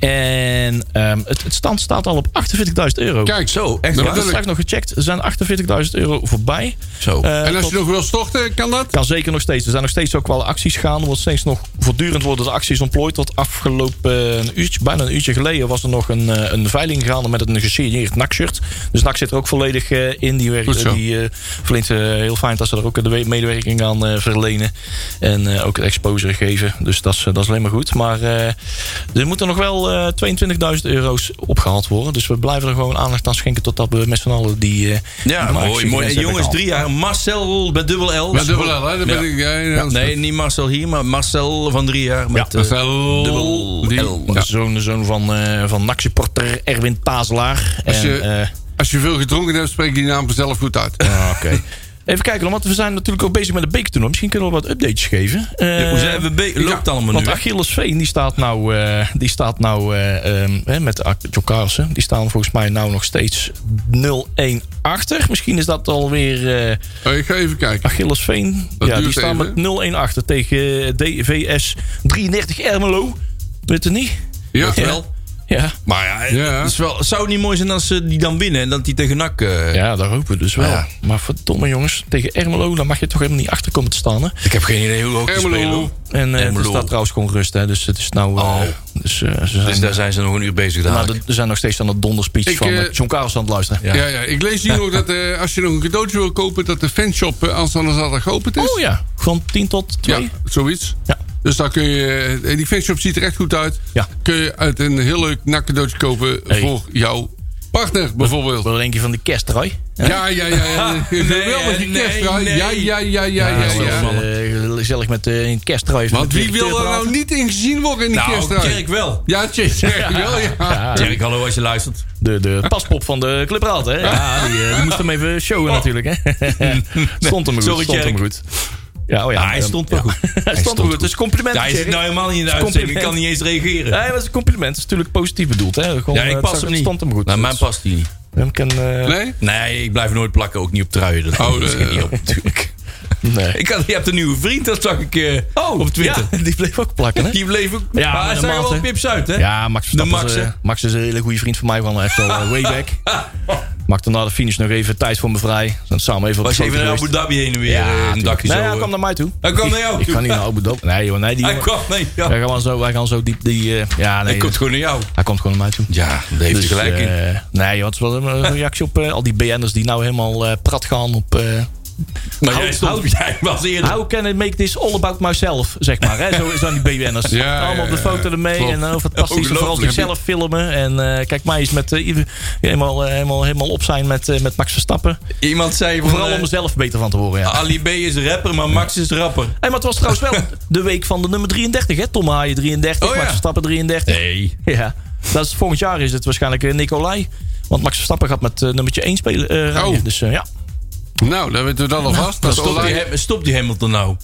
Speaker 3: En ehm, het, het stand staat al op 48.000 euro.
Speaker 1: Kijk, zo, echt
Speaker 3: Ik
Speaker 1: waar.
Speaker 3: heb het straks nog gecheckt. Er zijn 48.000 euro voorbij.
Speaker 2: Zo.
Speaker 3: Eh,
Speaker 1: En als
Speaker 3: tot-
Speaker 1: je nog wil storten, kan dat?
Speaker 3: kan zeker nog steeds. Er zijn nog steeds ook wel acties gaande. Er wordt steeds nog voortdurend worden de acties ontplooid. Tot afgelopen eh, een uurtje, bijna een uurtje geleden was er nog een, eh, een veiling gaande met een gesigneerd NAC-shirt. Dus NAC zit er ook volledig eh, in. Die,
Speaker 1: Goed
Speaker 3: werkt,
Speaker 1: zo.
Speaker 3: die eh, verleent eh, heel fijn dat ze er ook de we- medewerking aan eh, verlenen. En eh, ook het exposure geven. Dus dat is, eh, dat is alleen maar goed. Maar eh, er moeten nog wel eh 22.000 euro's opgehaald worden. Dus we blijven er gewoon aandacht aan schenken totdat we met z'n allen die... eh,
Speaker 2: Ja,
Speaker 3: die
Speaker 2: mooi,
Speaker 3: actie
Speaker 2: mooi. En
Speaker 3: hebben
Speaker 2: jongens,
Speaker 3: gehaald.
Speaker 2: drie jaar. Marcel bij dubbel L.
Speaker 1: Met dubbel L, hè? Dan ben
Speaker 2: Ja.
Speaker 1: ik, ja, ja,
Speaker 2: Ja, nee, niet Marcel hier, maar Marcel van drie jaar. Met,
Speaker 1: Dat is
Speaker 2: eh,
Speaker 1: wel-
Speaker 2: dubbel
Speaker 1: die-
Speaker 2: L.
Speaker 1: Ja.
Speaker 3: De zoon, de zoon van, eh van NAC-supporter Erwin Pazelaar.
Speaker 1: Als je-
Speaker 3: En, eh,
Speaker 1: Als je veel gedronken hebt, spreek je die naam vanzelf goed uit.
Speaker 3: ah, oké. Even kijken, dan, want we zijn natuurlijk ook bezig met de bekertoernooi. Misschien kunnen we wat updates geven. Eh,
Speaker 2: Hoe zijn we be- loopt het allemaal
Speaker 3: want
Speaker 2: nu? hè?
Speaker 3: Achilles Veen, die staat nou, eh, die staat nou eh, ehm, hè, met Jokarsen. Die staan volgens mij nou nog steeds 0-1 achter. Misschien is dat alweer eh
Speaker 1: Eh, ik ga even kijken.
Speaker 3: Achilles Veen.
Speaker 1: Dat
Speaker 3: ja, die
Speaker 1: duurt
Speaker 3: staan
Speaker 1: even,
Speaker 3: met 0-1 achter tegen eh, DVS 33 Ermelo. Weet het niet?
Speaker 1: Ja,
Speaker 2: Dat wel.
Speaker 3: Ja.
Speaker 2: Maar ja, eh, het
Speaker 1: Ja.
Speaker 2: is wel, zou het niet mooi zijn als ze die dan winnen en dat die tegen NAC... eh,
Speaker 3: Ja, daar hopen we dus wel.
Speaker 2: Ja.
Speaker 3: Maar verdomme jongens, tegen Ermelo, daar mag je toch helemaal niet achter komen te staan. Hè?
Speaker 2: Ik heb geen idee hoe hoog die
Speaker 1: Ermelo.
Speaker 2: spelen. hoor.
Speaker 3: En eh er
Speaker 2: Ermelo.
Speaker 3: staat trouwens gewoon rust, hè? dus het is nou... eh,
Speaker 2: Oh.
Speaker 3: dus, eh, ze zijn,
Speaker 2: Dus daar zijn ze nog een uur bezig
Speaker 1: Nou,
Speaker 3: maar
Speaker 2: daar.
Speaker 3: er- er zijn nog steeds aan het donderspeech
Speaker 1: Ik,
Speaker 3: van
Speaker 1: eh,
Speaker 3: eh, John Carlos aan het luisteren.
Speaker 1: Ja, ja. Ik lees hier nog dat eh, als je nog een cadeautje wil kopen, dat de fanshop eh, aanstaande zaterdag geopend is.
Speaker 3: Oh ja, van 10 tot 2.
Speaker 1: Ja, zoiets.
Speaker 3: Ja.
Speaker 1: Dus daar kun je, en die fanshop ziet er echt goed uit.
Speaker 3: Ja.
Speaker 1: Kun je uit een heel leuk nakcadeautje kopen
Speaker 3: Hey.
Speaker 1: voor jouw partner bijvoorbeeld.
Speaker 3: Wat denk je van die kerstdraai?
Speaker 1: Ja, ja, ja. ja.
Speaker 2: Nee,
Speaker 1: Geweldige
Speaker 2: nee,
Speaker 1: kerstdraai.
Speaker 2: nee.
Speaker 1: Ja, ja, ja, ja, ja.
Speaker 3: Ja,
Speaker 1: ja,
Speaker 3: zelfs, eh, gezellig met eh, een kerstdraai. even
Speaker 1: Want
Speaker 3: met
Speaker 1: wie
Speaker 3: de
Speaker 1: wil er
Speaker 3: directeur
Speaker 1: nou
Speaker 3: praten.
Speaker 1: niet in gezien worden in die
Speaker 2: Nou,
Speaker 1: kerstdraai?
Speaker 2: Kerk wel.
Speaker 1: Ja, tjie, Tjerk wel, ja.
Speaker 2: Jerk, hallo als je luistert.
Speaker 3: De, de paspop van de Club Raad, hè? Ja, die, eh, die moest hem even showen natuurlijk, hè? stond hem goed,
Speaker 2: Sorry,
Speaker 3: stond hem
Speaker 2: Tjerk.
Speaker 3: goed. Ja, oh ja.
Speaker 2: Ah, hij
Speaker 3: ehm,
Speaker 2: stond wel
Speaker 3: ja.
Speaker 2: goed.
Speaker 3: Hij stond hem goed, dus complimenten,
Speaker 2: Ja, hij zit
Speaker 3: Tjerk.
Speaker 2: nou helemaal niet in de
Speaker 3: is
Speaker 2: uitzending. Ik kan
Speaker 3: compliment.
Speaker 2: niet eens reageren.
Speaker 3: Nee, dat is een compliment. Het is natuurlijk positief bedoeld. Hè? Gewoon,
Speaker 2: Ja, ik
Speaker 3: eh,
Speaker 2: pas
Speaker 3: het
Speaker 2: hem niet.
Speaker 3: stond hem goed.
Speaker 2: Nou, mijn past die niet.
Speaker 3: Hem kan, eh,
Speaker 1: Nee?
Speaker 2: Nee, ik blijf nooit plakken. Ook niet op truien. Dat
Speaker 1: Oh,
Speaker 2: dat
Speaker 1: eh,
Speaker 2: schiet niet op, natuurlijk.
Speaker 3: nee.
Speaker 2: Ik had, je hebt een nieuwe vriend, dat zag ik eh, op Twitter.
Speaker 3: Oh, Ja, die bleef ook plakken, hè?
Speaker 2: Die bleef ook... maar hij
Speaker 3: Ja, maar
Speaker 2: zag er
Speaker 3: normaal,
Speaker 2: wel
Speaker 3: hè?
Speaker 2: pips uit, hè?
Speaker 3: Ja, Max
Speaker 2: De
Speaker 3: Verstappen
Speaker 2: Max,
Speaker 3: is, eh,
Speaker 2: hè?
Speaker 3: Max is een hele goede vriend van mij. Van echt al eh, way back. Maakte na de finish nog even tijd voor me vrij. Dan samen even op
Speaker 2: Was
Speaker 3: de
Speaker 2: je even
Speaker 3: foto
Speaker 2: naar Abu
Speaker 3: geweest.
Speaker 2: Dhabi heen en weer
Speaker 3: Ja,
Speaker 2: eh, een
Speaker 3: tuurlijk.
Speaker 2: dakje
Speaker 3: Nee,
Speaker 2: zo...
Speaker 3: hij
Speaker 2: eh,
Speaker 3: kwam naar mij toe.
Speaker 2: Hij kwam naar jou
Speaker 3: Ik
Speaker 2: toe.
Speaker 3: ga niet naar Abu Dhabi. Nee, joh, nee, die
Speaker 2: Hij
Speaker 3: jongen-
Speaker 2: kwam nee, ja.
Speaker 3: wij, gaan zo, wij gaan zo diep die... eh, ja, nee,
Speaker 2: Hij komt gewoon naar jou.
Speaker 3: hij komt gewoon naar mij toe.
Speaker 2: Ja, daar heeft
Speaker 3: Dus,
Speaker 2: hij gelijk in.
Speaker 3: eh, nee, joh, het is wel een eh, reactie op eh, al die BN'ers die nou helemaal eh, prat gaan op... eh,
Speaker 2: Maar jij,
Speaker 3: houd-
Speaker 2: stond, jij was eerder.
Speaker 3: How can I make this all about myself, zeg maar. Hè? Zo zijn die BN'ers.
Speaker 1: Ja,
Speaker 3: Allemaal op de
Speaker 1: ja,
Speaker 3: foto ermee.
Speaker 1: klopt.
Speaker 3: En eh, dan fantastisch.
Speaker 2: Ongelooflijk.
Speaker 3: Vooral zichzelf filmen. En eh, kijk, mij is met, eh, ieder- helemaal, eh, helemaal, helemaal op zijn met, eh, met Max Verstappen.
Speaker 2: Iemand zei van,
Speaker 3: Vooral
Speaker 2: eh,
Speaker 3: om er zelf beter van te horen,
Speaker 1: Ah.
Speaker 3: ja.
Speaker 2: Ali B is rapper, maar Max is rapper.
Speaker 3: Hey, maar het was trouwens wel de week van de nummer 33, hè? Tom Haaien 33,
Speaker 2: Oh, ja.
Speaker 3: Max Verstappen 33.
Speaker 2: Nee.
Speaker 3: Ja, dat is, volgend jaar is het waarschijnlijk eh, Nicolai. Want Max Verstappen gaat met eh, nummertje 1 spelen, eh, rijden.
Speaker 1: Oh.
Speaker 3: Dus eh, ja.
Speaker 1: Nou, dan weten we dat alvast. Dat is
Speaker 2: Stop die,
Speaker 1: online.
Speaker 2: Ham- stop die Hamilton nou.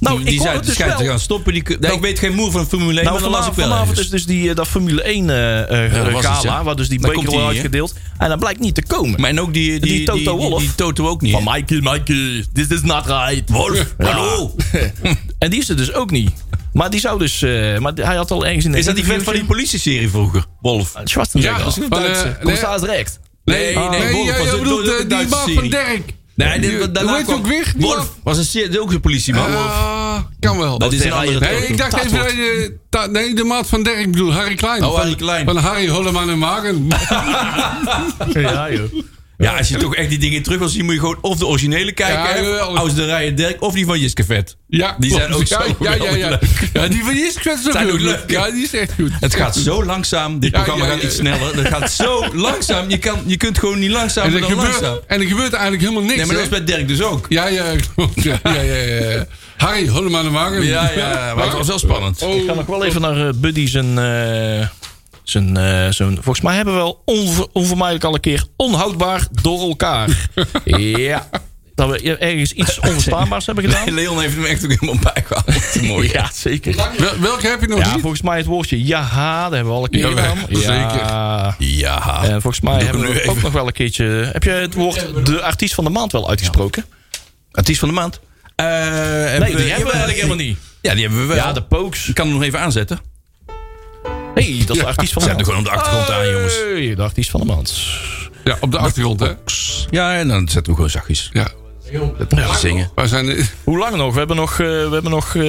Speaker 3: Nou,
Speaker 2: die die
Speaker 3: ik hoor
Speaker 2: zijn
Speaker 3: het dus
Speaker 2: schijnt te
Speaker 3: wel.
Speaker 2: gaan stoppen. Die, nee, ik weet geen moer van Formule 1,
Speaker 3: Nou,
Speaker 2: maar dan las ik
Speaker 3: vanavond,
Speaker 2: wel
Speaker 3: vanavond
Speaker 2: ergens.
Speaker 3: is dus die, eh, dat Formule 1 eh, eh,
Speaker 2: Ja, dat was
Speaker 3: gala,
Speaker 2: iets, hè?
Speaker 3: waar dus die
Speaker 2: Daar
Speaker 3: beker
Speaker 2: komt
Speaker 3: wordt
Speaker 2: die, hè?
Speaker 3: uitgedeeld. En dat blijkt niet te komen.
Speaker 2: Maar en ook die, die,
Speaker 3: Die Toto Wolff.
Speaker 2: die Toto ook niet.
Speaker 3: Van
Speaker 2: hè?
Speaker 3: Mikey, Mikey, this is not right.
Speaker 2: Wolf,
Speaker 3: Ja.
Speaker 2: hallo.
Speaker 3: En die is er dus ook niet. Maar die zou dus... eh, maar hij had al ergens in... een
Speaker 2: Is dat die vent van die
Speaker 3: interviewtje- Ah,
Speaker 2: politieserie vroeger? Wolf.
Speaker 3: Schwarzenegger.
Speaker 1: Ja,
Speaker 3: Ja,
Speaker 1: dat is een Duitse.
Speaker 2: eh,
Speaker 3: Commissaris Recht.
Speaker 2: Nee,
Speaker 1: Ah.
Speaker 2: nee, Wolf
Speaker 1: jij
Speaker 2: was een-
Speaker 1: bedoelt
Speaker 2: was ook
Speaker 1: eh,
Speaker 2: een
Speaker 1: die
Speaker 2: Duitse
Speaker 1: man van
Speaker 2: serie.
Speaker 1: Dirk.
Speaker 2: Nee,
Speaker 1: Die-
Speaker 2: dit, daarna
Speaker 1: hoe heet
Speaker 2: kwam-
Speaker 1: ook weer? Die
Speaker 2: Wolf
Speaker 1: man?
Speaker 2: was een, serie- ook een politieman. Wolf.
Speaker 1: Ah, kan wel.
Speaker 2: Dat is een andere
Speaker 1: Nee,
Speaker 2: Toto.
Speaker 1: ik dacht even dat je... ta- nee, de maat van Dirk bedoel, Harry Klein.
Speaker 2: Oh,
Speaker 1: Van-
Speaker 2: Harry Klein.
Speaker 1: Van Harry Holleman en Magen.
Speaker 3: Ja, joh.
Speaker 2: Ja, als je toch echt die dingen terug wil zien, moet je gewoon of de originele
Speaker 1: Ja,
Speaker 2: kijken. hè,
Speaker 1: geweldig.
Speaker 2: Als de Rijen Derk of die van Jiske Vet.
Speaker 1: Ja,
Speaker 2: Die zijn ook
Speaker 1: ja,
Speaker 2: zo
Speaker 1: ja, ja, ja.
Speaker 2: geweldig leuk.
Speaker 1: Ja, die van Jisk werd zo
Speaker 2: Zijn ook
Speaker 1: goed.
Speaker 2: leuk, hè?
Speaker 1: Ja, die is echt goed.
Speaker 2: Het gaat zo langzaam. Dit
Speaker 1: Ja,
Speaker 2: programma
Speaker 1: ja,
Speaker 2: gaat
Speaker 1: ja.
Speaker 2: iets sneller. Het gaat zo langzaam. Je, kan, je kunt gewoon niet langzamer
Speaker 1: En er,
Speaker 2: dan langzaam.
Speaker 1: gebeurt, en er gebeurt eigenlijk helemaal niks.
Speaker 2: Nee, maar dat
Speaker 1: hè?
Speaker 2: is bij Dirk dus ook.
Speaker 1: Ja, ja, klopt. Ja, ja, ja, ja, ja. Harry Holleman en Magen.
Speaker 2: Ja, ja, maar het was wel spannend.
Speaker 1: Oh,
Speaker 3: Ik ga nog wel even naar eh, Buddy zijn... eh, zijn, eh, zijn, volgens mij hebben we wel onver- onvermijdelijk al een keer onhoudbaar door elkaar. ja. Dat we ergens iets onverstaanbaars hebben gedaan.
Speaker 2: Leon heeft hem echt ook helemaal bijgehaald. Mooi.
Speaker 3: Ja, zeker.
Speaker 1: Wel- welke heb je nog
Speaker 3: Ja,
Speaker 1: niet?
Speaker 3: volgens mij het woordje jaha, dat hebben we al een keer
Speaker 1: Jawel,
Speaker 3: gedaan. Ja.
Speaker 2: Ja.
Speaker 3: En volgens mij
Speaker 2: Doe ik
Speaker 3: hebben
Speaker 2: hem
Speaker 3: we
Speaker 2: nu
Speaker 3: ook
Speaker 2: even.
Speaker 3: nog wel een keertje... Heb je het woord de artiest van de maand wel uitgesproken?
Speaker 2: Artiest van de maand. Eh, hebben
Speaker 3: Nee, die hebben we eigenlijk helemaal niet.
Speaker 2: Ja, die hebben we wel.
Speaker 3: Ja, de Pokes.
Speaker 2: Ik kan hem nog even aanzetten.
Speaker 3: hey, dat is de artiest van de
Speaker 2: Zet hem
Speaker 3: maand.
Speaker 2: gewoon op de Eh, achtergrond aan, jongens.
Speaker 3: Hey, de artiest van de maand.
Speaker 1: Ja, op de achtergrond, hè?
Speaker 2: Ja, en dan zetten we hem gewoon zachtjes.
Speaker 1: Ja.
Speaker 2: Dat moet je zingen.
Speaker 1: Waar zijn de...
Speaker 3: Hoe lang nog? We hebben nog... eh, we hebben nog eh,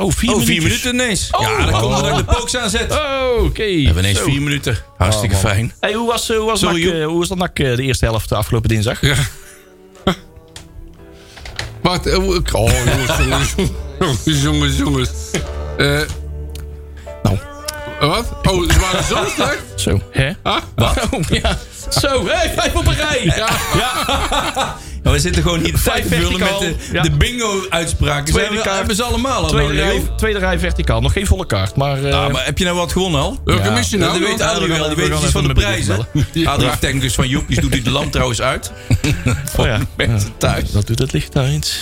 Speaker 3: oh, vier
Speaker 2: Oh, vier
Speaker 3: minuutjes.
Speaker 2: minuten ineens. ja, dan komt er dat ik de pokes aanzet. We
Speaker 3: Oh, oké.
Speaker 2: hebben ineens vier minuten. Hartstikke fijn.
Speaker 3: Hey, hoe was, eh, hoe was,
Speaker 2: Sorry,
Speaker 3: NAC, eh, hoe was dat NAC eh, de eerste helft de afgelopen dinsdag?
Speaker 1: Ja. Wat? eh, hoe- Oh, jongens, jongens, jongens, jongens, jongens. Eh,
Speaker 3: Nou.
Speaker 1: Wat? Oh, ze waren zo slecht?
Speaker 3: Zo. Hè?
Speaker 1: Huh?
Speaker 3: Oh, ja. Zo, hey, vijf op een rij. Ja.
Speaker 2: Maar Nou, we zitten gewoon hier tijd te vullen met
Speaker 3: verticaal.
Speaker 2: de,
Speaker 3: Ja.
Speaker 2: de bingo-uitspraken. Ze
Speaker 3: Tweede
Speaker 2: hebben,
Speaker 3: kaart.
Speaker 2: hebben ze allemaal al
Speaker 3: Tweede,
Speaker 2: nodig.
Speaker 3: rij, tweede rij verticaal. Nog geen volle kaart, maar... eh,
Speaker 2: Ah, maar heb je nou wat gewonnen al?
Speaker 1: Welke
Speaker 3: Ja.
Speaker 1: missie
Speaker 2: Dat
Speaker 1: nou?
Speaker 2: weet Adrie wel, die
Speaker 3: we
Speaker 2: weet
Speaker 3: gaan
Speaker 2: iets van de
Speaker 3: even met
Speaker 2: prijzen.
Speaker 3: Bridget
Speaker 1: bellen.
Speaker 2: Adrie heeft technicus van Joepjes, doet hij de lamp trouwens uit.
Speaker 3: oh, ja.
Speaker 2: Mensen thuis.
Speaker 3: Dat doet het licht uit.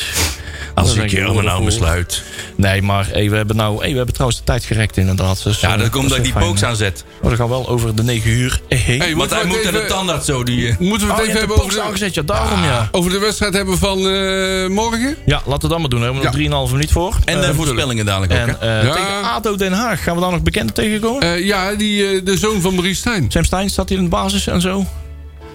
Speaker 2: Als
Speaker 3: denk
Speaker 2: ik
Speaker 3: ik
Speaker 2: je
Speaker 3: wel
Speaker 2: maar nou
Speaker 3: ervoor.
Speaker 2: besluit.
Speaker 3: Nee, maar hey, we hebben nou, hey, we hebben trouwens de tijd gerekt inderdaad. Dus,
Speaker 2: Ja,
Speaker 3: eh,
Speaker 2: dat komt dat ik
Speaker 3: is
Speaker 2: die
Speaker 3: wel
Speaker 2: pokes
Speaker 3: fijn.
Speaker 2: aanzet.
Speaker 3: Maar we gaan wel over de 9 uur heen.
Speaker 1: Hey,
Speaker 2: Want
Speaker 1: moeten
Speaker 2: hij
Speaker 1: we
Speaker 2: moet
Speaker 1: het
Speaker 2: naar de
Speaker 1: even-
Speaker 2: tandarts zo. Die, eh,
Speaker 1: Moeten we
Speaker 3: oh,
Speaker 1: het even
Speaker 3: je hebt de
Speaker 1: hebben over
Speaker 3: box
Speaker 1: de, Ah.
Speaker 3: aangezet, ja, daarom ja.
Speaker 1: over de wedstrijd hebben van eh, morgen?
Speaker 3: Ja, laten we dat maar doen. Daar hebben we
Speaker 1: Ja.
Speaker 3: nog 3,5 minuut voor.
Speaker 2: en
Speaker 3: Eh,
Speaker 2: de voorspellingen dadelijk ook.
Speaker 3: en
Speaker 2: hè.
Speaker 3: eh,
Speaker 1: Ja.
Speaker 3: tegen ADO Den Haag gaan we daar nog bekend tegenkomen.
Speaker 1: Eh, ja, die, eh, de zoon van Maurice Stijn.
Speaker 3: Sam Stein staat hier in de basis en zo.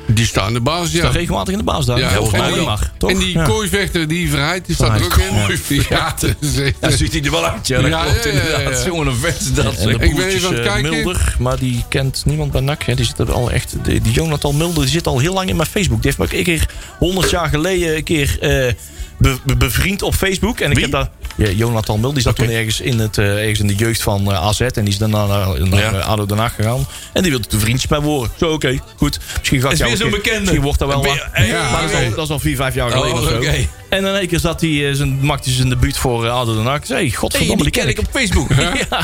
Speaker 1: Die staat aan de basis, ja.
Speaker 3: Staat regelmatig in de basis daar.
Speaker 1: Ja, volgens
Speaker 3: en
Speaker 1: mij
Speaker 3: die
Speaker 1: wel.
Speaker 3: mag, toch?
Speaker 1: En die
Speaker 3: Ja.
Speaker 1: kooivechter, die verheid, die staat er ook
Speaker 3: Verheid.
Speaker 1: in. Ja, dat is echt-
Speaker 2: Dan ziet hij er wel uit, ja. Dat
Speaker 1: Ja,
Speaker 2: klopt
Speaker 1: ja, ja, ja.
Speaker 2: inderdaad. Jongen, een vet dat.
Speaker 3: En de
Speaker 2: zeg.
Speaker 1: ben
Speaker 3: broertjes,
Speaker 1: even aan het
Speaker 3: eh,
Speaker 1: kijken.
Speaker 3: Mulder, maar die kent niemand bij NAC. hè. Die, zit er al echt, die, die Jonathan Mulder die zit al heel lang in mijn Facebook. Die heeft me ook een keer, 100 jaar geleden, een keer eh, be- be- bevriend op Facebook. En ik heb daar, ja, Jonathan Mulder, die zat toen ergens in, het, eh, ergens in de jeugd van eh, AZ. En die is daarna naar, naar
Speaker 2: Ja.
Speaker 3: eh, ADO Den Haag gegaan. En die wilde toen vriendjes bij worden. Zo, oké, goed. Misschien gaat
Speaker 2: Is weer
Speaker 3: jou
Speaker 2: zo'n
Speaker 3: een keer-
Speaker 2: bekende.
Speaker 3: Misschien wordt dat wel
Speaker 2: Weer-
Speaker 3: wat.
Speaker 2: Hey,
Speaker 3: Maar dat is, al,
Speaker 2: hey.
Speaker 3: dat is al vier, vijf jaar geleden
Speaker 2: Oh,
Speaker 3: of zo.
Speaker 2: oké.
Speaker 3: En in één keer zat hij, eh, zijn, maakte hij zijn debuut voor eh, ADO Den Haag. Ik zei, hey, godverdomme,
Speaker 2: Hey, die
Speaker 3: die ken ik.
Speaker 2: op Facebook.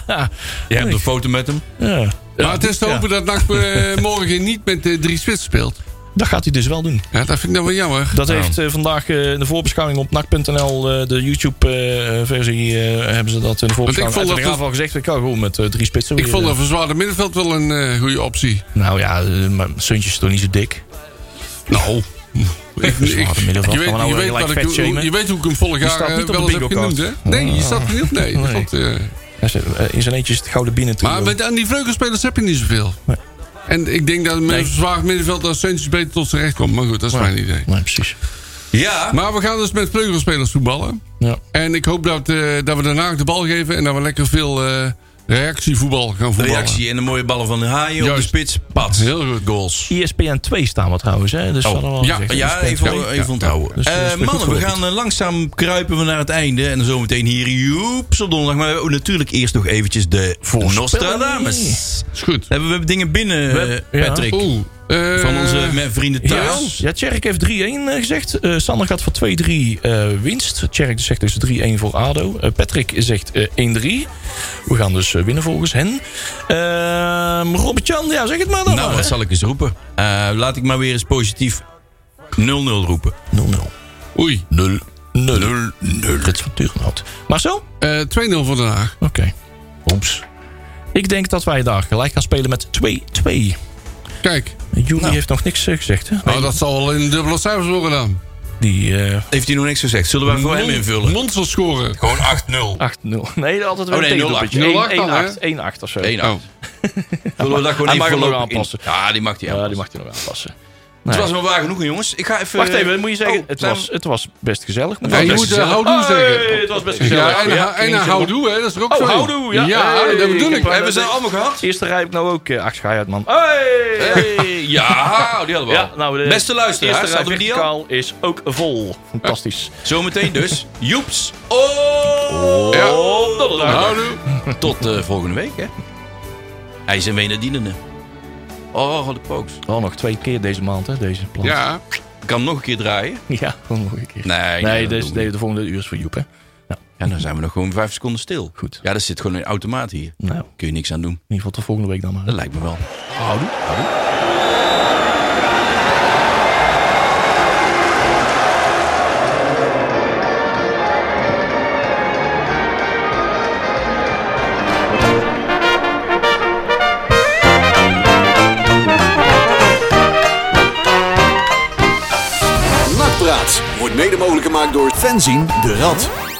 Speaker 3: Ja.
Speaker 2: Je hebt een foto met hem.
Speaker 3: Ja.
Speaker 1: Maar het is te hopen dat NAC eh, morgen niet met de drie spits speelt.
Speaker 3: Dat gaat hij dus wel doen.
Speaker 1: Ja, dat vind ik dan wel jammer.
Speaker 3: Dat heeft eh, vandaag eh, in de voorbeschouwing op NAC.nl, eh, de YouTube-versie, eh, hebben ze dat in de voorbeschouwing.
Speaker 1: vond
Speaker 3: Want
Speaker 1: dat
Speaker 3: ik vond
Speaker 1: het-
Speaker 3: al gezegd, ik kan gewoon met eh, drie spitsen.
Speaker 1: Ik
Speaker 3: weer,
Speaker 1: vond
Speaker 3: eh.
Speaker 1: dat verzwaarde middenveld wel een eh, goede optie.
Speaker 3: Nou ja, eh, maar Suntje is toch niet zo dik.
Speaker 1: Nou. Ik,
Speaker 3: Verzwaarde
Speaker 1: je, weet,
Speaker 3: middenveld.
Speaker 1: je,
Speaker 3: Gaan we nou
Speaker 1: weet
Speaker 3: gelijk
Speaker 1: wat ik,
Speaker 3: vet
Speaker 1: hoe-
Speaker 3: shamen?
Speaker 1: je weet hoe ik hem vorig jaar
Speaker 3: staat
Speaker 1: eh,
Speaker 3: niet op de
Speaker 1: wel eens heb
Speaker 3: bingo-kaart. Oh.
Speaker 1: genoemd, hè? Nee, je staat er niet op. Nee.
Speaker 3: Nee.
Speaker 1: Dat, eh,
Speaker 3: Hij zit, eh, In zijn eentje is het gouden binnen
Speaker 1: maar met, aan die vleugelspelers heb je niet zoveel.
Speaker 3: Nee.
Speaker 1: En ik denk dat met een verzwaard middenveld als Sanchez beter tot zijn recht komt. Maar goed, dat is mijn idee.
Speaker 3: Nee, precies.
Speaker 2: Ja.
Speaker 1: Maar we gaan dus met vleugelspelers voetballen.
Speaker 3: Ja.
Speaker 1: En ik hoop dat, eh, dat we daarna de bal geven en dat we lekker veel eh, reactievoetbal gaan voetballen.
Speaker 2: Reactie en de mooie ballen van de haaien op de
Speaker 1: Juist.
Speaker 2: spits. Pats.
Speaker 1: Heel goed.
Speaker 2: Goals.
Speaker 3: ESPN 2 staan we trouwens, hè? Dus dat hadden we al
Speaker 1: Oh. ja,
Speaker 3: gezegd.
Speaker 2: Ja,
Speaker 3: ESPN
Speaker 2: even,
Speaker 3: 2.
Speaker 2: even onthouden.
Speaker 3: Dus,
Speaker 2: Eh,
Speaker 3: dat is weer goed
Speaker 2: mannen, we
Speaker 3: gelukt.
Speaker 2: gaan eh, langzaam kruipen we naar het einde. En dan zometeen hier Joeps op donderdag. Maar we hebben natuurlijk eerst nog eventjes de Nostradamus.
Speaker 1: Is goed.
Speaker 2: Hebben we dingen binnen,
Speaker 3: We-
Speaker 2: eh,
Speaker 3: ja.
Speaker 2: Patrick?
Speaker 1: Oeh. eh,
Speaker 2: Van onze me- vrienden
Speaker 3: Ja,
Speaker 2: thuis.
Speaker 3: ja Tjerk heeft 3-1 eh, gezegd. Eh, Sander gaat voor 2-3 eh, winst. Tjerk zegt dus 3-1 voor ADO. Eh, Patrick zegt eh, 1-3. We gaan dus eh, winnen volgens hen. Ehm Robert-Jan, ja, zeg het maar dan.
Speaker 2: Nou,
Speaker 3: maar,
Speaker 2: wat
Speaker 3: hè.
Speaker 2: zal ik eens roepen? Eh, laat ik maar weer eens positief 0-0 roepen.
Speaker 3: 0-0.
Speaker 1: Oei.
Speaker 2: 0 0
Speaker 3: 0 Nou, Rits van Turenhout. Marcel?
Speaker 1: Eh, 2-0 voor Den Haag.
Speaker 3: Oké. Oeps. Ik denk dat wij daar gelijk gaan spelen met 2-2.
Speaker 1: Kijk.
Speaker 3: Jury heeft nog niks eh, gezegd. Hè?
Speaker 1: Nou, dat zal wel in dubbele cijfers worden dan.
Speaker 3: Die eh,
Speaker 2: Heeft hij nog niks gezegd? Zullen we hem voor hem invullen?
Speaker 1: Monster scoren.
Speaker 2: Gewoon 8-0.
Speaker 3: 8-0. Nee, altijd wel
Speaker 2: Oh, nee,
Speaker 3: een
Speaker 2: 0-8.
Speaker 3: tegendoelpuntje.
Speaker 1: 0-8 dan, hè?
Speaker 3: 1-8, 1-8 of zo.
Speaker 2: 1-8.
Speaker 1: Oh.
Speaker 2: Zullen we dat gewoon
Speaker 3: Hij mag
Speaker 2: even
Speaker 3: hem nog
Speaker 2: voorlopig
Speaker 3: aanpassen.
Speaker 2: in- Ja, die mag hij
Speaker 3: Ja,
Speaker 2: aanpassen.
Speaker 3: die mag hij nog aanpassen.
Speaker 2: Het
Speaker 3: Nee.
Speaker 2: was wel waar genoeg, jongens. Ik ga even...
Speaker 3: Wacht even, moet je zeggen,
Speaker 2: Oh,
Speaker 3: het,
Speaker 2: zijn
Speaker 3: was,
Speaker 2: we-
Speaker 3: het was best gezellig.
Speaker 1: Ja, je
Speaker 3: best
Speaker 1: moet eh,
Speaker 3: gezellig.
Speaker 1: houdoe
Speaker 3: Hey,
Speaker 1: zeggen.
Speaker 3: het was best gezellig.
Speaker 1: Ja, en,
Speaker 3: Ja,
Speaker 1: en,
Speaker 3: klinkt zo.
Speaker 1: houdoe, hè. Dat is er ook
Speaker 3: Oh,
Speaker 1: zo. in.
Speaker 3: houdoe, ja.
Speaker 1: Ja,
Speaker 3: Hey,
Speaker 1: dat bedoel
Speaker 3: ik
Speaker 1: ik.
Speaker 3: heb wel-
Speaker 2: Hebben ze allemaal gehad?
Speaker 3: Eerste rij heb ik nou ook eh acht uit, man. Hey!
Speaker 2: Ja, die hadden we al.
Speaker 3: Ja, nou, de
Speaker 2: Beste luisteraars,
Speaker 3: eerste rij
Speaker 2: hadden we die al?
Speaker 3: verticaal is ook vol. Fantastisch.
Speaker 2: Zometeen dus. Joeps. Oh!
Speaker 1: Ja.
Speaker 2: Houdoe. Tot eh, volgende week, hè. Hij is een Wenadienende. Oh, de pooks.
Speaker 3: Al nog twee keer deze maand, hè, deze plan.
Speaker 1: Ja.
Speaker 2: Ik kan hem nog een keer draaien.
Speaker 3: ja gewoon nog een keer.
Speaker 2: Nee,
Speaker 3: Nee,
Speaker 2: dat
Speaker 3: deze,
Speaker 2: doen we
Speaker 3: de, de volgende uur is voor Joep, hè.
Speaker 2: Ja, dan zijn we nog gewoon vijf seconden stil.
Speaker 3: Goed.
Speaker 2: Ja, dat zit gewoon een automaat hier.
Speaker 3: Nou, in
Speaker 2: Kun je niks aan doen.
Speaker 3: ieder geval tot volgende week dan maar.
Speaker 2: Dat lijkt me wel.
Speaker 3: Houdoe.
Speaker 5: gemaakt door fanzine de Rad.